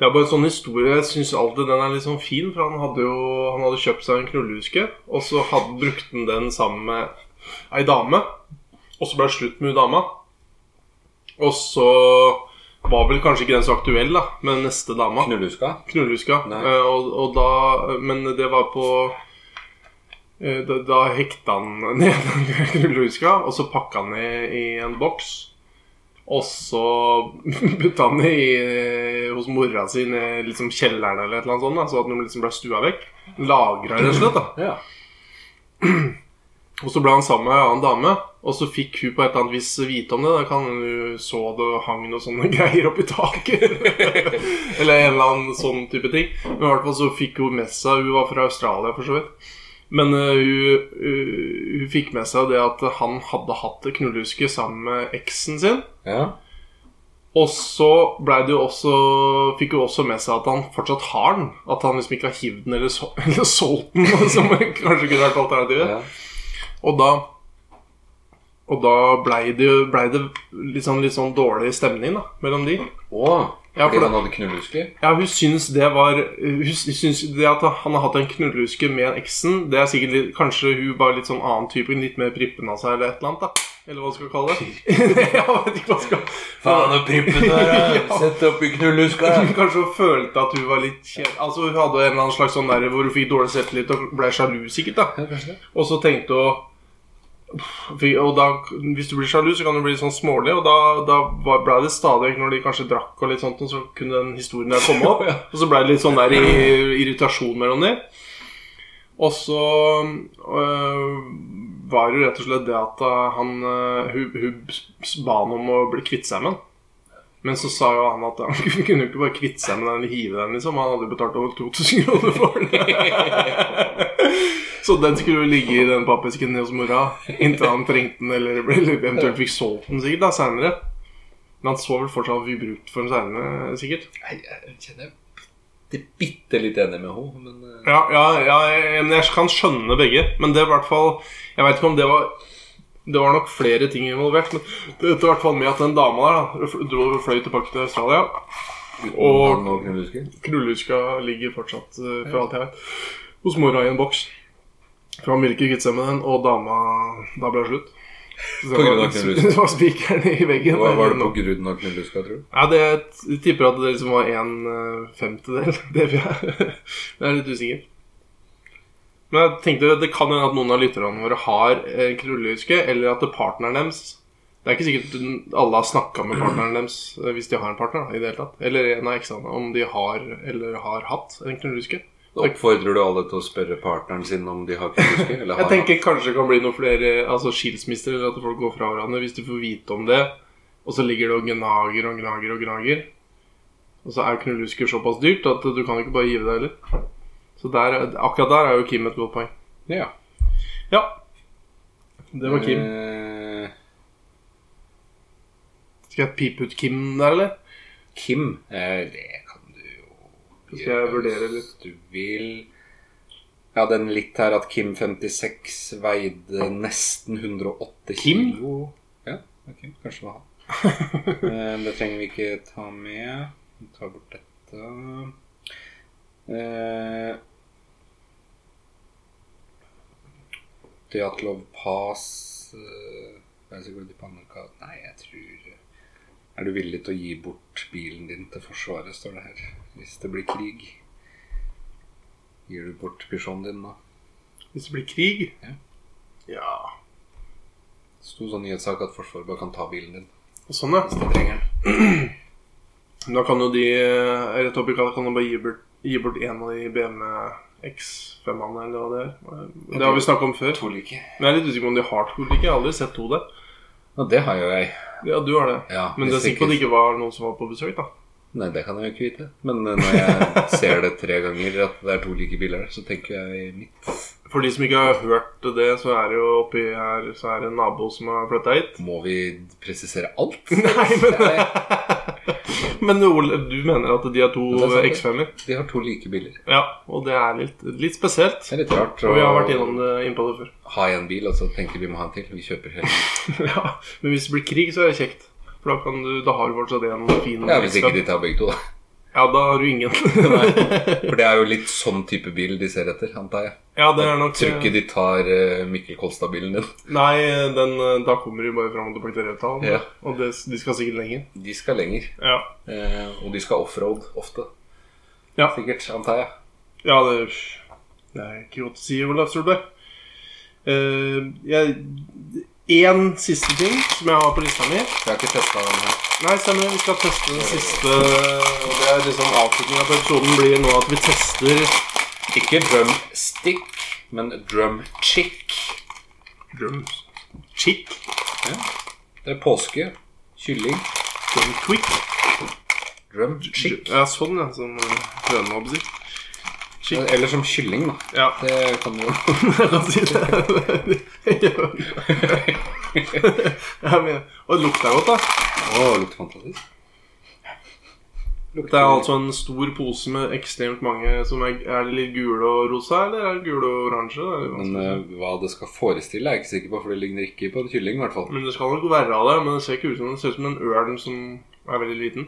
B: Det er bare en sånn historie Jeg syns alltid den er litt sånn fin, for han hadde jo Han hadde kjøpt seg en knullehuske, og så hadde, brukte han den sammen med ei dame. Og så ble det slutt med hun dama. Og så var vel kanskje ikke den så aktuell, da, med neste dama.
C: Knulluska?
B: Knullehuska.
C: Nei.
B: Eh, og, og da Men det var på eh, da, da hekta han ned den knullehuska, og så pakka han ned i en boks. Og så putta han det i, eh, hos eh, mora si ned i liksom kjelleren eller et eller annet sånt, da, så at den liksom ble stua vekk. Lagra, rett og slett. da
C: Ja.
B: Og så ble han sammen med ei annen dame, og så fikk hun på et eller annet vis vite om det. Da kan hun så det hang noen sånne greier oppi taket. eller en eller annen sånn type ting. Men i hvert fall så fikk hun med seg Hun var fra Australia, for så vidt. Men eh, hun, hun, hun fikk med seg det at han hadde hatt det knullehuske sammen med eksen sin.
C: Ja.
B: Og så ble det jo også, fikk jo også med seg at han fortsatt har den. At han liksom ikke har hivd den eller, sol- eller solgt den, som kanskje kunne vært alternativet.
C: ja.
B: Og da Og da blei det, jo- ble det litt, sånn, litt sånn dårlig stemning da mellom de.
C: Å,
B: Ja, for
C: fordi
B: det-
C: han hadde knullehusker?
B: Ja, hun syns det var Hun syns det at han har hatt en knullehuske med eksen Det er sikkert litt Kanskje hun var litt sånn annen type, litt mer prippen av seg eller et eller annet. da Eller hva du skal kalle det. Jeg vet ikke hva du skal
C: Faen, så prippen der!
B: Ja.
C: Sett deg opp i knullehuska!
B: Kanskje hun følte at hun var litt kjent Altså Hun hadde en eller annen slags sånn der hvor hun fikk dårlig selvtillit og ble sjalu, sikkert. da Og så tenkte hun Fy- Og da, Hvis du blir sjalu, så kan du bli sånn smålig, og da, da var- ble det stadig når de kanskje drakk og litt sånt, og så kunne den historien der komme opp. Og så ble det litt sånn der i, irritasjon mellom dem. Og så øh, var det jo rett og slett det at øh, han øh, Hun, hun s- ba han om å bli kvitt seg med han. Men så sa jo han at han kunne jo ikke bare kvitte seg med den eller hive den, liksom. Han hadde jo betalt over 2000 kroner for den. Så den skulle jo ligge i den pappesken hos mora inntil han trengte den, eller ble- eller eventuelt fikk solgt den sikkert da, seinere. Men han så vel fortsatt vi brukt for den seinere, sikkert.
C: Jeg jeg kjenner jeg bitte, bitte litt enig med henne, men eh,
B: Ja, ja, ja jeg, men jeg kan skjønne begge. Men det var i hvert fall Jeg veit ikke om det var Det var nok flere ting involvert. Men det endte i hvert fall med at den dama der da, dro og fløy tilbake til Australia.
C: uten
B: Og-
C: han og knullehusker.
B: Knullehuska ligger fortsatt, eh, for alt jeg vet, hos mora i en boks. For han ville ikke kvitte seg med den, og dama Da ble det slutt. Så
C: På grunn
B: det
C: av
B: var-
C: knullehuska.
B: det var spikeren i veggen.
C: Hva var det på grunn av knullehuska, tror du?
B: Ja, det, jeg tipper at det liksom var en eh, femtedel. Det vi er. Jeg er litt usikker. Men jeg tenkte at det kan hende at noen av lytterne våre har eh, knullehuske, eller at det er partneren deres Det er ikke sikkert alle har snakka med partneren deres eh, hvis de har en partner. da, i det hele tatt Eller en av eksene, om de har eller har hatt en knullehuske.
C: Da Oppfordrer du alle til å spørre partneren sin om de har knullehusker? Eller har
B: Jeg tenker kanskje det kan bli noen flere altså skilsmisser, eller at folk går fra hverandre hvis de får vite om det. Og så ligger det og gnager og gnager og gnager. Og så er knullehusker såpass dyrt at du kan ikke bare give deg heller. Så der, er- akkurat der er jo Kim et godt poeng.
C: han. Ja.
B: Ja. Det var Kim.
C: Eh,
B: Skal jeg pipe ut Kim der, eller?
C: Kim. Eh, det kan du jo
B: Så skal jeg vurdere litt.
C: hvis du vil. Ja, den litt her at Kim 56 veide nesten 108
B: Kim?
C: kilo. Ja, ok, kanskje det var han. Eh, det trenger vi ikke ta med. Vi tar bort dette. Eh, Dyatlov Pass eh, er det sikkert i Panneka? Nei, jeg tror eh, Er du villig til å gi bort bilen din til Forsvaret, står det her. Hvis det blir krig. Gir du bort pysjonen din, da?
B: Hvis det blir krig?
C: Ja.
B: Ja.
C: Det sto sånn nyhetssak at Forsvaret bare kan ta bilen din
B: Og sånn, ja.
C: hvis de trenger den.
B: Men Da kan jo de eh, rett opp i kassa kan de bare gi bort, gi bort en av de BMW X5-ene, eller hva det er. Det har vi snakka om før.
C: To like.
B: Men jeg er litt usikker på om de har to like. Jeg har aldri sett to der.
C: Ja, det har jo jeg.
B: Ja, du har det.
C: Ja,
B: Men det er
C: hvis
B: sikkert at det ikke var noen som var på besøk, da.
C: Nei, det kan jeg jo ikke vite. Men eh, når jeg ser det tre ganger at det er to like biler der, så tenker jeg mitt.
B: For de som ikke har hørt det, så er det jo oppi her Så er det en nabo som har flytta hit.
C: Må vi presisere alt?
B: Nei,
C: Nei.
B: men Men Ole, du mener at de er to
C: Ja, det er sant,
B: X5-er?
C: De har to like biler.
B: Ja, og det er litt, litt spesielt.
C: Det er litt rart.
B: Og vi har vært innom det innpå det før.
C: ha en bil, og så tenker vi må ha en til. Vi kjøper hele bilen.
B: ja, Men hvis det blir krig, så er det kjekt. For da, kan du, da har du fortsatt en fin
C: Ja, hvis ikke
B: X5.
C: de tar begge to, da.
B: Ja, da har du ingen.
C: For det er jo litt sånn type bil de ser etter, antar jeg.
B: ja, det er nok
C: Tror ikke de tar eh, Mikkel Kolstad-bilen din.
B: Nei, den, eh, da kommer de bare fram og tilbake til Rødtall.
C: Ja.
B: Og det, de skal sikkert lenger.
C: De skal lenger.
B: Ja,
C: eh, Og de skal offroad ofte.
B: Ja.
C: Sikkert, antar jeg.
B: ja det, det er ikke godt å si, Olav Solberg. Eh, jeg- Én siste ting som jeg har på lista mi.
C: Jeg har ikke testa den her.
B: Nei, stemmer. Vi skal teste den siste og Det er liksom Avslutninga på episoden blir nå at vi tester
C: Ikke drumstick, men drumchick.
B: Drums. Chick.
C: Det er påske, kylling,
B: Drum quick.
C: drum, chick.
B: Ja, sånn, ja. Som eh, høna, holdt jeg på å si. chick.
C: Eh, Eller som kylling, da.
B: Ja.
C: Det kan jo
B: Jeg kan si det. Jeg mener Og det lukter godt, da.
C: Å, lukter fantastisk.
B: Det er altså en stor pose med ekstremt mange som er, er det litt gule og rosa, eller er det gule og oransje? Det er litt
C: Men
B: vanskelig å si.
C: eh, hva det skal forestille, er jeg ikke sikker på, for det ligner ikke på en kylling. I hvert fall
B: Men det skal nok være av det, men det ser ikke ut som det ser ut som en ørn som er veldig liten.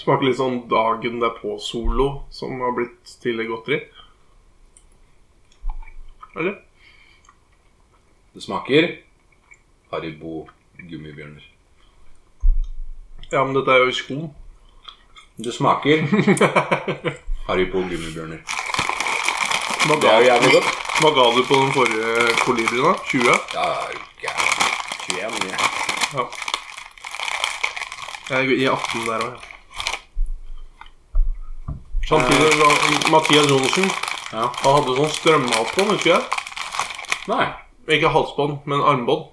B: Smaker litt sånn dagen derpå solo som har blitt til det godteri. Eller?
C: Det smaker Haribo gummibjørner.
B: Ja, men dette er jo i sko.
C: Det smaker Haribo gummibjørner.
B: Hva
C: Det
B: ga,
C: er jo jævlig godt.
B: hva ga du på den forrige kolibrien, da? 20?
C: Ja, det er jo gærent. 21, ja.
B: Ja. Jeg gir 18 der òg, ja. Samtidig var Mathias Johnsen
C: Eh. Ja.
B: Han hadde sånn strømhalsbånd, husker jeg.
C: Nei.
B: Ikke halsbånd, men armbånd.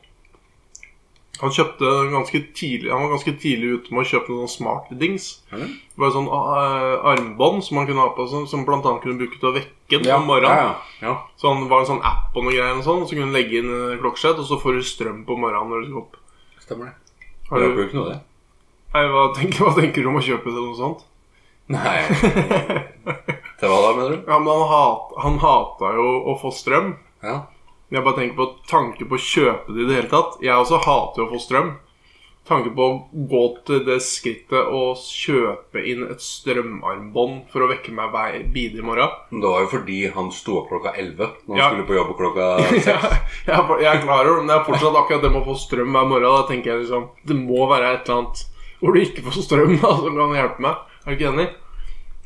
B: Han kjøpte ganske tidlig Han var ganske tidlig ute med å kjøpe noen smart-dings.
C: Er det?
B: Det var sånn eh, armbånd som han kunne ha på seg, som blant annet kunne bruke til å vekke den om morgenen.
C: ja, ja.
B: Så han var en sånn app og noe greier og sånn, så kunne du legge inn eh, klokkesett, og så får du strøm på morgenen når du skal opp.
C: ja. Stemmer det.
B: Har
C: Jeg
B: du,
C: bruker ikke noe av det.
B: nei, hva, tenker, hva tenker du om å kjøpe til noe sånt?
C: Nei. Til hva da, mener du?
B: Ja, men han, hat, han hata jo å få strøm.
C: Ja.
B: Jeg bare tenker på tanke på å kjøpe det i det hele tatt. Jeg også hater å få strøm. Tanke på å gå til det skrittet å kjøpe inn et strømarmbånd for å vekke meg hver bidige morgen.
C: Men det var jo fordi han sto opp klokka 11 når han
B: Ja.
C: skulle på jobb klokka
B: Jeg, jeg, er- jeg er klar over det, men det er fortsatt akkurat det med å få strøm hver morgen. Da tenker jeg liksom Det må være et eller annet hvor du ikke får strøm, da, som kan hjelpe meg. Er du ikke enig?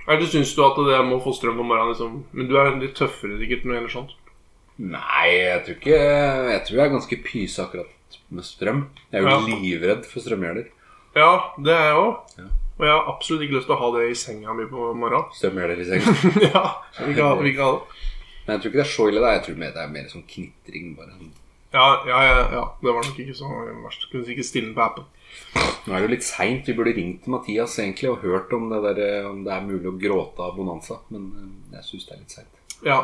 B: Eller syns du at det med å få strøm om morgenen liksom Men du er litt tøffere sikkert når det gjelder sånt.
C: Nei, jeg tror ikke Jeg tror jeg er ganske pyse akkurat med strøm. Jeg er jo
B: Ja.
C: livredd for strømgjerder.
B: Ja, det er jeg òg.
C: Ja.
B: Og jeg har absolutt ikke lyst til å ha det i senga mi på morgenen.
C: Strømgjerder i senga.
B: ja, vi kan, vi kan ha det.
C: Men jeg tror ikke det er så ille. da. Jeg tror mer- det er mer sånn knitring, bare.
B: Ja, ja, ja, ja, det var nok ikke så verst. Kunne sikkert stille den på appen.
C: Nå er det jo litt seint. Vi burde ringt til Mathias egentlig og hørt om det, der, eh, om det er mulig å gråte av bonanza. Men eh, jeg syns det er litt seint.
B: Ja.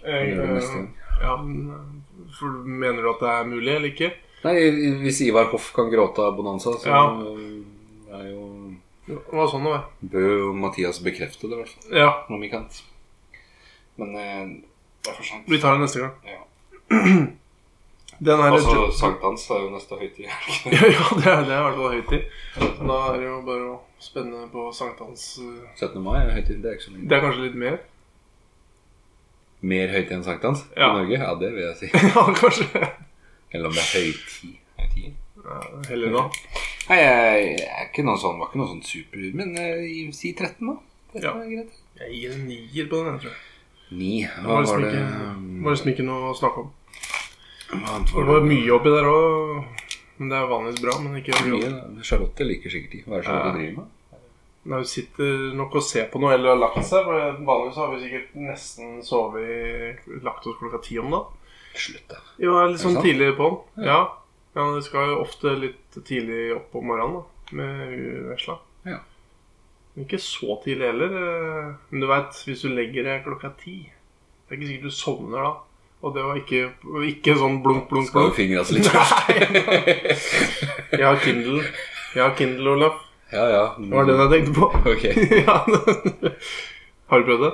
C: Vi
B: Jeg,
C: gjør det
B: eh,
C: neste gang.
B: ja men, eh, for, mener du at det er mulig eller ikke?
C: Nei, hvis Ivar Hoff kan gråte av bonanza, så
B: Ja.
C: eh, er jo
B: Det var sånn det var.
C: Bør jo Mathias bekrefte det, i hvert fall.
B: Ja,
C: Om vi kan. Men eh, det er for seint.
B: vi tar det neste gang.
C: Ja.
B: Den her
C: Altså, sånn- sankthans er jo neste høytid. er det ikke det?
B: Ja, det er, det er i hvert fall høytid. Så Da er det jo bare å spenne på sankthans eh,
C: 17. mai er høytid. Det er ikke så lenge.
B: Det er kanskje litt mer?
C: Mer høytid enn sankthans
B: Ja.
C: i Norge? Ja, det vil jeg si.
B: ja, kanskje.
C: Eller om det er høytid. høytid.
B: Ja, Heller da.
C: Nei, jeg, jeg er ikke noen sånn, var ikke noe sånn super Men eh, gi- si 13, da. 13
B: Ja.
C: er greit.
B: Jeg gir en nier på den, jeg tror jeg.
C: 9.
B: Det
C: Hva
B: var liksom
C: var det um,
B: ikke, var liksom ikke noe å snakke om.
C: Hva
B: Det var mye oppi der òg. Men det er vanligvis bra. Men ikke
C: Mye, da. Charlotte liker sikkert de. Hva er det Charlotte
B: Ja.
C: driver med?
B: Nei, Hun sitter nok og ser på noe eller har lagt seg. For vanligvis har vi sikkert nesten sovet i- lagt oss klokka ti om dagen.
C: Slutt, da.
B: Jo, jeg er litt
C: Er det
B: sånn
C: sant?
B: tidlig på den. Ja. ja, men vi skal jo ofte litt tidlig opp om morgenen da, med vesla.
C: Ja.
B: Men ikke så tidlig heller. eh, Men du veit, hvis du legger deg klokka ti, det er ikke sikkert du sovner da. Og det var ikke, ikke sånn blunk, blunk,
C: Skal jo
B: blunk.
C: fingra seg litt først.
B: Jeg har Kindle. Jeg har Kindle, Olaf.
C: Ja, ja.
B: Det var den jeg tenkte på.
C: Ok.
B: ja. Har du prøvd det?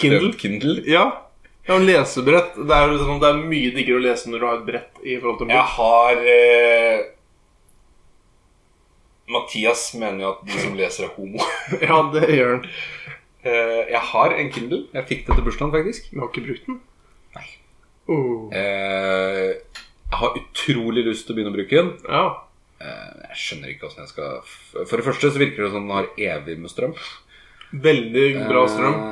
B: Kindle?
C: Prøv Kindle?
B: Ja. ja og lesebrett. Det er, jo sånn, det er mye diggere å lese når du har et brett i forhold til en
C: Jeg
B: bok.
C: har eh, Mathias mener jo at de som leser, er homo.
B: Ja, det gjør den.
C: Eh, jeg har en Kindle. Jeg fikk det til bursdagen, faktisk.
B: Du har ikke brukt den?
C: Nei.
B: Oh.
C: Eh, jeg har utrolig lyst til å begynne å bruke den.
B: Ja.
C: Eh, Jeg skjønner ikke hvordan jeg skal f- For det første så virker det som den har evig med strøm.
B: Veldig bra strøm.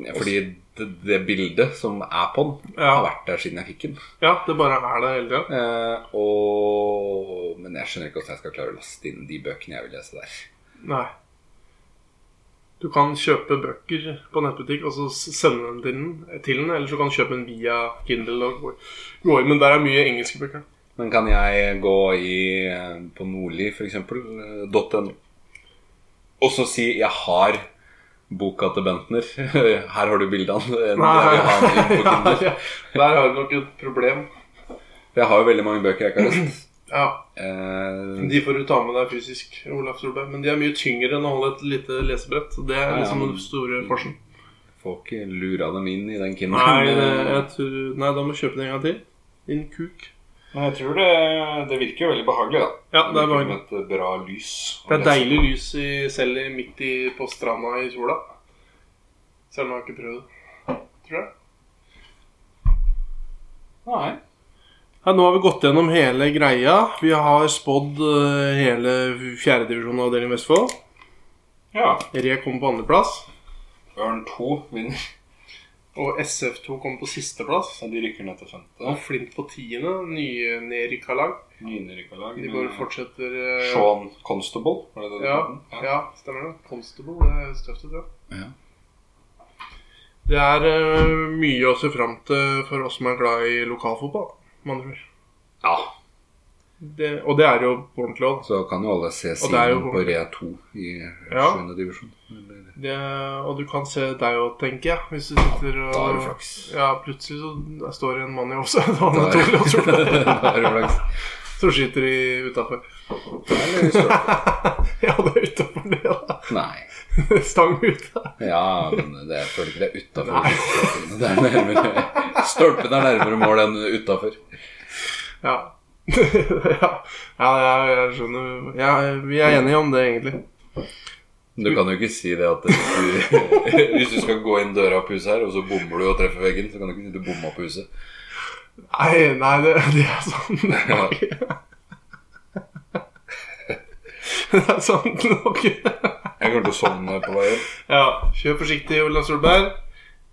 C: Eh, Fordi det, det bildet som er på den,
B: Ja.
C: har vært der siden jeg fikk den.
B: ja, det bare er der hele tida.
C: Eh, og, men jeg skjønner ikke hvordan jeg skal klare å laste inn de bøkene jeg vil lese der.
B: Nei. Du kan kjøpe bøker på nettbutikk og så s- sende dem til den, til den eller så kan du kjøpe den via Kindle. og gå- gå inn, Men der er mye engelske bøker.
C: Men kan jeg gå i, eh, på Nordli, for eksempel, eh, .no, og så si 'jeg har boka til Bentner'. Her har du bildene. eh, Jeg, vil ha den inn på
B: Ja,
C: Kindle.
B: ja. Der har du nok et problem.
C: For jeg har jo veldig mange bøker jeg ikke har lest.
B: Ja,
A: Mm.
C: Eh,
B: De får du ta med deg fysisk, Olaf Solberg. Men de er mye tyngre enn å holde et lite lesebrett. Det er
C: Ja, ja,
B: liksom
C: men-
B: den store forskjellen.
C: får ikke lura dem inn i den kinderen.
B: Nei, det, jeg tror, nei, da må du kjøpe den en gang til. Din kuk.
A: Men jeg tror det, det virker jo veldig behagelig, da.
B: Ja, det er,
A: virker
B: bare,
A: som et eh, bra lys.
B: det er deilig lys i, selv i- midt i, på stranda i sola. Selv om jeg har ikke prøvd det. Tror jeg.
A: Nei.
B: Ja, nå har vi gått gjennom hele greia. Vi har spådd eh, hele fjerdedivisjonen av avdeling Vestfold.
A: Ja.
B: Re kommer på andreplass.
A: Ørn 2 vinner.
B: Og SF2 kommer på sisteplass.
A: Så de rykker ned til femte.
B: Og Flint på tiende. Nye nedrykka lag.
A: Nynyrykka lag.
B: De
A: men-
B: bare fortsetter eh,
A: Sean Constable, var det det du
B: Ja,
A: kalte den?
B: ja, stemmer det. Constable. Det er støft ut,
C: Ja.
B: Det er eh, mye å se fram til for oss som er glad i lokalfotball, med andre ord.
C: Ja,
B: Det, og det er jo på ordentlig òg.
C: Så kan jo alle se
B: det er jo
C: siden på Re 2 i
B: Ja.
C: 7. divisjon. Eller-
B: Og du kan se deg òg, tenker jeg. Hvis du sitter og
C: Da har du flaks.
B: Ja, plutselig så står det en mann i Åse. Det var
C: Da er-
B: naturlig å tro det.
C: da er det flaks.
B: Som skyter utafor. ja, det er utafor det, da.
C: Nei.
B: Stang ut.
C: Ja, men det, jeg føler ikke det er utafor. Det er nærmere Stolpen er nærmere mål enn utafor.
B: Ja. ja, ja jeg, jeg skjønner ja, Vi er enige om det, egentlig.
C: Du kan jo ikke si det at hvis du, hvis du skal gå inn døra på huset her, og så bommer du og treffer veggen, så kan du ikke si du bomma på huset.
B: Nei, nei det, det er sant. Nei. det er sant nok.
C: Jeg kommer til å sovne på veien.
B: ja, kjør forsiktig, Ola Solberg.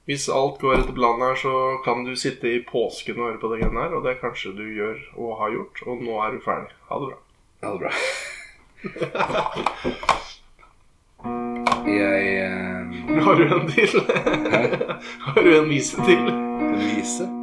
B: Hvis alt går etter planen her, så kan du sitte i påsken og høre på det greiene her. Og det er kanskje du gjør og har gjort. Og nå er du ferdig. Ha det bra.
C: Ha det bra. Jeg eh, eh,
B: Har du en til? har du en vise til?
C: Lise?